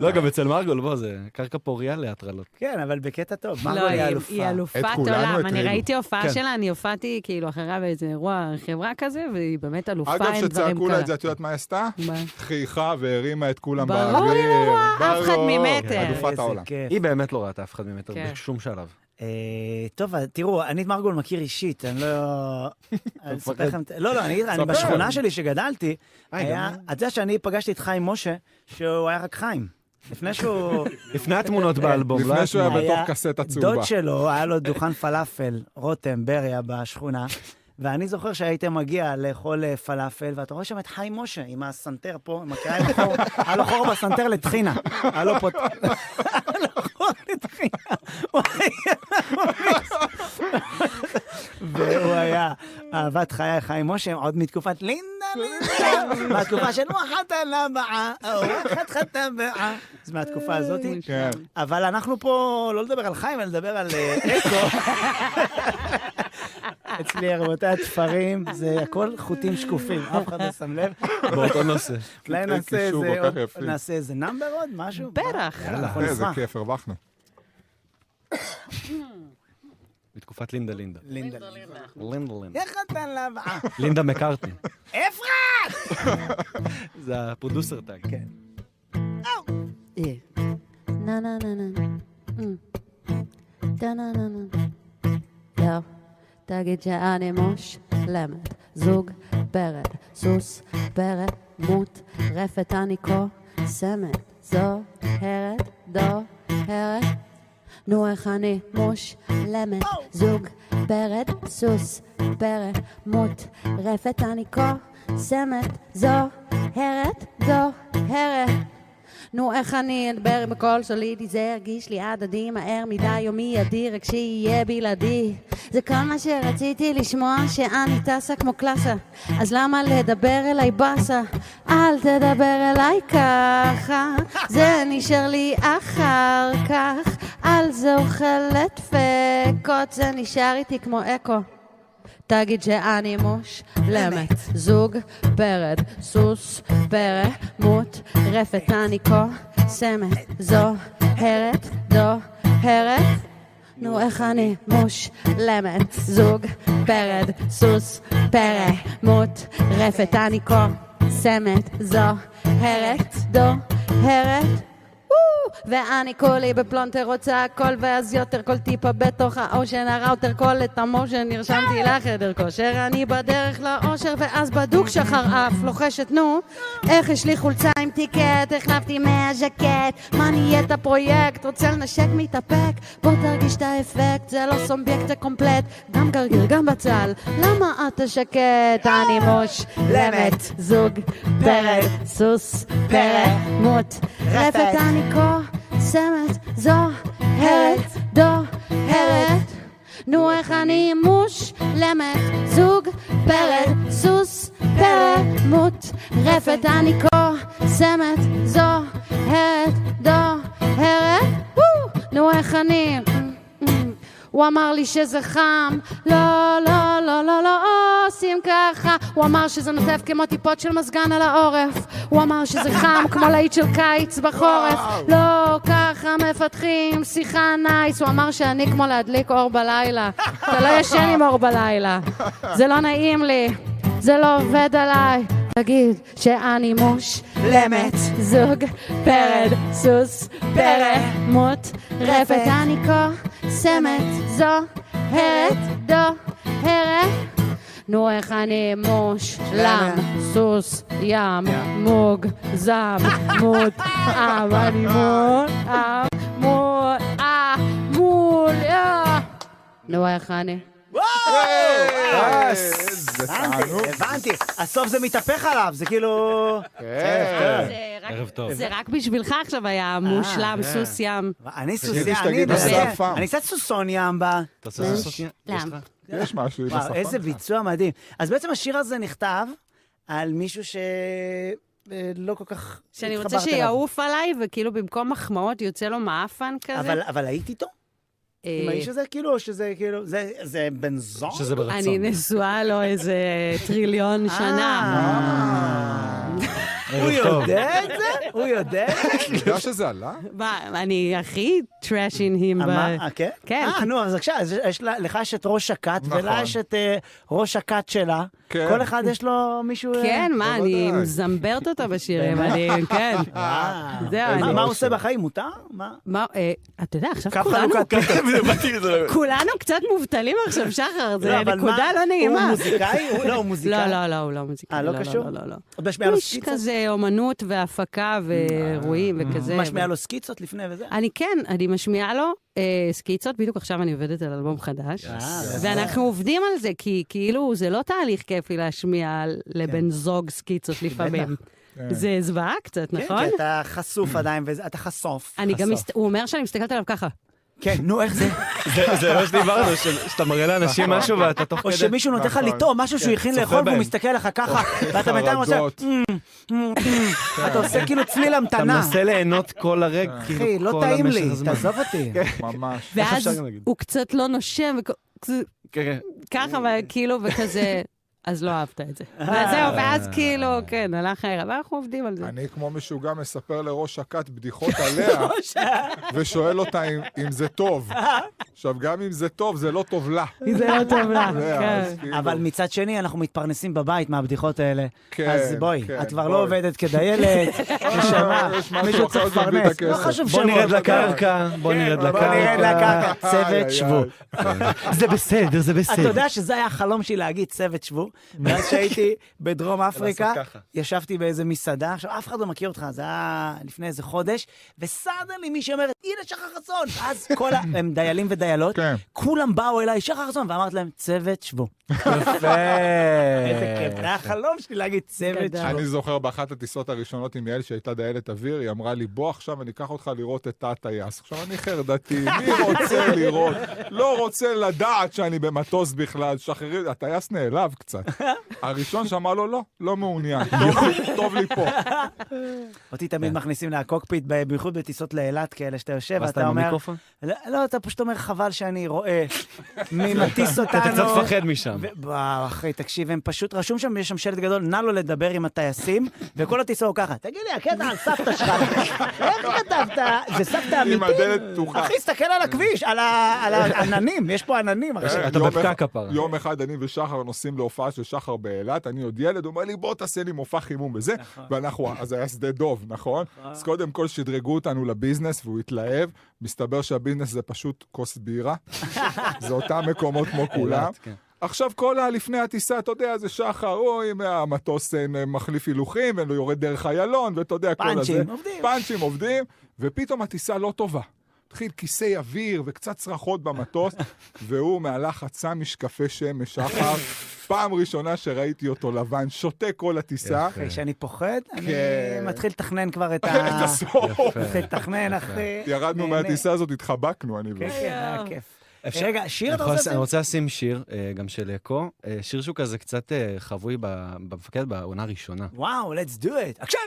Speaker 3: לא, גם אצל מרגול, בוא, זה קרקע פוריה להטרלות.
Speaker 1: כן, אבל בקטע טוב,
Speaker 8: לא,
Speaker 1: מרגול היא
Speaker 8: היא-
Speaker 1: אלופה.
Speaker 8: היא אלופת
Speaker 2: את כולנו
Speaker 8: עולם. אני
Speaker 2: הטרילו.
Speaker 8: ראיתי
Speaker 3: כן.
Speaker 8: הופעה שלה, אני הופעתי כאילו אחריה באיזה אירוע חברה כזה, והיא באמת אלופה עם
Speaker 2: אגב,
Speaker 8: דברים כאלה.
Speaker 2: שצעקו לה את זה, את יודעת מה היא עשתה?
Speaker 8: מה?
Speaker 2: חייכה והרימה את כולם
Speaker 8: ברור לי
Speaker 2: באוויר.
Speaker 8: נורא, אף אחד
Speaker 2: ברור. כן,
Speaker 8: ממטר.
Speaker 2: אלופת
Speaker 1: איזה
Speaker 2: העולם.
Speaker 1: כיף.
Speaker 3: היא באמת לא ראתה אף אחד ממטר
Speaker 8: כן.
Speaker 3: בשום שלב.
Speaker 1: אה, טוב, אז תראו, אני את מרגול מכיר אישית, אני לא...
Speaker 2: [laughs]
Speaker 1: אני אספר לכם... לא, לא, אני אגיד, אני
Speaker 2: ספר.
Speaker 1: בשכונה שלי שגדלתי,
Speaker 3: אה, היא
Speaker 1: היה...
Speaker 3: גם-
Speaker 1: אתה יודע שאני פגשתי את חיים משה, שהוא היה רק חיים. לפני שהוא...
Speaker 3: לפני
Speaker 2: [laughs]
Speaker 3: התמונות באלבום, לא
Speaker 2: לפני שהוא היה
Speaker 3: התמונות.
Speaker 2: בתוך קסטה צהובה.
Speaker 1: דוד שלו, היה לו דוכן פלאפל, רותם, בריה, בשכונה, ואני זוכר שהיית מגיע לאכול אה, פלאפל, ואתה רואה שם את חיים משה עם הסנטר פה, עם הקריים החור, [laughs] היה לו חור בסנטר לטחינה. היה לו פה... היה לו חור לטחינה. הוא היה- והוא היה אהבת חיי חיים משה, עוד מתקופת לינדה
Speaker 2: [laughs]
Speaker 1: לינדה, מהתקופה של וואחת לבעה, וואחת חטבעה. זה מהתקופה
Speaker 8: אה,
Speaker 1: הזאת.
Speaker 2: כן.
Speaker 1: אבל אנחנו פה לא לדבר על חיים, אלא לדבר על אה, אקו. [laughs] אצלי, רבותיי, התפרים, זה הכל חוטים שקופים, אף אחד לא שם
Speaker 2: [laughs]
Speaker 1: לב.
Speaker 3: באותו נושא.
Speaker 1: אולי
Speaker 2: קטעי
Speaker 1: נעשה
Speaker 2: קישור
Speaker 1: איזה
Speaker 2: כל
Speaker 1: עוד-
Speaker 2: כך יפים.
Speaker 1: נעשה איזה נאמבר עוד, משהו?
Speaker 8: בטח.
Speaker 1: יאללה, אנחנו
Speaker 2: איזה
Speaker 1: נשמח.
Speaker 2: כיף, הרווחנו.
Speaker 3: בתקופת לינדה לינדה.
Speaker 1: לינדה.
Speaker 3: לינדה לינדה.
Speaker 1: איך אתה לבעה?
Speaker 3: [laughs] לינדה מקארטני.
Speaker 1: אפרת!
Speaker 3: [laughs] זה הפרודוסר טאג.
Speaker 1: כן.
Speaker 8: אה.
Speaker 9: Na na na na. Mm. Da na na na. Yo, תגיד שאני מושלמת, זוג ברד, סוס ברד, מוטרפת, אני קוסמת, זוהרת, דוהרת. נו איך אני מושלמת, זוג ברד, סוס ברד, מוטרפת, אני קוסמת, זוהרת, דוהרת. נו, איך אני אדבר בקול סולידי, זה ירגיש לי הדדי, מהר מדי, יומי אדיר, רק שיהיה בלעדי. זה כל מה שרציתי לשמוע, שאני טסה כמו קלאסה, אז למה לדבר אליי באסה? אל תדבר אליי ככה, זה נשאר לי אחר כך, על זה אוכל דפקות, זה נשאר איתי כמו אקו. תגיד שאני מושלמת. זוג, פרד, סוס, פרא, מוטרפת, אני קוסמת, זוהרת, דוהרת. נו, איך אני מושלמת. זוג, פרד, סוס, פרא, מוטרפת, אני קוסמת, זוהרת, דוהרת. ואני כולי בפלונטר רוצה הכל ואז יותר כל טיפה בתוך האושן הראוטר כל את המושן נרשמתי לחדר כושר אני בדרך לאושר ואז בדוק שחרעף לוחשת נו איך יש לי חולצה עם טיקט החלפתי מהז'קט מה נהיית פרויקט רוצה לנשק מתאפק בוא תרגיש את האפקט זה לא סומבייקט זה קומפלט גם גרגיר גם בצל למה אתה שקט אני מושלמת זוג פרד סוס פרא מוט רפת אני קוסמת זו הרת דוהרת נו איך אני מושלמת זוג פרד סוס פרא מוט רפת אני קוסמת זו הרת דוהרת וואו, נו איך אני הוא אמר לי שזה חם, לא, לא, לא, לא, לא עושים ככה. הוא אמר שזה נוטף כמו טיפות של מזגן על העורף. הוא אמר שזה חם כמו להיט של קיץ בחורף. לא, ככה מפתחים שיחה נייס. הוא אמר שאני כמו להדליק אור בלילה. אתה לא ישן עם אור בלילה. זה לא נעים לי, זה לא עובד עליי. תגיד שאני מושלמת, זוג פרד, סוס פרד, מוטרפת, אני קוסמת, זו הרת, דו הרת. נו איך אני מושלם, סוס ים, מוגזם,
Speaker 2: [laughs]
Speaker 9: מותאם, אני מותאם, מותאם, אה, מול, אה. נו איך אני?
Speaker 2: אה,
Speaker 1: הבנתי, הבנתי. הסוף זה מתהפך עליו, זה כאילו...
Speaker 8: זה רק- זה רק בשבילך עכשיו
Speaker 9: אה,
Speaker 8: היה מושלם,
Speaker 1: כן.
Speaker 8: סוס ים.
Speaker 1: אני סוס
Speaker 2: חשבתי
Speaker 1: ים, אני
Speaker 2: שתגיד
Speaker 1: בזה-
Speaker 2: אסף פעם.
Speaker 1: אני קצת סוסון ים ב...
Speaker 3: אתה עושה סוס ים? יש לך?
Speaker 2: יש משהו עם
Speaker 1: וואו,
Speaker 2: השפם
Speaker 1: איזה
Speaker 2: שלך.
Speaker 1: ביצוע מדהים. אז בעצם השיר הזה נכתב על מישהו ש... אה, לא כל כך...
Speaker 8: שאני רוצה
Speaker 1: התחברת אליו.
Speaker 8: שיעוף עליי, וכאילו במקום מחמאות יוצא לו מעפן כזה.
Speaker 1: אבל- אבל היית איתו?
Speaker 8: אה,
Speaker 1: עם האיש הזה, כאילו, או שזה כאילו... זה- זה בן זון?
Speaker 3: שזה
Speaker 8: אני נשואה לו איזה טריליון שנה.
Speaker 1: אה. הוא יודע את זה? הוא
Speaker 8: [laughs]
Speaker 1: יודע? אה,
Speaker 2: אתה יודע שזה עלה?
Speaker 8: מה, אני הכי trash in him. ב-
Speaker 1: אמר- כן?
Speaker 8: כן.
Speaker 1: אה, נו, אז עכשיו, אז יש לה- לך יש את ראש הכת,
Speaker 8: נכון.
Speaker 1: ולה יש את אה, ראש הכת שלה.
Speaker 8: כן.
Speaker 1: כל אחד יש לו מישהו... אה,
Speaker 8: כן, מה, אני
Speaker 1: בוודאי.
Speaker 8: מזמברת אותו בשירים,
Speaker 1: באמת?
Speaker 8: אני,
Speaker 1: [laughs]
Speaker 8: כן.
Speaker 1: וואו.
Speaker 8: זהו,
Speaker 1: אה, מה-
Speaker 8: אני-
Speaker 1: מה הוא עושה בחיים? מותר? מה?
Speaker 8: מה, אה, אתה יודע, עכשיו
Speaker 1: קו
Speaker 8: כולנו...
Speaker 1: חלוקת קטע.
Speaker 8: כולנו קצת מובטלים עכשיו, שחר,
Speaker 1: לא,
Speaker 8: זה
Speaker 1: אבל
Speaker 8: נקודה
Speaker 1: מה,
Speaker 8: לא נעימה.
Speaker 1: הוא מוזיקאי? הוא- לא, הוא מוזיקאי?
Speaker 8: לא, לא, לא, הוא לא מוזיקאי.
Speaker 1: אה, לא קשור?
Speaker 8: לא, לא,
Speaker 1: עוד
Speaker 8: לא.
Speaker 1: משמיע לו
Speaker 8: איש
Speaker 1: סקיצות?
Speaker 8: כזה אומנות והפקה
Speaker 1: אה.
Speaker 8: ואירועים וכזה.
Speaker 1: הוא משמיע לו סקיצות לפני וזה?
Speaker 8: אני כן, אני משמיעה לו אה, סקיצות, בדיוק עכשיו אני עובדת על אלבום חדש. ואנחנו עובדים על זה, כי כאילו זה לא תהליך כיפי להשמיע לבן זוג סקיצות לפעמים.
Speaker 1: כן.
Speaker 8: זה זוועה קצת, נכון?
Speaker 1: כן, כי אתה חשוף עדיין, ואתה חשוף.
Speaker 8: אני גם,
Speaker 1: חשוף.
Speaker 8: מסת- הוא אומר שאני מסתכלת עליו ככה.
Speaker 1: כן, נו, איך זה?
Speaker 12: זה- זה מה שדיברנו, ש- שאתה מראה לאנשים
Speaker 2: נכון.
Speaker 12: משהו ואתה תוך כדי...
Speaker 1: או שמישהו נותן לך
Speaker 12: נכון.
Speaker 1: לטעום משהו שהוא
Speaker 12: כן,
Speaker 1: הכין
Speaker 12: צופה
Speaker 1: לאכול והוא
Speaker 12: בהם.
Speaker 1: מסתכל עליך
Speaker 12: [laughs]
Speaker 1: ככה, ואתה בינתיים עושה...
Speaker 12: חרדות.
Speaker 1: "Mm, mm, mm." אתה עושה כאילו צליל המתנה.
Speaker 12: אתה מנסה ליהנות כל הרגע, כאילו
Speaker 1: אחי, לא
Speaker 12: כל
Speaker 1: טעים
Speaker 12: המשך
Speaker 1: לי,
Speaker 12: הזמן. כן.
Speaker 1: תעזוב
Speaker 12: [laughs]
Speaker 1: אותי.
Speaker 2: ממש.
Speaker 8: ואז הוא קצת לא נושם, וכ-
Speaker 12: כן, כן.
Speaker 8: ככה,
Speaker 1: אה.
Speaker 8: וכאילו,
Speaker 1: [laughs]
Speaker 8: וכזה, אז לא אהבת את זה. וזהו, ואז כאילו, כן, הלך הערב, אבל אנחנו עובדים על זה.
Speaker 2: אני כמו משוגע מספר לראש הכת בדיחות עליה, ושואל אותה אם- אם זה טוב. עכשיו, גם אם זה טוב, זה לא טוב לה.
Speaker 8: זה לא
Speaker 12: [laughs]
Speaker 8: טוב לה,
Speaker 2: אז
Speaker 8: כן.
Speaker 2: כאילו-
Speaker 1: אבל מצד שני, אנחנו מתפרנסים בבית מהבדיחות האלה.
Speaker 2: כן,
Speaker 1: אז בואי,
Speaker 2: כן,
Speaker 1: את כבר
Speaker 2: בואי.
Speaker 1: לא עובדת
Speaker 12: [laughs]
Speaker 1: כדיילת,
Speaker 12: אה,
Speaker 1: נשמה,
Speaker 2: יש משהו
Speaker 1: מישהו
Speaker 2: אחר
Speaker 1: צריך
Speaker 2: זה בלי
Speaker 1: לפרנס.
Speaker 2: הכסף.
Speaker 1: לא חשוב
Speaker 12: בוא
Speaker 1: שמות.
Speaker 12: נרד לקרקע, בוא נרד
Speaker 1: כן, בוא
Speaker 2: כאילו-
Speaker 1: נרד
Speaker 12: לקרקע,
Speaker 1: לקרקע. איי,
Speaker 12: צוות
Speaker 1: איי,
Speaker 12: שבו. זה בסדר, זה
Speaker 1: אתה
Speaker 12: בסדר.
Speaker 3: כן.
Speaker 1: יודע שזה היה החלום שלי להגיד, צוות שבו, ואז כשהייתי בדרום אפריקה,
Speaker 16: לעשות ככה.
Speaker 1: ישבתי באיזה מסעדה, עכשיו אף אחד לא מכיר אותך, זה היה לפני איזה חודש, וסדרלי מישהי אומרת, הנה שחר חסון! ואז כל ה... הם דיילים ודיילות, כולם באו אליי, שחר חסון, ואמרתי להם, צוות, שבו.
Speaker 2: יפה.
Speaker 3: אה,
Speaker 1: איזה כיף, זה החלום שלי להגיד צוות, שבו.
Speaker 2: [laughs] אני זוכר באחת הטיסות הראשונות עם יעל שהייתה דיילת אוויר, היא אמרה לי, בוא עכשיו אני אקח אותך לראות את תא הטייס. עכשיו אני חרדתי, מי רוצה לראות? לא רוצה לדעת שאני במטוס בכלל, שחררי, הטייס נעלב קצת. הראשון שאמר לו, לא, לא מעוניין, טוב לי- טוב לי פה.
Speaker 1: אותי תמיד מכניסים לקוקפיט, ב- בייחוד בטיסות לאילת כאלה, שאתה יושב,
Speaker 3: אה. ואז אתה
Speaker 1: ואתה
Speaker 3: עם
Speaker 1: אומר...
Speaker 3: המיקרופון?
Speaker 1: לא, לא, אתה פשוט אומר, חבל שאני רואה מי מטיס
Speaker 3: [laughs] אתה
Speaker 1: אותנו.
Speaker 3: קצת מפחד משם.
Speaker 1: ו- וואו, אחי, תקשיב, הם פשוט, רשום שם, יש שם שלט גדול, נא לא לדבר עם הטייסים, [laughs] וכל הטיסה הוא ככה, תגיד לי, הקטע על סבתא שלך, [laughs] איך כתבת? זה סבתא
Speaker 2: עם
Speaker 1: אמיתית?
Speaker 2: הדלת פתוחה.
Speaker 1: אחי, תסתכל על הכביש, על ה- על העננים, יש פה עננים, [laughs] אחי.
Speaker 2: אה, יום אחד- יום אחד אני ושחר נוסעים להופעה של שחר באילת, אני עוד ילד, הוא אומר לי, בוא תעשה לי מופע חימום וזה, ואנחנו, אז היה שדה דוב, נכון? אז קודם כל שדרגו אותנו לביזנס והוא התלהב, מסתבר שהביזנס זה פשוט כוס בירה, זה אותם מקומות כמו כולם.
Speaker 3: אילת, כן.
Speaker 2: עכשיו כל ה... לפני הטיסה, אתה יודע, זה שחר, אוי, המטוס אה, מחליף הילוכים, והוא יורד דרך איילון, ואתה יודע, כל הזה.
Speaker 1: פאנצ'ים, עובדים.
Speaker 2: פאנצ'ים עובדים, ופתאום הטיסה לא טובה. התחיל כיסי אוויר וקצת צרחות במטוס, והוא מהלחץ שם משקפי שמש שחר. פעם ראשונה שראיתי אותו לבן, שותה כל הטיסה. [laughs]
Speaker 1: אחי, שאני פוחד, אני
Speaker 2: כן.
Speaker 1: מתחיל לתכנן כבר
Speaker 2: [laughs]
Speaker 1: את
Speaker 2: את
Speaker 1: ה...
Speaker 2: הסוף.
Speaker 1: [laughs] מתחיל לתכנן, אחי.
Speaker 2: ירדנו
Speaker 1: נהנה.
Speaker 2: מהטיסה הזאת, התחבקנו, אני
Speaker 1: כן,
Speaker 2: ואתה.
Speaker 1: כן, היה כיף. רגע, שיר אתה
Speaker 3: אני
Speaker 1: רוצה
Speaker 3: יכול לשים- אני
Speaker 1: לשים?
Speaker 3: רוצה לשים שיר, אה, גם של אקו, אה, שיר שהוא כזה קצת אה, חבוי ב- במפקד בעונה הראשונה.
Speaker 1: וואו, let's do it. עכשיו!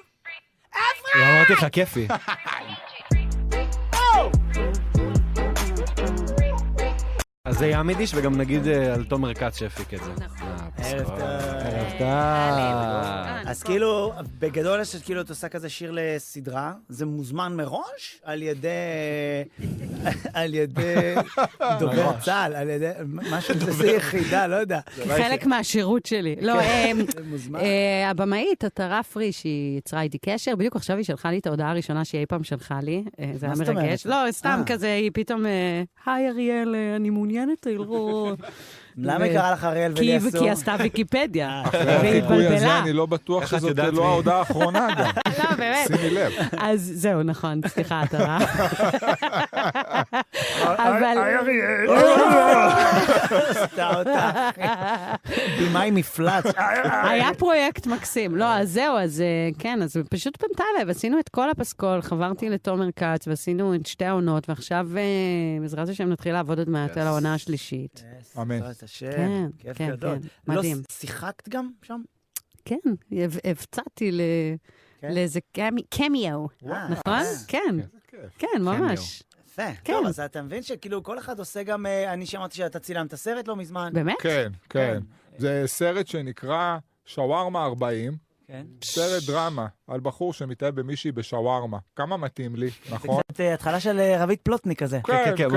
Speaker 3: לא, אמרתי לך, כיפי. אז זה יעמיד איש, וגם נגיד אה, על תומר כץ שהפיק את זה. אה,
Speaker 1: ערב טוב.
Speaker 3: ערב
Speaker 1: נכון. אה,
Speaker 3: טוב.
Speaker 1: אז כאילו, בגדול יש כאילו, את עושה כזה שיר לסדרה, זה מוזמן מראש על ידי...
Speaker 8: [laughs]
Speaker 1: על ידי דובר
Speaker 8: מראש.
Speaker 1: צה"ל, על ידי... משהו כזה יחידה, לא יודע.
Speaker 8: כחלק מהשירות שלי. לא,
Speaker 1: כן.
Speaker 8: אמ,
Speaker 1: זה מוזמן.
Speaker 8: אה, הבמאית, עטרה פרי, שהיא יצרה איתי קשר, בדיוק עכשיו היא שלחה לי את ההודעה הראשונה שהיא אי פעם שלחה לי. אה, זה
Speaker 1: מה
Speaker 8: היה
Speaker 1: זאת אומרת?
Speaker 8: מרגש. לא, סתם
Speaker 1: אה.
Speaker 8: כזה, היא פתאום, אה, היי אריאל, אה, אני מעוניינת
Speaker 1: [laughs]
Speaker 8: לראות.
Speaker 1: למה היא
Speaker 8: ו-
Speaker 1: קראה לך אריאל
Speaker 8: כי-
Speaker 1: ולי אסור?
Speaker 8: כי היא עשתה ויקיפדיה,
Speaker 1: אה,
Speaker 8: והיא
Speaker 2: החיקוי הזה,
Speaker 8: התבלבלה.
Speaker 2: אני לא בטוח
Speaker 3: איך את
Speaker 2: שזאת
Speaker 3: יודעת
Speaker 2: לא
Speaker 3: מי?
Speaker 2: ההודעה האחרונה גם.
Speaker 8: לא, באמת.
Speaker 2: שימי לב.
Speaker 8: אז זהו, נכון,
Speaker 1: [laughs]
Speaker 8: סליחה, עטרה. אבל...
Speaker 1: היי, אה, אריאל. [laughs] עשתה אותה. בימאי
Speaker 8: [laughs]
Speaker 1: מפלץ.
Speaker 8: היה פרויקט מקסים. לא, אז זהו, אז אה, כן, אז פשוט פנתה אליי, ועשינו את כל הפסקול, חברתי לתומר כץ, ועשינו את שתי העונות, ועכשיו, אה, בעזרת השם, נתחיל לעבוד עוד מעט על העונה השלישית.
Speaker 2: אמן.
Speaker 1: בעזרת לא, השם,
Speaker 8: כן,
Speaker 1: כיף
Speaker 8: כן,
Speaker 1: גדול.
Speaker 8: כן,
Speaker 1: לא,
Speaker 8: מדהים.
Speaker 1: שיחקת גם שם?
Speaker 8: כן, הב- הפצעתי ל- לאיזה קמי- קמיו,
Speaker 1: כן? וואו. אה.
Speaker 8: נכון? כן, כן, ממש.
Speaker 1: יפה.
Speaker 8: כן.
Speaker 1: טוב, אז אתה מבין שכאילו כל אחד עושה גם... אה, אני שמעתי שאתה צילמת סרט לא מזמן.
Speaker 2: כן, כן. זה סרט שנקרא שווארמה 40.
Speaker 1: כן.
Speaker 2: סרט דרמה על בחור שמתאהב במישהי בשווארמה. כמה מתאים לי, נכון?
Speaker 1: קצת אה, התחלה של אה, רביד פלוטניק כזה.
Speaker 2: כן,
Speaker 1: כן,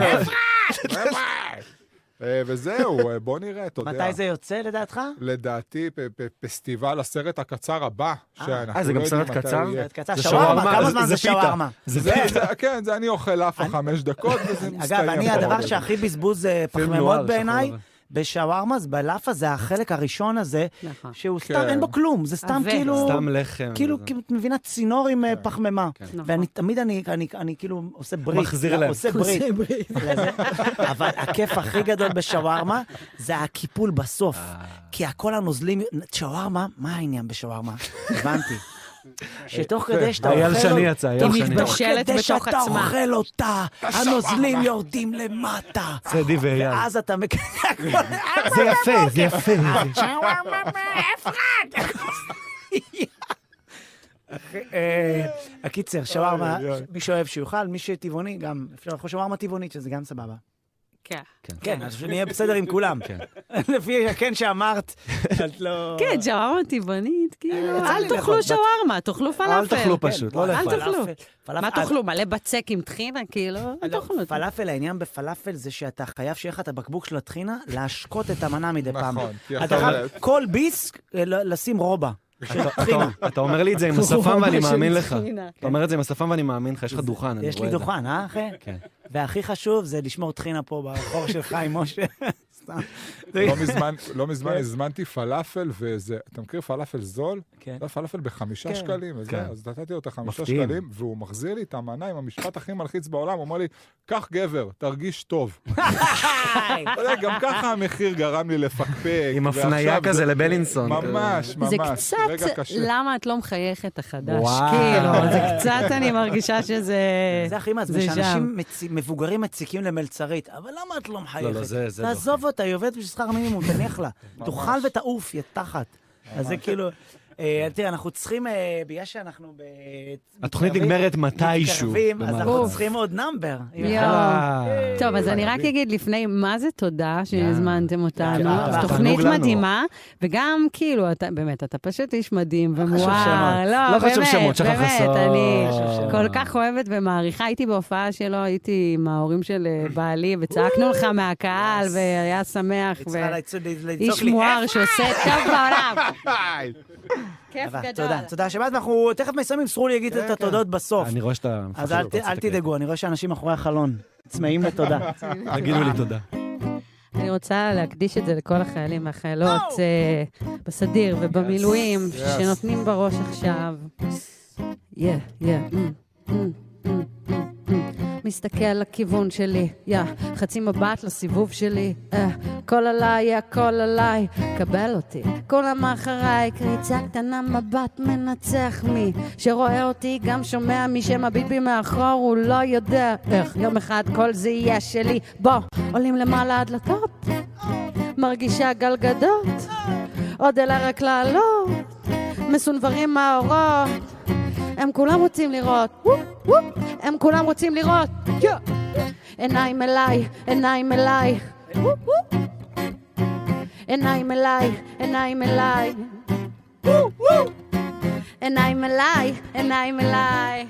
Speaker 2: [laughs] אה, וזהו, אה, בוא נראה, אתה יודע.
Speaker 1: מתי זה יוצא לדעתך?
Speaker 2: לדעתי, פ- פ- פסטיבל הסרט הקצר הבא, שאנחנו
Speaker 3: אה, זה
Speaker 2: לא
Speaker 3: גם
Speaker 2: יודעים
Speaker 3: סרט
Speaker 2: מתי
Speaker 3: קצר?
Speaker 2: הוא יהיה.
Speaker 1: סרט קצר, זה שווארמה, שווארמה, כמה זה- זמן זה זה פיתה. שווארמה?
Speaker 2: זה
Speaker 1: זה-
Speaker 2: פיתה, כן, זה אני אוכל אף חמש דקות, וזה מסתיים.
Speaker 1: אגב, אני,
Speaker 2: פה.
Speaker 1: הדבר שהכי בזבוז אה,
Speaker 2: נוער,
Speaker 1: פחמימות
Speaker 2: שחור
Speaker 1: בעיניי,
Speaker 2: לבן.
Speaker 1: בשווארמה, זה בלאפה זה החלק הראשון הזה, שהוא סתם,
Speaker 3: כן.
Speaker 1: אין בו כלום, זה סתם
Speaker 8: עבה.
Speaker 1: כאילו...
Speaker 3: סתם לחם
Speaker 1: כאילו,
Speaker 3: וזה.
Speaker 1: כאילו, את מבינה, צינור עם
Speaker 3: כן,
Speaker 1: אה, פחמימה.
Speaker 8: נכון.
Speaker 1: ואני תמיד, אני- אני אני כאילו עושה ברית.
Speaker 3: מחזיר להם.
Speaker 1: עושה
Speaker 3: עושה
Speaker 1: ברית. [laughs] לזה. אבל הכיף הכי גדול בשווארמה, זה הקיפול בסוף.
Speaker 3: אה.
Speaker 1: כי הכל הנוזלים... שווארמה, מה העניין בשווארמה?
Speaker 3: [laughs]
Speaker 1: הבנתי. שתוך
Speaker 3: יפה.
Speaker 1: כדי שאתה אוכל...
Speaker 3: אייל שני
Speaker 1: אותה-
Speaker 3: יצא, אייל
Speaker 1: תוך
Speaker 3: שני.
Speaker 8: מתבשלת
Speaker 1: כדי
Speaker 8: בתוך
Speaker 1: שאתה
Speaker 8: עצמה.
Speaker 1: אוכל אותה,
Speaker 8: השווארמה.
Speaker 1: הנוזלים יורדים למטה.
Speaker 3: צדי ואייל.
Speaker 1: ואז אתה מקבל...
Speaker 3: זה יפה, זה יפה.
Speaker 1: אה, הקיצר, שווארמה,
Speaker 2: אוי, אוי.
Speaker 1: מי שאוהב שיאכל, מי שטבעוני גם, אפשר לאכול שווארמה טבעונית, שזה גם סבבה.
Speaker 8: כן.
Speaker 1: כן, אז שנהיה בסדר עם כולם.
Speaker 2: כן.
Speaker 1: [laughs] לפי הכן שאמרת, את לא...
Speaker 8: כן, שווארמה טבעונית, כאילו,
Speaker 1: אה, יצא
Speaker 8: אל
Speaker 1: לי לאכול
Speaker 8: תאכלו
Speaker 1: בת-
Speaker 8: שווארמה, תאכלו פלאפל.
Speaker 1: תאכלו פשוט, לא
Speaker 8: אל
Speaker 1: לאכול.
Speaker 8: תאכלו.
Speaker 1: פלאפל, פלאפל- אה, לא,
Speaker 8: מה תאכלו, מלא בצק עם טחינה, כאילו? אל תאכלו. את זה.
Speaker 1: פלאפל, העניין בפלאפל זה שאתה חייב שיהיה לך את הבקבוק של הטחינה, להשקות את המנה מדי פעם.
Speaker 3: נכון, כי
Speaker 1: אתה
Speaker 3: אתה
Speaker 1: חייב
Speaker 3: אומר-
Speaker 1: כל ביס אה, ל- לשים רובע של טחינה.
Speaker 3: אתה- אתה אומר לי את זה עם
Speaker 1: הוא [laughs]
Speaker 3: השפם ואני
Speaker 1: ממש
Speaker 3: מאמין
Speaker 1: עם
Speaker 3: לך.
Speaker 1: סכינה.
Speaker 3: אתה אומר את זה עם השפם ואני מאמין לך, יש לך דוכן, אני
Speaker 1: יש
Speaker 3: רואה
Speaker 1: לי
Speaker 3: את זה.
Speaker 1: דוכן, אה, אחי?
Speaker 3: כן.
Speaker 1: והכי חשוב זה לשמור טחינה פה בחור של חיים משה. [laughs] סתם.
Speaker 2: לא מזמן- לא מזמן הזמנתי פלאפל, וזה, אתה מכיר פלאפל זול?
Speaker 1: כן.
Speaker 2: לא, פלאפל בחמישה
Speaker 1: כן.
Speaker 2: שקלים, וזה,
Speaker 1: כן.
Speaker 2: אז נתתי לו את החמישה
Speaker 1: מפתיעים.
Speaker 2: שקלים, והוא מחזיר לי את המנה עם המשפט הכי מלחיץ בעולם, הוא אומר לי, קח גבר, תרגיש טוב. אתה יודע, אה, גם ככה המחיר גרם לי לפקפק.
Speaker 3: עם הפניה
Speaker 2: ועכשיו
Speaker 3: כזה
Speaker 2: זה-
Speaker 3: לבלינסון. כאילו.
Speaker 2: ממש, ממש.
Speaker 8: זה קצת,
Speaker 2: רגע קשה.
Speaker 8: למה את לא מחייכת החדש?
Speaker 3: וואו.
Speaker 8: כאילו, זה קצת, אני מרגישה שזה...
Speaker 1: זה הכי מעצבן,
Speaker 8: זה שם.
Speaker 1: שאנשים מצי- מבוגרים מציקים למלצרית, אבל למה את לא מחייכת?
Speaker 3: לא, זה- זה
Speaker 1: תעזוב אותה, היא עובדת בשביל שכר
Speaker 3: [laughs]
Speaker 1: מינימום, תניח לה. תאכל ותעוף, יא תחת. אז זה כאילו... אה, תראה, אנחנו צריכים, אה, בגלל שאנחנו ב...
Speaker 3: התוכנית
Speaker 1: מתקרבים-
Speaker 3: נגמרת מתישהו,
Speaker 1: מתקרבים, אז
Speaker 3: במהלך
Speaker 1: אנחנו
Speaker 3: הזה.
Speaker 1: צריכים עוד נאמבר.
Speaker 8: יואו.
Speaker 3: אה,
Speaker 8: טוב, אז אני רק אגיד לפני, מה זה תודה שהזמנתם אותנו.
Speaker 1: יאללה, כן.
Speaker 8: זו
Speaker 1: תענוג
Speaker 8: תוכנית
Speaker 1: לנו.
Speaker 8: מדהימה, וגם כאילו, אתה- באמת, אתה פשוט איש מדהים,
Speaker 1: חשוב
Speaker 8: ומואר,
Speaker 1: שמות.
Speaker 8: לא,
Speaker 1: לא חשוב
Speaker 8: באמת,
Speaker 1: שמות, שחר
Speaker 8: באמת,
Speaker 1: חסון.
Speaker 8: אני
Speaker 1: לא חשוב שמות.
Speaker 8: כל כך אוהבת ומעריכה. הייתי בהופעה שלו, הייתי עם ההורים של אה, בעלי, וצעקנו לך מהקהל, והיה שמח.
Speaker 1: היא צריכה
Speaker 8: ו-
Speaker 1: לצ- לצעוק לי,
Speaker 8: איש מואר
Speaker 1: "איפה?"
Speaker 8: שעושה טוב בעולם.
Speaker 1: [laughs]
Speaker 8: כיף
Speaker 1: אבל
Speaker 8: גדול.
Speaker 1: תודה, תודה שבאת, ואנחנו תכף מסיימים, סרור לי יגיד את התודות בסוף.
Speaker 3: כן, אני רואה שאתה...
Speaker 1: אז אל ת- אל תדאגו, אני רואה שאנשים מאחורי החלון צמאים
Speaker 3: [laughs]
Speaker 1: לתודה.
Speaker 3: תגידו
Speaker 1: אה.
Speaker 3: לי תודה.
Speaker 8: אני רוצה להקדיש את זה לכל החיילים והחיילות אה, בסדיר ובמילואים,
Speaker 3: Yes.
Speaker 8: שנותנים בראש עכשיו. יא, יא. אמ, אמ, אמ, אמ, אמ. מסתכל לכיוון שלי, יא, חצי מבט לסיבוב שלי, אה, כל עליי, יא, כל עליי, קבל אותי. כולם אחריי, קריצה קטנה, מבט מנצח מי שרואה אותי, גם שומע מי שמביט בי מאחור, הוא לא יודע איך יום אחד כל זה יהיה שלי. בוא, עולים למעלה הדלתות, מרגישה גלגדות, עוד אלה רק לעלות, מסונברים מהאורות. הם כולם רוצים לראות, וופ, וופ, הם כולם רוצים לראות, יא. עיניים אליי, עיניים אליי, וופ, וופ. עיניים אליי, עיניים אליי, וופ, וופ. עיניים אליי, עיניים אליי.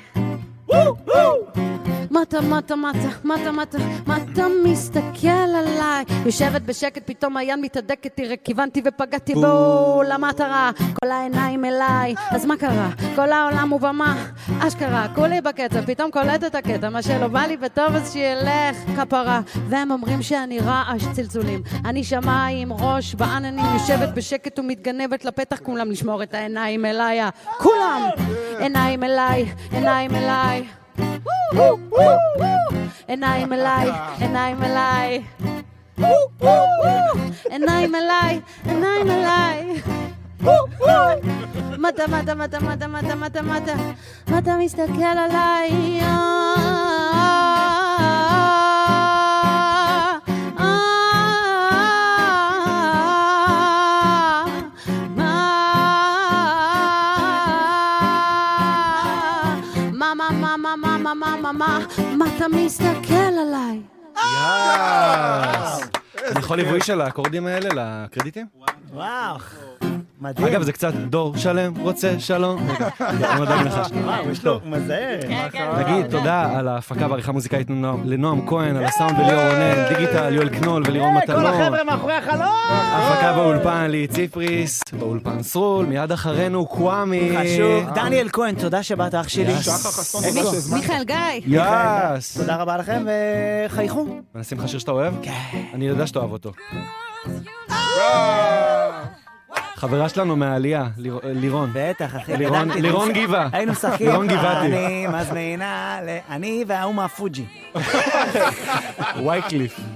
Speaker 8: מטה, מטה, מטה, מטה, מטה, מטה מסתכל עליי. יושבת בשקט, פתאום היד מתהדקת, תראה, כיוונתי ופגעתי בו למטרה. כל העיניים אליי, אז מה קרה? כל העולם הוא במה, אשכרה, כולי בקצב, פתאום קולט את הקטע, מה שלא בא לי בטוב אז שילך, כפרה. והם אומרים שאני רעש צלצולים. אני שמעה עם ראש בעננים, יושבת בשקט ומתגנבת לפתח, כולם לשמור את העיניים אליי, ה- כולם! עיניים אליי, עיניים אליי. עיניים אליי, עיניים אליי. עיניים אליי, עיניים אליי. מטה, מטה, מטה, מטה, מטה, מטה, מטה, מטה מסתכל עליי. Ah, ah. מה, מה, מה, מה, מה, מה, מה, מה, מה, מה אתה מסתכל עליי?
Speaker 3: יאס. אני יכול ליווי של האקורדים האלה לקרדיטים?
Speaker 1: וואו, מדהים.
Speaker 3: אגב, זה קצת דור שלם רוצה
Speaker 1: [laughs]
Speaker 3: שלום. רגע, אני לא דואג לך.
Speaker 1: וואו, יש לו, הוא מזהה.
Speaker 3: נגיד תודה על ההפקה והעריכה המוזיקאית לנועם- לנועם כהן, על הסאונד וליאור רונן, דיגיטל, יואל קנול ולירון
Speaker 1: כן. כל
Speaker 3: מטלון.
Speaker 1: החבר'ה מאחורי החלון!
Speaker 3: הפקה באולפן ליהי ציפריס, באולפן סרול, מיד אחרינו קוואמי.
Speaker 1: חשוב. אה, דניאל כהן, תודה שבאת, אח שלי.
Speaker 3: יאס. שחר חסון,
Speaker 1: איפה?
Speaker 3: תודה שהזמנת.
Speaker 8: מיכאל גיא.
Speaker 3: יאס.
Speaker 1: תודה רבה לכם, וחייכו.
Speaker 3: ונשים לך שיר שאתה אוהב? כן. אני יודע שאתה אוהב אותו.
Speaker 1: אה!
Speaker 3: חברה שלנו מהעלייה,
Speaker 1: [laughs]
Speaker 3: ליר- לירון.
Speaker 1: בטח, אחי.
Speaker 3: לירון,
Speaker 1: גדלתי,
Speaker 3: לירון
Speaker 1: היינו-
Speaker 3: גבעה.
Speaker 1: היינו משחקים.
Speaker 3: לירון גבעתי.
Speaker 1: אני מזמינה, ל- אני וההוא מהפוג'י.
Speaker 3: וייקליף.